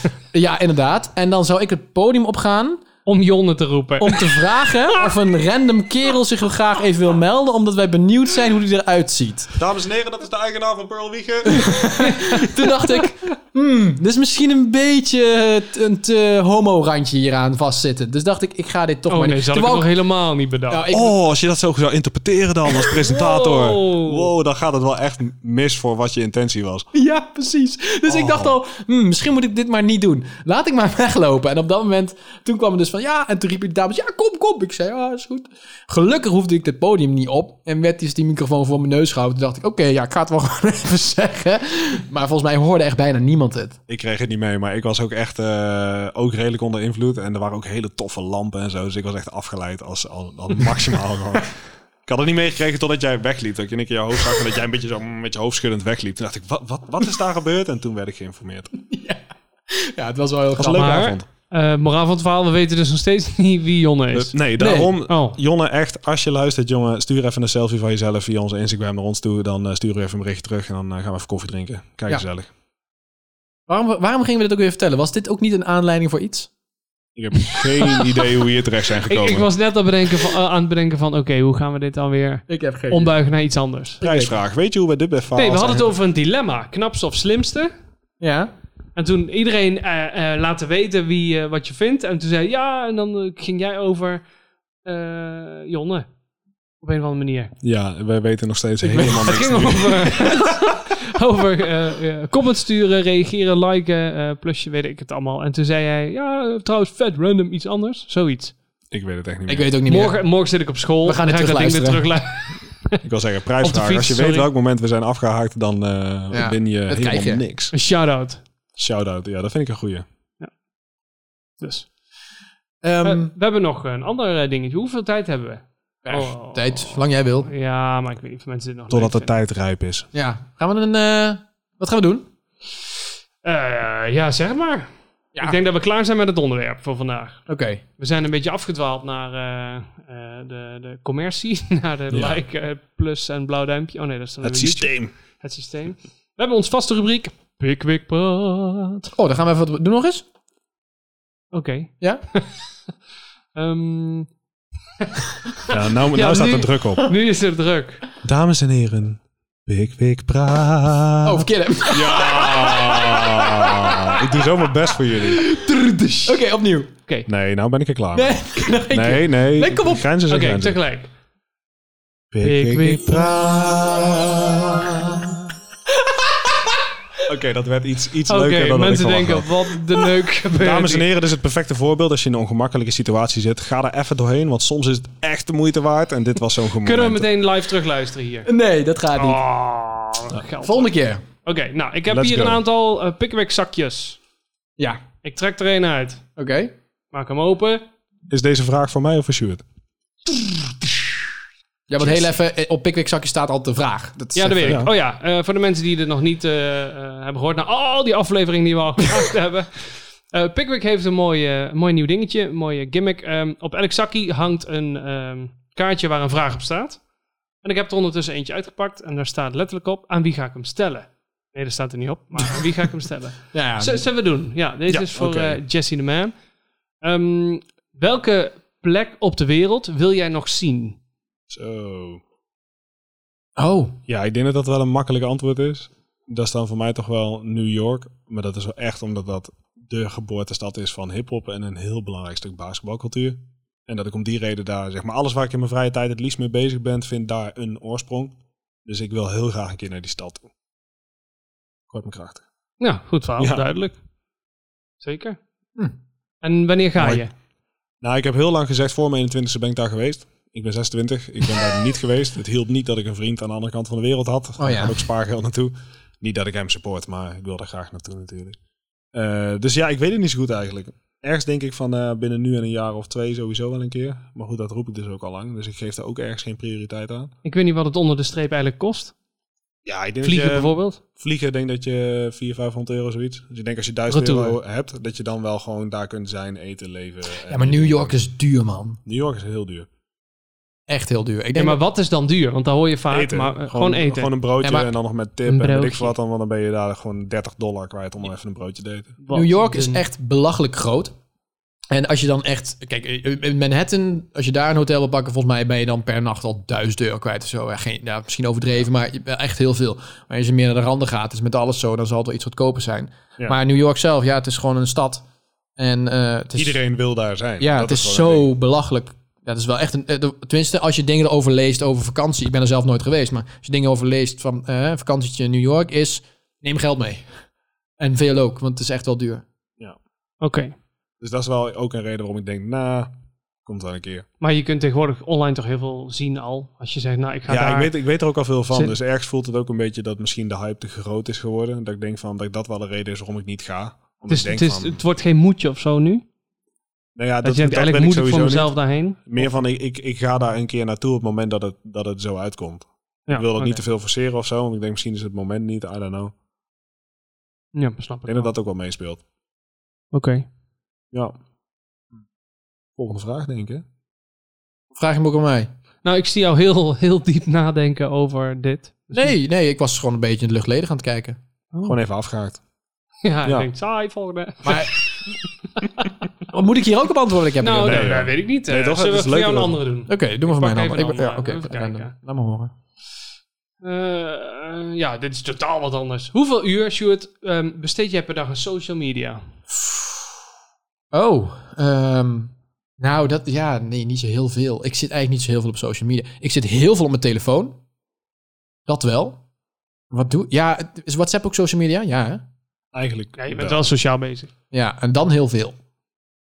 Speaker 3: Ja, inderdaad. En dan zou ik het podium opgaan
Speaker 1: <laughs> om Jonne te roepen.
Speaker 3: om te vragen of een random kerel zich wel graag even wil melden. Omdat wij benieuwd zijn hoe die eruit ziet.
Speaker 2: Dames en heren, dat is de eigenaar van Pearl <laughs> Wiegen.
Speaker 3: Toen dacht ik, hmm, er is misschien een beetje het- een te homo-randje hieraan vastzitten. Dus dacht ik, ik ga dit toch
Speaker 1: oh
Speaker 3: maar
Speaker 1: nee,
Speaker 3: niet.
Speaker 1: ze had ik
Speaker 3: Toen
Speaker 1: het
Speaker 3: wou
Speaker 1: nog
Speaker 3: ik-
Speaker 1: helemaal niet bedacht.
Speaker 3: Nou, ik-
Speaker 2: Oh, als je dat zo zou interpreteren dan als presentator.
Speaker 1: Wow.
Speaker 2: Wow. dan gaat het wel echt mis voor wat je intentie was.
Speaker 3: Ja, precies. Dus ik dacht al, hmm, misschien moet ik dit maar niet doen. Laat ik maar <laughs> weglopen. En op dat moment, toen kwam er dus van ja. En toen riepen de dames, ja, kom, kom. Ik zei, ja, is goed. Gelukkig hoefde ik het podium niet op. En werd dus die microfoon voor mijn neus gehouden. Toen dacht ik, oké, ja, ik ga het wel <laughs> gewoon even zeggen. Maar volgens mij hoorde echt bijna niemand het.
Speaker 2: Ik kreeg het niet mee, maar ik was ook echt eh, ook redelijk onder invloed. En er waren ook hele toffe lampen en zo. Dus ik was echt afgeleid als, als, <laughs> als maximaal gewoon. Ik had het niet meegekregen totdat jij wegliep. Dat ik in één keer jouw hoofd zag en dat jij een beetje zo mm, met je hoofd schuddend wegliep. Toen dacht ik, wat, wat, wat is daar gebeurd? En toen werd ik geïnformeerd. Het
Speaker 3: Ja, het was wel heel
Speaker 2: was een leuke
Speaker 1: Maar-
Speaker 2: avond.
Speaker 1: Eh, moraal van het verhaal, we weten dus nog steeds <laughs> niet wie Jonne is.
Speaker 2: Dus, Nee, daarom,
Speaker 1: Oh.
Speaker 2: Jonne, echt, als je luistert, jongen, stuur even een selfie van jezelf via onze Instagram naar ons toe. Dan eh, sturen we even een berichtje terug en dan eh, gaan we even koffie drinken. Kijk,
Speaker 3: Ja.
Speaker 2: gezellig.
Speaker 3: Waarom, waarom gingen we dit ook weer vertellen? Was dit ook niet een aanleiding voor iets?
Speaker 2: Ik heb
Speaker 1: <laughs>
Speaker 2: geen idee hoe we hier terecht zijn
Speaker 1: Ik,
Speaker 2: gekomen.
Speaker 1: ik was net aan, bedenken van, eh, aan het bedenken van, oké, hoe gaan we dit dan weer
Speaker 3: Ik heb geen
Speaker 1: ombuigen naar iets anders?
Speaker 2: Prijsvraag. Weet je hoe we dit bij
Speaker 1: Nee,
Speaker 2: verhaal
Speaker 1: we hadden het
Speaker 2: zijn?
Speaker 1: over een dilemma. Knapste of slimste?
Speaker 3: Ja.
Speaker 1: En toen iedereen eh, eh, laten weten wie, eh, wat je vindt. En toen zei ja, en dan eh, ging jij over eh, Jonne. Op een of andere manier.
Speaker 2: Ja, wij weten nog steeds
Speaker 1: <laughs> Het
Speaker 2: helemaal niks.
Speaker 1: ging
Speaker 2: nu.
Speaker 1: over, over <laughs> eh, eh, comments sturen, reageren, liken, eh, plusje, weet ik het allemaal. En toen zei hij, ja, eh, trouwens, vet random, iets anders. Zoiets.
Speaker 2: Ik weet het echt niet
Speaker 3: Ik
Speaker 2: meer.
Speaker 3: weet ook niet meer.
Speaker 1: Morgen, morgen zit ik op school.
Speaker 3: We gaan
Speaker 1: dan
Speaker 3: dit
Speaker 1: ga ik dat ding weer
Speaker 3: terugluisteren.
Speaker 1: terugluisteren.
Speaker 2: Ik wil zeggen, prijsvraag.
Speaker 1: Op de fiets,
Speaker 2: als je weet
Speaker 1: sorry.
Speaker 2: welk moment we zijn afgehaakt, dan eh
Speaker 3: Ja,
Speaker 2: win je
Speaker 3: dat krijg
Speaker 2: helemaal
Speaker 3: je.
Speaker 2: niks.
Speaker 1: Een <laughs> shout-out.
Speaker 2: Shout-out. Ja, dat vind ik een goeie.
Speaker 1: Dus.
Speaker 3: Ehm,
Speaker 1: Eh, we hebben nog een ander eh, dingetje. Hoeveel tijd hebben we? Oh.
Speaker 3: Tijd, lang jij wil.
Speaker 1: Ja, maar ik weet niet of mensen dit nog
Speaker 2: Totdat de
Speaker 1: leuk vinden.
Speaker 2: tijd rijp is.
Speaker 3: Ja. Gaan we een... eh, wat gaan we doen?
Speaker 1: Eh, ja, zeg maar.
Speaker 3: Ja.
Speaker 1: Ik denk dat we klaar zijn met het onderwerp voor vandaag.
Speaker 3: Oké.
Speaker 1: We zijn een beetje afgedwaald naar eh, eh, de, de commercie, <laughs> naar de
Speaker 2: Ja.
Speaker 1: like, eh, plus en blauw duimpje. Oh nee, dat is dan
Speaker 2: Het
Speaker 1: weer YouTube.
Speaker 2: systeem.
Speaker 1: Het systeem. We hebben ons vaste rubriek Pickwick Praat.
Speaker 3: Oh, dan gaan we even... wat- Doe nog eens.
Speaker 1: Oké.
Speaker 3: <laughs> Ja?
Speaker 1: Ehm,
Speaker 2: Ja, nou nou
Speaker 1: Ja,
Speaker 2: staat
Speaker 1: nu-
Speaker 2: er druk op.
Speaker 1: nu is het druk.
Speaker 2: Dames en heren, Big Big Praat.
Speaker 3: Oh, verkeerde.
Speaker 2: Ja! Ah, ik doe zo mijn best voor jullie.
Speaker 3: <laughs> Oké, opnieuw.
Speaker 1: Oké,
Speaker 2: Nee, nou ben ik er klaar.
Speaker 3: Nee,
Speaker 1: <laughs>
Speaker 2: mee. nee. nee.
Speaker 3: Nee, kom op.
Speaker 2: Grenzen
Speaker 1: Oké,
Speaker 2: zijn grenzen.
Speaker 1: tegelijk. Pik, pik,
Speaker 2: Oké, dat werd iets, iets
Speaker 1: Oké,
Speaker 2: leuker dan
Speaker 1: mensen
Speaker 2: dat ik verwacht
Speaker 1: denken,
Speaker 2: had.
Speaker 1: wat de neuk gebeurt
Speaker 2: Dames en
Speaker 1: hier.
Speaker 2: heren, dit is het perfecte voorbeeld. Als je in een ongemakkelijke situatie zit, ga daar even doorheen. Want soms is het echt de moeite waard. En dit was zo'n moment.
Speaker 1: Kunnen we meteen live terugluisteren hier?
Speaker 3: Nee, dat gaat niet.
Speaker 1: Oh, geld. Oké,
Speaker 3: Volgende keer.
Speaker 1: nou, ik heb
Speaker 2: Let's
Speaker 1: hier
Speaker 2: go.
Speaker 1: een aantal eh pickwick zakjes.
Speaker 3: Ja.
Speaker 1: Ik trek er een uit.
Speaker 3: Oké.
Speaker 1: Maak hem open.
Speaker 2: Is deze vraag voor mij of voor Sjoerd?
Speaker 3: Ja, want heel even, eh, op Pickwick zakje staat altijd de vraag. Dat is
Speaker 1: Ja, dat
Speaker 3: even-
Speaker 1: weet
Speaker 2: ja.
Speaker 1: ik. Oh ja, eh, voor de mensen die dit nog niet eh, eh, hebben gehoord, na al die afleveringen die we
Speaker 2: <laughs>
Speaker 1: al gemaakt hebben. Eh Pickwick heeft een mooi, eh, mooi nieuw dingetje, een mooie gimmick. Ehm, op elk zakje hangt een ehm, kaartje waar een vraag op staat. En ik heb er ondertussen eentje uitgepakt en daar staat letterlijk op: aan wie ga ik hem stellen? Nee, daar staat er niet op, maar aan wie ga ik hem stellen?
Speaker 3: Ja, ja.
Speaker 1: Z- Zullen we doen? Ja, deze
Speaker 2: Ja,
Speaker 1: is voor
Speaker 2: oké.
Speaker 1: eh, Jesse the Man. Ehm, welke plek op de wereld wil jij nog zien?
Speaker 2: Zo.
Speaker 3: Oh,
Speaker 2: Ja, ik denk dat dat wel een makkelijk antwoord is. Dat is dan voor mij toch wel New York. Maar dat is wel echt omdat dat de geboortestad is van hiphop en een heel belangrijk stuk basketbalcultuur. En dat ik om die reden daar, zeg maar, alles waar ik in mijn vrije tijd het liefst mee bezig ben, vindt daar een oorsprong. Dus ik wil heel graag een keer naar die stad toe. Kort mijn krachten.
Speaker 1: Nou, goed verhaal,
Speaker 2: Ja.
Speaker 1: duidelijk. Zeker.
Speaker 3: Hm.
Speaker 1: En wanneer ga
Speaker 2: Mooi.
Speaker 1: je?
Speaker 2: Nou, ik heb heel lang gezegd, voor mijn 21ste ben ik daar geweest. Ik ben 26, ik ben
Speaker 3: <laughs>
Speaker 2: daar niet geweest. Het hielp niet dat ik een vriend aan de andere kant van de wereld had. Daar
Speaker 3: Oh, ja.
Speaker 2: gaat ook spaargeld naartoe. Niet dat ik hem support, maar ik wil daar graag naartoe natuurlijk. Eh, dus ja, ik weet het niet zo goed eigenlijk. Ergens denk ik van eh, binnen nu en een jaar of twee sowieso wel een keer. Maar goed, dat roep ik dus ook al lang. Dus ik geef daar ook ergens geen prioriteit aan.
Speaker 1: Ik weet niet wat het onder de streep eigenlijk kost.
Speaker 2: Ja, Dus, ehm, ik denk
Speaker 1: Vliegen
Speaker 2: dat je,
Speaker 1: bijvoorbeeld.
Speaker 2: Vliegen denk dat je 400, 500 euro zoiets. Dus ik denk als je 1000
Speaker 1: Retour.
Speaker 2: euro hebt, dat je dan wel gewoon daar kunt zijn, eten, leven. Eh,
Speaker 3: ja, maar New York is duur, man.
Speaker 2: New York is heel duur.
Speaker 3: Echt heel duur. Ik
Speaker 1: Ja,
Speaker 3: denk
Speaker 1: maar wat is dan duur? Want daar hoor je vaak,
Speaker 2: Eten.
Speaker 1: maar eh, gewoon eten.
Speaker 2: Gewoon een broodje
Speaker 3: Ja, maar-
Speaker 2: en dan nog met tip
Speaker 1: Een
Speaker 2: en weet ik
Speaker 1: broodje.
Speaker 2: veel wat dan. Want dan ben je daar gewoon 30 dollar kwijt om even een broodje te eten.
Speaker 1: Wat
Speaker 3: New York is
Speaker 1: een-
Speaker 3: echt belachelijk groot. En als je dan echt... Kijk, in Manhattan, als je daar een hotel wil pakken... volgens mij ben je dan per nacht al duizend euro kwijt of zo. Ja, geen, nou, misschien overdreven, maar je- echt heel veel. Maar als je meer naar de randen gaat, is met alles zo... dan zal het wel iets goedkoper zijn.
Speaker 2: Ja.
Speaker 3: Maar New York zelf, ja, het is gewoon een stad. En eh, het is...
Speaker 2: Iedereen wil daar zijn.
Speaker 3: Ja,
Speaker 2: Dat
Speaker 3: het is
Speaker 2: gewoon een ding.
Speaker 3: zo belachelijk. Ja, dat is wel echt een. eh, de- Tenminste, als je dingen erover leest over vakantie. Ik ben er zelf nooit geweest, maar als je dingen over leest van eh, vakantietje in New York is. Neem geld mee. En veel ook, want het is echt wel duur.
Speaker 1: Oké.
Speaker 2: Dus dat is wel ook een reden waarom ik denk, nou, komt wel een keer.
Speaker 1: Maar je kunt tegenwoordig online toch heel veel zien al. Als je zegt, nou, ik ga
Speaker 2: Ja,
Speaker 1: daar...
Speaker 2: ik, weet, ik weet er ook al veel van.
Speaker 1: Zit-
Speaker 2: Dus ergens voelt het ook een beetje dat misschien de hype te groot is geworden. Dat ik denk van dat dat wel een reden is waarom ik niet ga.
Speaker 1: het,
Speaker 2: Omdat
Speaker 1: is,
Speaker 2: ik denk
Speaker 1: het, is,
Speaker 2: van,
Speaker 1: het wordt geen moedje of zo nu. Dat,
Speaker 2: nou ja, dat,
Speaker 1: je
Speaker 2: dat,
Speaker 1: denkt, eigenlijk
Speaker 2: ben
Speaker 1: moet
Speaker 2: ik
Speaker 1: ik voor
Speaker 2: sowieso
Speaker 1: mezelf
Speaker 2: niet.
Speaker 1: daarheen.
Speaker 2: Meer van, ik, ik, ik ga daar een keer naartoe op het moment dat het, dat het zo uitkomt.
Speaker 1: Ja,
Speaker 2: ik wil dat
Speaker 1: oké.
Speaker 2: niet te veel forceren of zo. Want ik denk, misschien is het moment niet, I don't know.
Speaker 1: Ja, snap
Speaker 2: Ik
Speaker 1: ik
Speaker 2: denk dat
Speaker 1: wel.
Speaker 2: dat ook wel meespeelt.
Speaker 1: Oké.
Speaker 2: Ja. Hm. Volgende vraag, denk ik.
Speaker 3: Vraag je hem ook aan mij?
Speaker 1: Nou, ik zie jou heel, heel diep nadenken over dit. <laughs>
Speaker 3: Nee, nee, ik was gewoon een beetje in de luchtledig aan het kijken.
Speaker 2: Gewoon even afgehaakt.
Speaker 1: Ja, ik
Speaker 2: Ja.
Speaker 1: denk, saai, volgende.
Speaker 3: Maar. Wat Oh, moet ik hier ook op antwoorden? Ik heb
Speaker 1: Nou,
Speaker 3: hier-
Speaker 1: dat,
Speaker 2: nee,
Speaker 1: dat
Speaker 2: ja.
Speaker 1: weet ik niet.
Speaker 2: Nee,
Speaker 1: Eh,
Speaker 2: toch? Het
Speaker 1: Zullen we
Speaker 2: is
Speaker 1: voor jou een
Speaker 2: leuker
Speaker 1: andere doen?
Speaker 3: Oké, doe maar voor mij
Speaker 2: nou,
Speaker 1: pak
Speaker 3: dan.
Speaker 1: even
Speaker 3: Ik ben-
Speaker 1: een
Speaker 3: ja,
Speaker 1: andere,
Speaker 3: oké,
Speaker 1: even
Speaker 3: random.
Speaker 1: kijken.
Speaker 3: Laat me horen.
Speaker 1: Eh, ja, dit is totaal wat anders. Hoeveel uur, Stuart, ehm, besteed jij per dag aan social media?
Speaker 3: Oh, ehm, nou, dat, ja, nee, niet zo heel veel. Ik zit eigenlijk niet zo heel veel op social media. Ik zit heel veel op mijn telefoon. Dat wel. Wat doe Ja, het- is WhatsApp ook social media? Ja, hè?
Speaker 2: Eigenlijk.
Speaker 1: Ja, je bent wel sociaal bezig.
Speaker 3: Ja, en dan heel veel.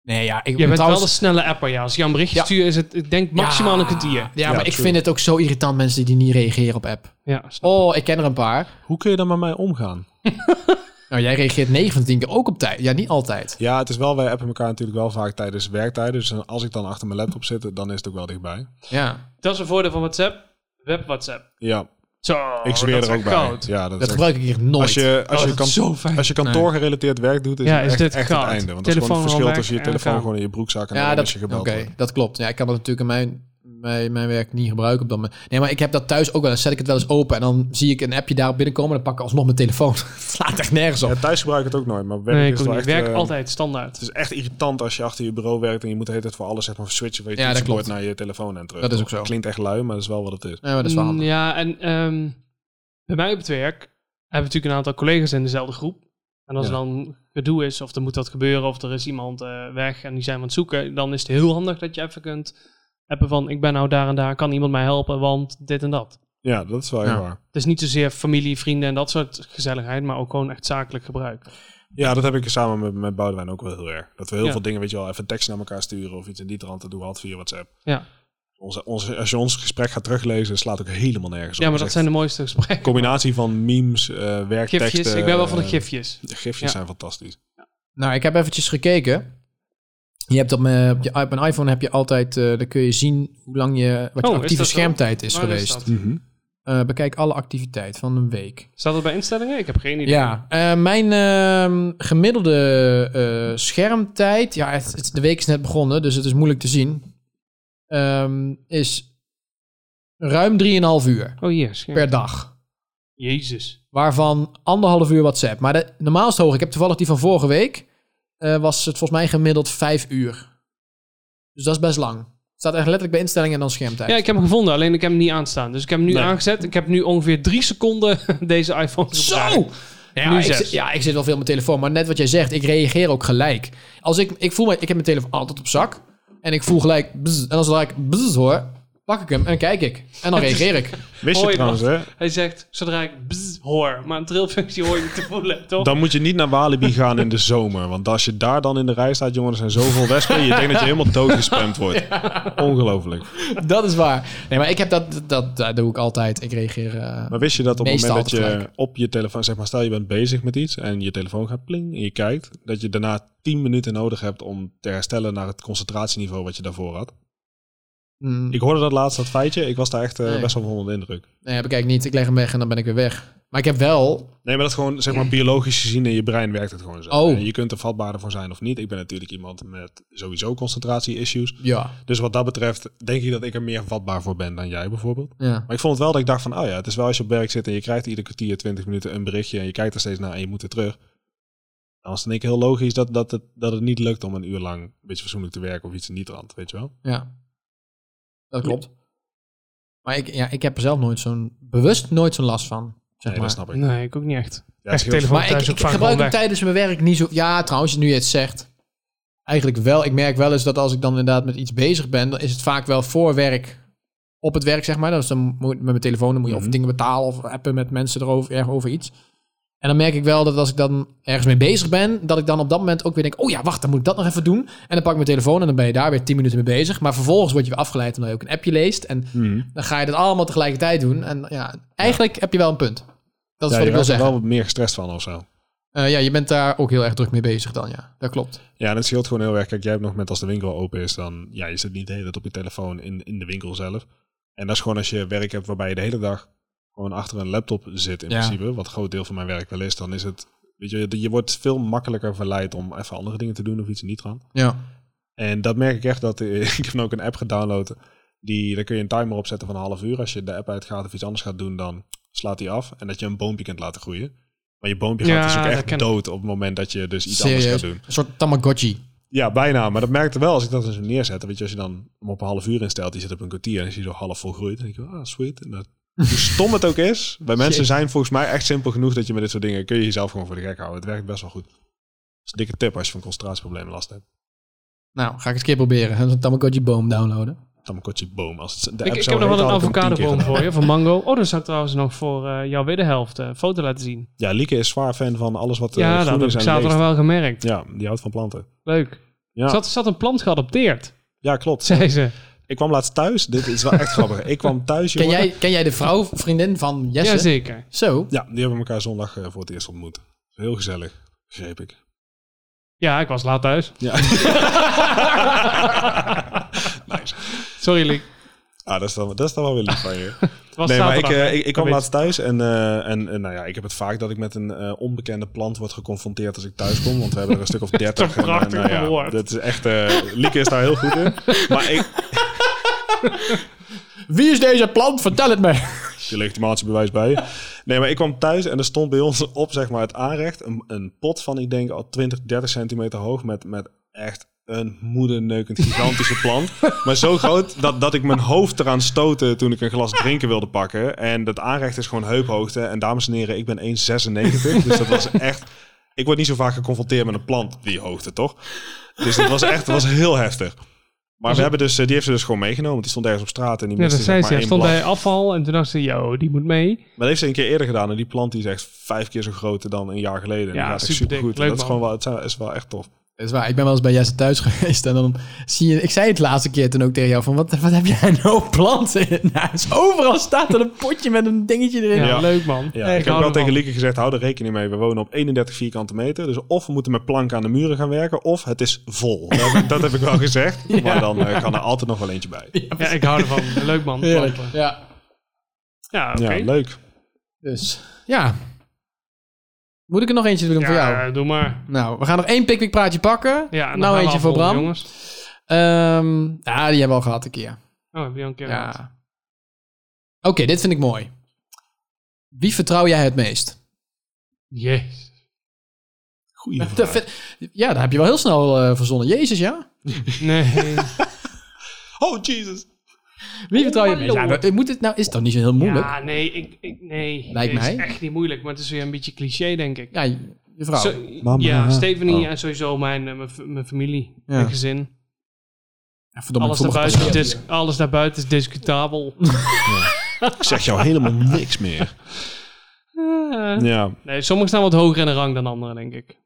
Speaker 3: Nee, ja, ik
Speaker 1: Je bent
Speaker 3: trouwens-
Speaker 1: wel een snelle apper, ja. Als je een berichtje
Speaker 3: Ja.
Speaker 1: stuurt, is het, ik denk, maximaal
Speaker 3: Ja,
Speaker 1: een kwartier.
Speaker 3: Ja,
Speaker 2: Ja,
Speaker 3: maar ik
Speaker 2: true.
Speaker 3: vind het ook zo irritant, mensen die niet reageren op app.
Speaker 1: Ja, snap.
Speaker 3: Oh, ik ken er een paar.
Speaker 2: Hoe kun je dan met mij omgaan?
Speaker 3: Nou, jij reageert 9 van de 10 keer ook op tijd. Ja, niet altijd.
Speaker 2: Ja, het is wel, wij appen elkaar natuurlijk wel vaak tijdens werktijden. Dus als ik dan achter mijn laptop zit, dan is het ook wel dichtbij.
Speaker 3: Ja,
Speaker 1: Dat is een voordeel van WhatsApp. Web WhatsApp.
Speaker 2: Ja,
Speaker 1: Zo,
Speaker 2: ik zweer
Speaker 1: Oh, dat
Speaker 2: er
Speaker 1: is
Speaker 2: ook
Speaker 1: echt
Speaker 2: bij.
Speaker 1: goud.
Speaker 2: Ja, dat
Speaker 3: dat
Speaker 2: is echt-
Speaker 3: gebruik ik hier nooit.
Speaker 2: als je, als,
Speaker 1: Oh,
Speaker 2: je
Speaker 1: dat is zo fijn.
Speaker 2: kan, als je kantoorgerelateerd werk doet, is,
Speaker 1: Ja,
Speaker 2: het
Speaker 1: is
Speaker 2: echt,
Speaker 1: dit
Speaker 2: echt het
Speaker 1: goud.
Speaker 2: einde. Want dat is gewoon
Speaker 1: Telefoon
Speaker 2: het verschil
Speaker 1: al
Speaker 2: tussen je
Speaker 1: weg en
Speaker 2: telefoon
Speaker 1: goud.
Speaker 2: gewoon in je broekzak en
Speaker 3: Ja,
Speaker 2: dan
Speaker 3: dat,
Speaker 2: als je gebeld
Speaker 3: oké,
Speaker 2: wordt.
Speaker 3: dat klopt. Ja, ik kan dat natuurlijk in mijn, mijn, mijn werk niet gebruiken op dat moment. Nee, maar ik heb dat thuis ook wel eens. Zet ik het wel eens open en dan zie ik een appje daarop binnenkomen... en dan pak ik alsnog mijn telefoon. <laughs> het slaat echt nergens op.
Speaker 2: Ja, thuis gebruik ik het ook nooit, maar werk
Speaker 1: Nee,
Speaker 2: is
Speaker 1: ik
Speaker 2: wel
Speaker 1: ook niet.
Speaker 2: echt...
Speaker 1: Werk
Speaker 2: eh,
Speaker 1: altijd standaard.
Speaker 2: Het is echt irritant als je achter je bureau werkt en je moet de hele tijd voor alles zeg maar, switchen van je
Speaker 3: Ja, dat
Speaker 2: toetsenbord
Speaker 3: klopt.
Speaker 2: naar je telefoon en terug.
Speaker 3: Dat is ook zo.
Speaker 2: Klinkt echt lui, maar dat is wel wat het is.
Speaker 3: Ja, maar dat is wel
Speaker 1: Mm,
Speaker 3: handig.
Speaker 1: Ja, en ehm, bij mij op het werk hebben we natuurlijk een aantal collega's in dezelfde groep. En als
Speaker 2: Ja.
Speaker 1: er dan gedoe is, of er moet wat gebeuren, of er is iemand eh, weg en die zijn we aan het zoeken, dan is het heel handig dat je even kunt appen van ik ben nou daar en daar, kan iemand mij helpen, want dit en dat.
Speaker 2: Ja, dat is wel heel
Speaker 3: Ja.
Speaker 2: waar.
Speaker 1: Het is niet zozeer familie, vrienden en dat soort gezelligheid, maar ook gewoon echt zakelijk gebruik.
Speaker 2: Ja, dat heb ik samen met, met Boudewijn ook wel heel erg. Dat we heel
Speaker 1: Ja.
Speaker 2: veel dingen, weet je wel, even tekst naar elkaar sturen of iets in die trant. Dat doen we altijd via WhatsApp.
Speaker 1: Ja,
Speaker 2: Onze, onze, als je ons gesprek gaat teruglezen, slaat ook helemaal nergens op.
Speaker 1: ja maar
Speaker 2: is
Speaker 1: dat
Speaker 2: echt
Speaker 1: zijn de mooiste
Speaker 2: een
Speaker 1: gesprekken.
Speaker 2: combinatie van memes, eh, werkteksten.
Speaker 1: Gifjes, ik ben wel van de
Speaker 2: eh,
Speaker 1: gifjes.
Speaker 2: De gifjes
Speaker 1: Ja.
Speaker 2: zijn fantastisch. Mm.
Speaker 3: Nou, ik heb eventjes gekeken. Je hebt op, mijn, op, je, op mijn iPhone heb je altijd, eh dan kun je zien hoe lang je, wat je
Speaker 1: Oh, is
Speaker 3: actieve
Speaker 1: dat zo?
Speaker 3: schermtijd is
Speaker 1: Waar
Speaker 3: geweest.
Speaker 1: dat?
Speaker 3: Eh, bekijk alle activiteit van een week.
Speaker 1: Staat dat bij instellingen? Ik heb geen idee.
Speaker 3: Ja, eh, mijn ehm, gemiddelde eh, schermtijd, ja, het, het- de week is net begonnen, dus het is moeilijk te zien, ehm, is ruim 3,5 uur
Speaker 1: Oh, yes. ja.
Speaker 3: per dag.
Speaker 1: Jezus.
Speaker 3: Waarvan anderhalf uur WhatsApp. Maar de, normaal is het hoog. Ik heb toevallig die van vorige week. eh, was het volgens mij gemiddeld vijf uur. Dus dat is best lang. Het staat echt letterlijk bij instellingen en dan schermtijd.
Speaker 1: Ja, ik heb hem gevonden, alleen ik heb hem niet aanstaan. Dus ik heb hem nu
Speaker 2: Nee.
Speaker 1: aangezet. Ik heb nu ongeveer drie seconden <laughs> deze iPhone gebruikt.
Speaker 3: Zo! Ja
Speaker 1: Nu
Speaker 3: ik,
Speaker 1: zes.
Speaker 3: zit, ja, ik zit wel veel op mijn telefoon. Maar net wat jij zegt, ik reageer ook gelijk. Als ik, ik voel mij, ik heb mijn telefoon altijd op zak. En ik voel gelijk, bzz, en als ik bzz hoor, pak ik hem en kijk ik. En dan reageer ik.
Speaker 2: Wist
Speaker 1: Hoi,
Speaker 2: je trouwens, hè?
Speaker 1: Hij zegt, zodra ik bzz hoor. Maar een trillfunctie hoor je niet te voelen, toch?
Speaker 2: Dan moet je niet naar Walibi <laughs> gaan in de zomer. Want als je daar dan in de rij staat, jongen, er zijn zoveel wespen. Je denkt dat je helemaal doodgespamd wordt. Ongelooflijk.
Speaker 3: Dat is waar. Nee, maar ik heb dat, dat, dat doe ik altijd. Ik reageer... eh,
Speaker 2: Maar wist je dat op het
Speaker 3: Meestal
Speaker 2: moment dat je
Speaker 3: altijd
Speaker 2: op je telefoon, zeg maar, stel je bent bezig met iets en je telefoon gaat pling en je kijkt, dat je daarna 10 minuten nodig hebt om te herstellen naar het concentratieniveau wat je daarvoor had?
Speaker 3: mm.
Speaker 2: Ik hoorde dat laatst, dat feitje. Ik was daar echt eh,
Speaker 3: Nee.
Speaker 2: best wel van onder de indruk.
Speaker 3: Nee, bekijk niet. Ik leg hem weg en dan ben ik weer weg. Maar ik heb wel...
Speaker 2: Nee, maar dat gewoon, zeg maar, biologisch gezien in je brein werkt het gewoon zo.
Speaker 3: Oh.
Speaker 2: En Je kunt er vatbaarder voor zijn of niet. Ik ben natuurlijk iemand met sowieso concentratie-issues.
Speaker 3: Ja.
Speaker 2: Dus wat dat betreft denk ik dat ik er meer vatbaar voor ben dan jij bijvoorbeeld.
Speaker 3: ja.
Speaker 2: Maar ik vond het wel dat ik dacht van, oh ja, het is wel als je op werk zit en je krijgt ieder kwartier 20 minuten een berichtje en je kijkt er steeds naar en je moet er terug. Dan is het in één keer heel logisch dat, dat, het, dat het niet lukt om een uur lang een beetje fatsoenlijk te werken of iets in die trant, weet je wel.
Speaker 3: Ja. Dat klopt. Maar ik, ja, ik heb er zelf nooit zo'n... Bewust nooit zo'n last van. Zeg
Speaker 2: Nee,
Speaker 3: maar.
Speaker 2: dat snap ik. Ja,
Speaker 1: Nee, ik ook niet echt.
Speaker 2: het
Speaker 1: echt
Speaker 2: scheelt-
Speaker 1: telefoon
Speaker 3: Maar ik,
Speaker 1: thuis
Speaker 3: ik,
Speaker 1: ook vaak
Speaker 3: gebruik hem
Speaker 1: gewoon weg.
Speaker 3: tijdens mijn werk niet zo... Ja, trouwens, nu je het zegt. Eigenlijk wel. Ik merk wel eens dat als ik dan inderdaad met iets bezig ben... dan is het vaak wel voor werk... Op het werk, zeg maar. Dus dan moet, met mijn telefoon dan moet je
Speaker 2: Mhm.
Speaker 3: of dingen betalen... of appen met mensen erover erg over iets. En dan merk ik wel dat als ik dan ergens mee bezig ben... dat ik dan op dat moment ook weer denk... oh ja, wacht, dan moet ik dat nog even doen. En dan pak ik mijn telefoon en dan ben je daar weer tien minuten mee bezig. Maar vervolgens word je weer afgeleid... omdat je ook een appje leest. En
Speaker 2: Mhm.
Speaker 3: dan ga je dat allemaal tegelijkertijd doen. En ja, eigenlijk heb je wel een punt. Dat is wat
Speaker 2: Ja, je
Speaker 3: ik wil
Speaker 2: raakt er
Speaker 3: zeggen.
Speaker 2: wel wat meer gestrest van of zo.
Speaker 3: Eh, ja, je bent daar ook heel erg druk mee bezig dan, ja. Dat klopt.
Speaker 2: Ja, en het scheelt gewoon heel erg. Kijk, jij hebt nog met als de winkel open is, dan ja, je zit niet de hele tijd op je telefoon in, in de winkel zelf. En dat is gewoon als je werk hebt waarbij je de hele dag gewoon achter een laptop zit in
Speaker 3: Ja.
Speaker 2: principe, wat een groot deel van mijn werk wel is, dan is het, weet je, je wordt veel makkelijker verleid om even andere dingen te doen of iets niet gaan.
Speaker 3: Ja.
Speaker 2: En dat merk ik echt dat <laughs> eh, ik heb nu ook een app gedownload. Die, daar kun je een timer opzetten van een half uur. Als je de app uitgaat of iets anders gaat doen, dan slaat die af. En dat je een boompje kunt laten groeien. Maar je boompje
Speaker 1: Ja,
Speaker 2: gaat dus ook
Speaker 1: dat
Speaker 2: echt
Speaker 1: ken ik.
Speaker 2: dood op het moment dat je dus iets anders
Speaker 3: Serieus.
Speaker 2: gaat doen.
Speaker 3: Een soort Tamagotchi.
Speaker 2: Ja, bijna. Maar dat merkte wel als ik dat eens neerzet. Weet je, als je dan hem op een half uur instelt, die zit op een kwartier en dan is hij zo half volgroeid. Dan denk je, ah, sweet.
Speaker 1: <laughs>
Speaker 2: En dat, hoe stom het ook is, bij mensen
Speaker 3: Shit.
Speaker 2: zijn volgens mij echt simpel genoeg dat je met dit soort dingen kun je jezelf gewoon voor de gek houden. Het werkt best wel goed. Dat is een dikke tip als je van concentratieproblemen last hebt.
Speaker 3: Nou, ga ik het een keer proberen. Een Tamagotchi-boom downloaden.
Speaker 2: Tamagotchi boom. Als het, de
Speaker 1: Ik,
Speaker 2: app
Speaker 1: ik
Speaker 2: zo
Speaker 1: heb nog
Speaker 2: heet,
Speaker 1: wel een
Speaker 2: had ik hem tien keer
Speaker 1: avocadoboom
Speaker 2: gedaan.
Speaker 1: voor je, van mango. Oh, daar zou ik trouwens nog voor eh, jou weer de helft eh, foto laten zien.
Speaker 2: Ja, Lieke is zwaar fan van alles wat eh,
Speaker 1: ja, nou, dat
Speaker 2: groen
Speaker 1: heb
Speaker 2: is
Speaker 1: ik
Speaker 2: en
Speaker 1: zaterdag
Speaker 2: leeft.
Speaker 1: wel gemerkt.
Speaker 2: Ja, die houdt van planten.
Speaker 1: Leuk.
Speaker 2: Ja,
Speaker 1: Zat, zat een plant geadopteerd, <laughs>
Speaker 2: ja klopt.
Speaker 1: zei ze.
Speaker 2: Ik kwam laatst thuis. Dit is wel echt grappig. Ik kwam thuis,
Speaker 3: Ken
Speaker 2: jongen.
Speaker 3: jij, ken jij de vrouw, vriendin van Jesse?
Speaker 1: Jazeker.
Speaker 3: Zo.
Speaker 2: Ja, die hebben elkaar zondag eh, voor het eerst ontmoet. Heel gezellig, begreep ik.
Speaker 1: Ja, ik was laat
Speaker 2: <laughs>
Speaker 1: thuis.
Speaker 2: Ja. nice.
Speaker 1: Sorry, Liek.
Speaker 2: Ah, dat is, dan, dat is dan wel weer lief van
Speaker 1: <laughs>
Speaker 2: je.
Speaker 1: Het was
Speaker 2: nee, maar ik,
Speaker 1: zaterdag.
Speaker 2: eh, ik, ik kwam
Speaker 1: weet-
Speaker 2: laatst thuis en, eh, en eh, nou ja, ik heb het vaak dat ik met een eh, onbekende plant word geconfronteerd als ik thuis kom. Want we hebben er een stuk
Speaker 1: <laughs>
Speaker 2: of dertig.
Speaker 1: Toch prachtig
Speaker 2: en, eh, nou ja,
Speaker 1: verwoord.
Speaker 2: Dat is echt, eh Lieke is daar heel goed
Speaker 1: <laughs>
Speaker 2: in. Maar ik,
Speaker 3: Wie is deze plant? Vertel het me.
Speaker 2: je legitimatiebewijs bij je. Nee, maar ik kwam thuis en er stond bij ons op zeg maar, het aanrecht een, een pot van, ik denk al 20, 30 centimeter hoog met, met echt een moederneukend
Speaker 1: <laughs>
Speaker 2: gigantische plant. Maar zo groot dat, dat ik mijn hoofd eraan stootte toen ik een glas drinken wilde pakken. En dat aanrecht is gewoon heuphoogte. En dames en heren, ik ben 1,96. Dus dat was echt... Ik word niet zo vaak geconfronteerd met een plant op die hoogte, toch? Dus dat was echt dat was heel heftig. Maar we hebben dus, eh, die heeft ze dus gewoon meegenomen. want Die stond ergens op straat en die
Speaker 1: Ja,
Speaker 2: miste
Speaker 1: dat
Speaker 2: zeg
Speaker 1: zei ze.
Speaker 2: maar
Speaker 1: ja,
Speaker 2: één
Speaker 1: stond
Speaker 2: blad.
Speaker 1: bij afval en toen dacht ze, yo, die moet mee.
Speaker 2: Maar dat heeft ze een keer eerder gedaan. En die plant die is echt vijf keer zo groot dan een jaar geleden. En
Speaker 1: Ja,
Speaker 2: die gaat echt
Speaker 1: superdik.
Speaker 2: supergoed. En
Speaker 1: Leuk,
Speaker 2: dat is
Speaker 1: man.
Speaker 2: gewoon wel, het zijn- is wel echt tof.
Speaker 3: <laughs> Dat is waar. Ik ben wel eens bij Jesse thuis <laughs> geweest. En dan zie je... Ik zei het laatste keer toen ook tegen jou van... Wat, wat heb jij nou <laughs> planten in huis? Overal staat er een potje met een dingetje erin.
Speaker 1: Ja,
Speaker 2: Ja.
Speaker 1: leuk man.
Speaker 2: Ja,
Speaker 1: Nee,
Speaker 2: ik heb
Speaker 1: hou
Speaker 2: wel tegen
Speaker 1: ervan.
Speaker 2: Lieke gezegd, hou er rekening mee. We wonen op 31 vierkante meter. Dus of we moeten met planken aan de muren gaan werken, of het is vol. Dat, heb ik- dat heb ik wel gezegd.
Speaker 1: <laughs>
Speaker 2: Maar dan eh, kan er altijd nog wel eentje bij.
Speaker 1: Ja, ik hou
Speaker 2: <laughs>
Speaker 1: ervan. Leuk man.
Speaker 3: Heerlijk.
Speaker 1: planten.
Speaker 3: Ja.
Speaker 1: Ja, oké.
Speaker 2: Ja, leuk.
Speaker 3: Dus ja. Moet ik er nog eentje doen voor jou?
Speaker 1: Ja, doe maar.
Speaker 3: Nou, we gaan nog één pickwick praatje pakken.
Speaker 1: Ja, dan gaan
Speaker 3: Nou,
Speaker 1: we
Speaker 3: eentje voor
Speaker 1: afronden,
Speaker 3: Bram.
Speaker 1: Jongens.
Speaker 3: Ehm, ja, die hebben we al gehad een keer.
Speaker 1: Oh, heb je al een keer
Speaker 3: Ja.
Speaker 1: gehad.
Speaker 3: Oké, dit vind ik mooi. Wie vertrouw jij het meest?
Speaker 1: Jezus.
Speaker 3: <laughs>
Speaker 2: Goeie
Speaker 3: Dat
Speaker 2: vraag.
Speaker 3: vind- ja, daar heb je wel heel snel eh, verzonnen. Jezus, ja?
Speaker 1: Nee.
Speaker 2: Oh, Jesus.
Speaker 3: Wie vertrouw je het meest?
Speaker 1: hallo.
Speaker 3: Ja, dat- moet het, nou, is het dan niet zo heel <laughs> moeilijk?
Speaker 1: Ja, nee. Ik, ik, nee.
Speaker 3: Lijkt
Speaker 1: Het is
Speaker 3: mij.
Speaker 1: echt niet moeilijk, maar het is weer een beetje cliché, denk ik.
Speaker 3: Ja, je je vrouw.
Speaker 1: Zo-
Speaker 2: Mama.
Speaker 1: ja, Stephanie
Speaker 2: Oh.
Speaker 1: en sowieso mijn, eh, mijn, f- mijn familie,
Speaker 3: Ja.
Speaker 1: mijn gezin.
Speaker 3: Ja, verdomme,
Speaker 1: Alles
Speaker 3: ik voel me
Speaker 1: daarbuiten, is
Speaker 3: gepasseerd.
Speaker 1: dis- alles daarbuiten is
Speaker 3: <laughs>
Speaker 1: discutabel.
Speaker 2: Ik zeg jou helemaal niks meer.
Speaker 1: <laughs> Eh,
Speaker 2: Ja,
Speaker 1: nee, sommigen staan wat hoger in de rang dan anderen, denk ik.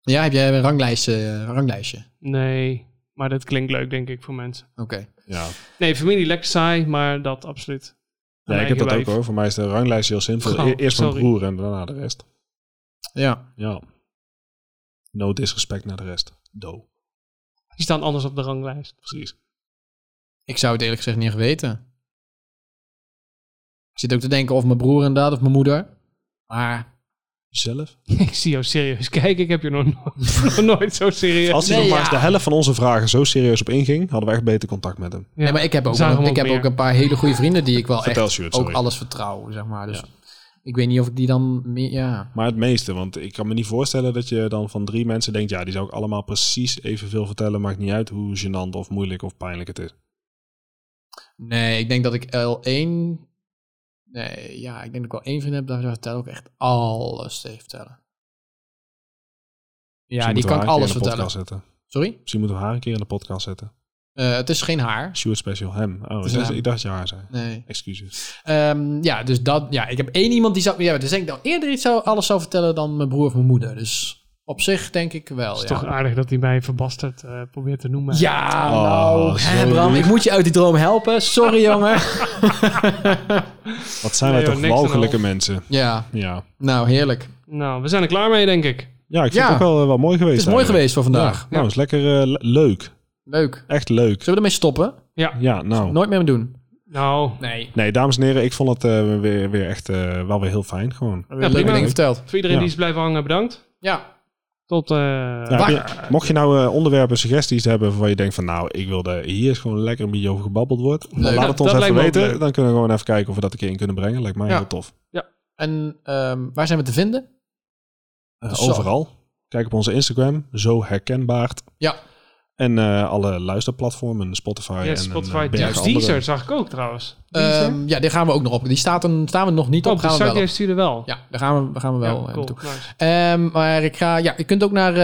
Speaker 3: Ja, heb jij een ranglijstje? eh, ranglijstje?
Speaker 1: Nee, maar dat klinkt leuk, denk ik, voor mensen.
Speaker 3: Oké.
Speaker 2: ja.
Speaker 1: Nee, familie lekker saai, maar dat absoluut.
Speaker 2: ja
Speaker 1: Mijn
Speaker 2: ik heb dat
Speaker 1: eigen
Speaker 2: ook
Speaker 1: wijf.
Speaker 2: hoor. Voor mij is de ranglijst heel simpel.
Speaker 1: Oh,
Speaker 2: E- Eerst mijn
Speaker 1: sorry.
Speaker 2: broer en daarna de rest.
Speaker 3: Ja.
Speaker 2: Ja. No disrespect naar de rest. Do.
Speaker 1: Die staan anders op de ranglijst. <laughs>
Speaker 2: Precies.
Speaker 3: Ik zou het eerlijk gezegd niet geweten. Ik zit ook te denken of mijn broer inderdaad of mijn moeder. Maar
Speaker 2: Zelf?
Speaker 1: Ik zie jou serieus kijken. Ik heb je nog, nooit- <laughs> nog nooit zo serieus.
Speaker 2: <laughs> Als hij
Speaker 3: Nee,
Speaker 2: nog maar eens
Speaker 3: ja.
Speaker 2: de helft van onze vragen zo serieus op inging, hadden we echt beter contact met hem.
Speaker 1: Ja.
Speaker 3: Nee, maar ik heb ook,
Speaker 1: Zagen we
Speaker 3: ik
Speaker 1: ook
Speaker 3: heb
Speaker 1: meer.
Speaker 3: ook een paar hele goede vrienden die
Speaker 2: <laughs>
Speaker 3: ik wel
Speaker 2: Vertel,
Speaker 3: echt
Speaker 2: Sjoerd,
Speaker 3: ook
Speaker 2: sorry.
Speaker 3: alles vertrouw, zeg maar. Dus ik weet niet of ik die dan meer... Ja.
Speaker 2: Maar het meeste, want ik kan me niet voorstellen dat je dan van drie mensen denkt, ja, die zou ik allemaal precies evenveel vertellen. Maakt niet uit hoe gênant of moeilijk of pijnlijk het is.
Speaker 3: Nee, ik denk dat ik L1... Nee, ja, ik denk dat ik wel één vriend heb. Daar vertel ik echt alles tegen vertellen. Ja,
Speaker 2: Misschien
Speaker 3: die
Speaker 2: moeten we
Speaker 3: kan
Speaker 2: haar
Speaker 3: ik
Speaker 2: een
Speaker 3: alles
Speaker 2: keer in de
Speaker 3: vertellen.
Speaker 2: podcast zetten.
Speaker 3: Sorry?
Speaker 2: Misschien moeten we haar een keer in de podcast zetten.
Speaker 3: Eh, het is geen haar.
Speaker 2: Stuart Special Hem.
Speaker 3: is
Speaker 2: Oh, ik dacht-
Speaker 3: hem.
Speaker 2: ik dacht je haar zei.
Speaker 3: Nee.
Speaker 2: Excuses.
Speaker 3: Ehm, ja, dus dat. Ja, ik heb één iemand die zou. Ja, dus denk ik nou eerder iets zou, alles zou vertellen dan mijn broer of mijn moeder. Dus op zich denk ik wel.
Speaker 1: Het is
Speaker 3: Oh, ja.
Speaker 1: toch aardig dat hij mij verbasterd eh, probeert te noemen.
Speaker 3: Ja,
Speaker 2: Oh,
Speaker 3: nou.
Speaker 2: sorry.
Speaker 3: Hè, Bram, ik moet je uit die droom helpen. Sorry, <laughs> jongen.
Speaker 2: Wat zijn
Speaker 1: Nee,
Speaker 2: wij
Speaker 1: joh,
Speaker 2: toch
Speaker 1: niks aan de
Speaker 2: walgelijke
Speaker 1: hand.
Speaker 2: mensen.
Speaker 3: Ja,
Speaker 2: Ja.
Speaker 3: nou heerlijk.
Speaker 1: Nou, we zijn er klaar mee, denk ik.
Speaker 2: Ja, ik vind
Speaker 3: Ja.
Speaker 2: het ook wel, eh, wel mooi geweest.
Speaker 3: Het is mooi geweest
Speaker 2: eigenlijk.
Speaker 3: voor vandaag.
Speaker 2: Nou, is lekker eh, le- leuk.
Speaker 3: Leuk. Zullen
Speaker 2: Echt leuk.
Speaker 3: we ermee stoppen?
Speaker 1: Ja,
Speaker 2: Ja, nou.
Speaker 3: Nooit meer doen.
Speaker 1: nou,
Speaker 3: Nee.
Speaker 2: Nee, dames en heren, ik vond het eh, weer, weer echt eh, wel weer heel fijn. Gewoon.
Speaker 3: Leuke
Speaker 1: prima.
Speaker 3: dingen verteld.
Speaker 1: voor iedereen
Speaker 2: Ja.
Speaker 1: die is blijven hangen, bedankt.
Speaker 3: Ja.
Speaker 1: Tot, eh,
Speaker 2: Ja,
Speaker 3: Waar-
Speaker 2: heb je- mocht je nou eh, onderwerpen, suggesties hebben waarvan je denkt van nou, ik wil daar hier is gewoon lekker een beetje over gebabbeld wordt. Dan
Speaker 3: Leuk.
Speaker 2: laat
Speaker 1: Dat-
Speaker 2: het ons
Speaker 1: dat lijkt
Speaker 2: even
Speaker 1: me ook
Speaker 2: weten.
Speaker 1: leuk.
Speaker 2: Dan kunnen we gewoon even kijken of we dat een keer in kunnen brengen. Lijkt mij
Speaker 3: Ja.
Speaker 2: heel tof.
Speaker 3: En ehm, waar zijn we te vinden?
Speaker 2: Eh,
Speaker 3: Zo.
Speaker 2: overal. Kijk op onze Instagram, zo herkenbaar.
Speaker 3: Ja.
Speaker 2: En eh, alle luisterplatformen, Spotify
Speaker 1: ja,
Speaker 2: en en,
Speaker 1: Spotify,
Speaker 2: eh, bergen
Speaker 1: Deezer
Speaker 2: andere.
Speaker 1: zag ik ook trouwens. Oh,
Speaker 3: Ehm, ja, die gaan we ook nog op. Die staat een, staan we nog niet op.
Speaker 1: Top, die
Speaker 3: Gaan we
Speaker 1: zag
Speaker 3: wel
Speaker 1: jij
Speaker 3: op.
Speaker 1: stuurde wel.
Speaker 3: Ja, daar gaan we, gaan we
Speaker 1: Ja,
Speaker 3: wel eh,
Speaker 1: cool.
Speaker 3: naartoe.
Speaker 1: nice.
Speaker 3: Ehm, maar ik ga, ja, je kunt ook naar,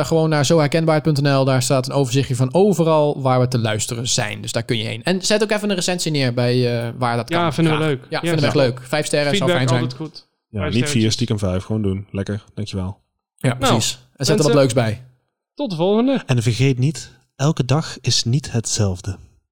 Speaker 3: eh, gewoon naar zoherkenbaar.nl. Daar staat een overzichtje van overal waar we te luisteren zijn. Dus daar kun je heen. En zet ook even een recensie neer bij eh, waar dat kan.
Speaker 1: Ja, vinden we
Speaker 3: Graag.
Speaker 1: leuk.
Speaker 3: Ja,
Speaker 1: Ja,
Speaker 3: vinden we echt
Speaker 1: ja.
Speaker 3: leuk. Vijf sterren
Speaker 1: Feedback
Speaker 3: zou fijn zijn.
Speaker 1: altijd goed.
Speaker 2: Ja,
Speaker 1: Vijf
Speaker 2: niet vier,
Speaker 1: sterretjes.
Speaker 2: stiekem vijf. Gewoon doen. Lekker. Dankjewel.
Speaker 3: Ja, precies. en zet er wat
Speaker 1: Nou, mensen-
Speaker 3: leuks bij.
Speaker 1: Tot de volgende.
Speaker 2: En vergeet niet, elke dag is niet hetzelfde.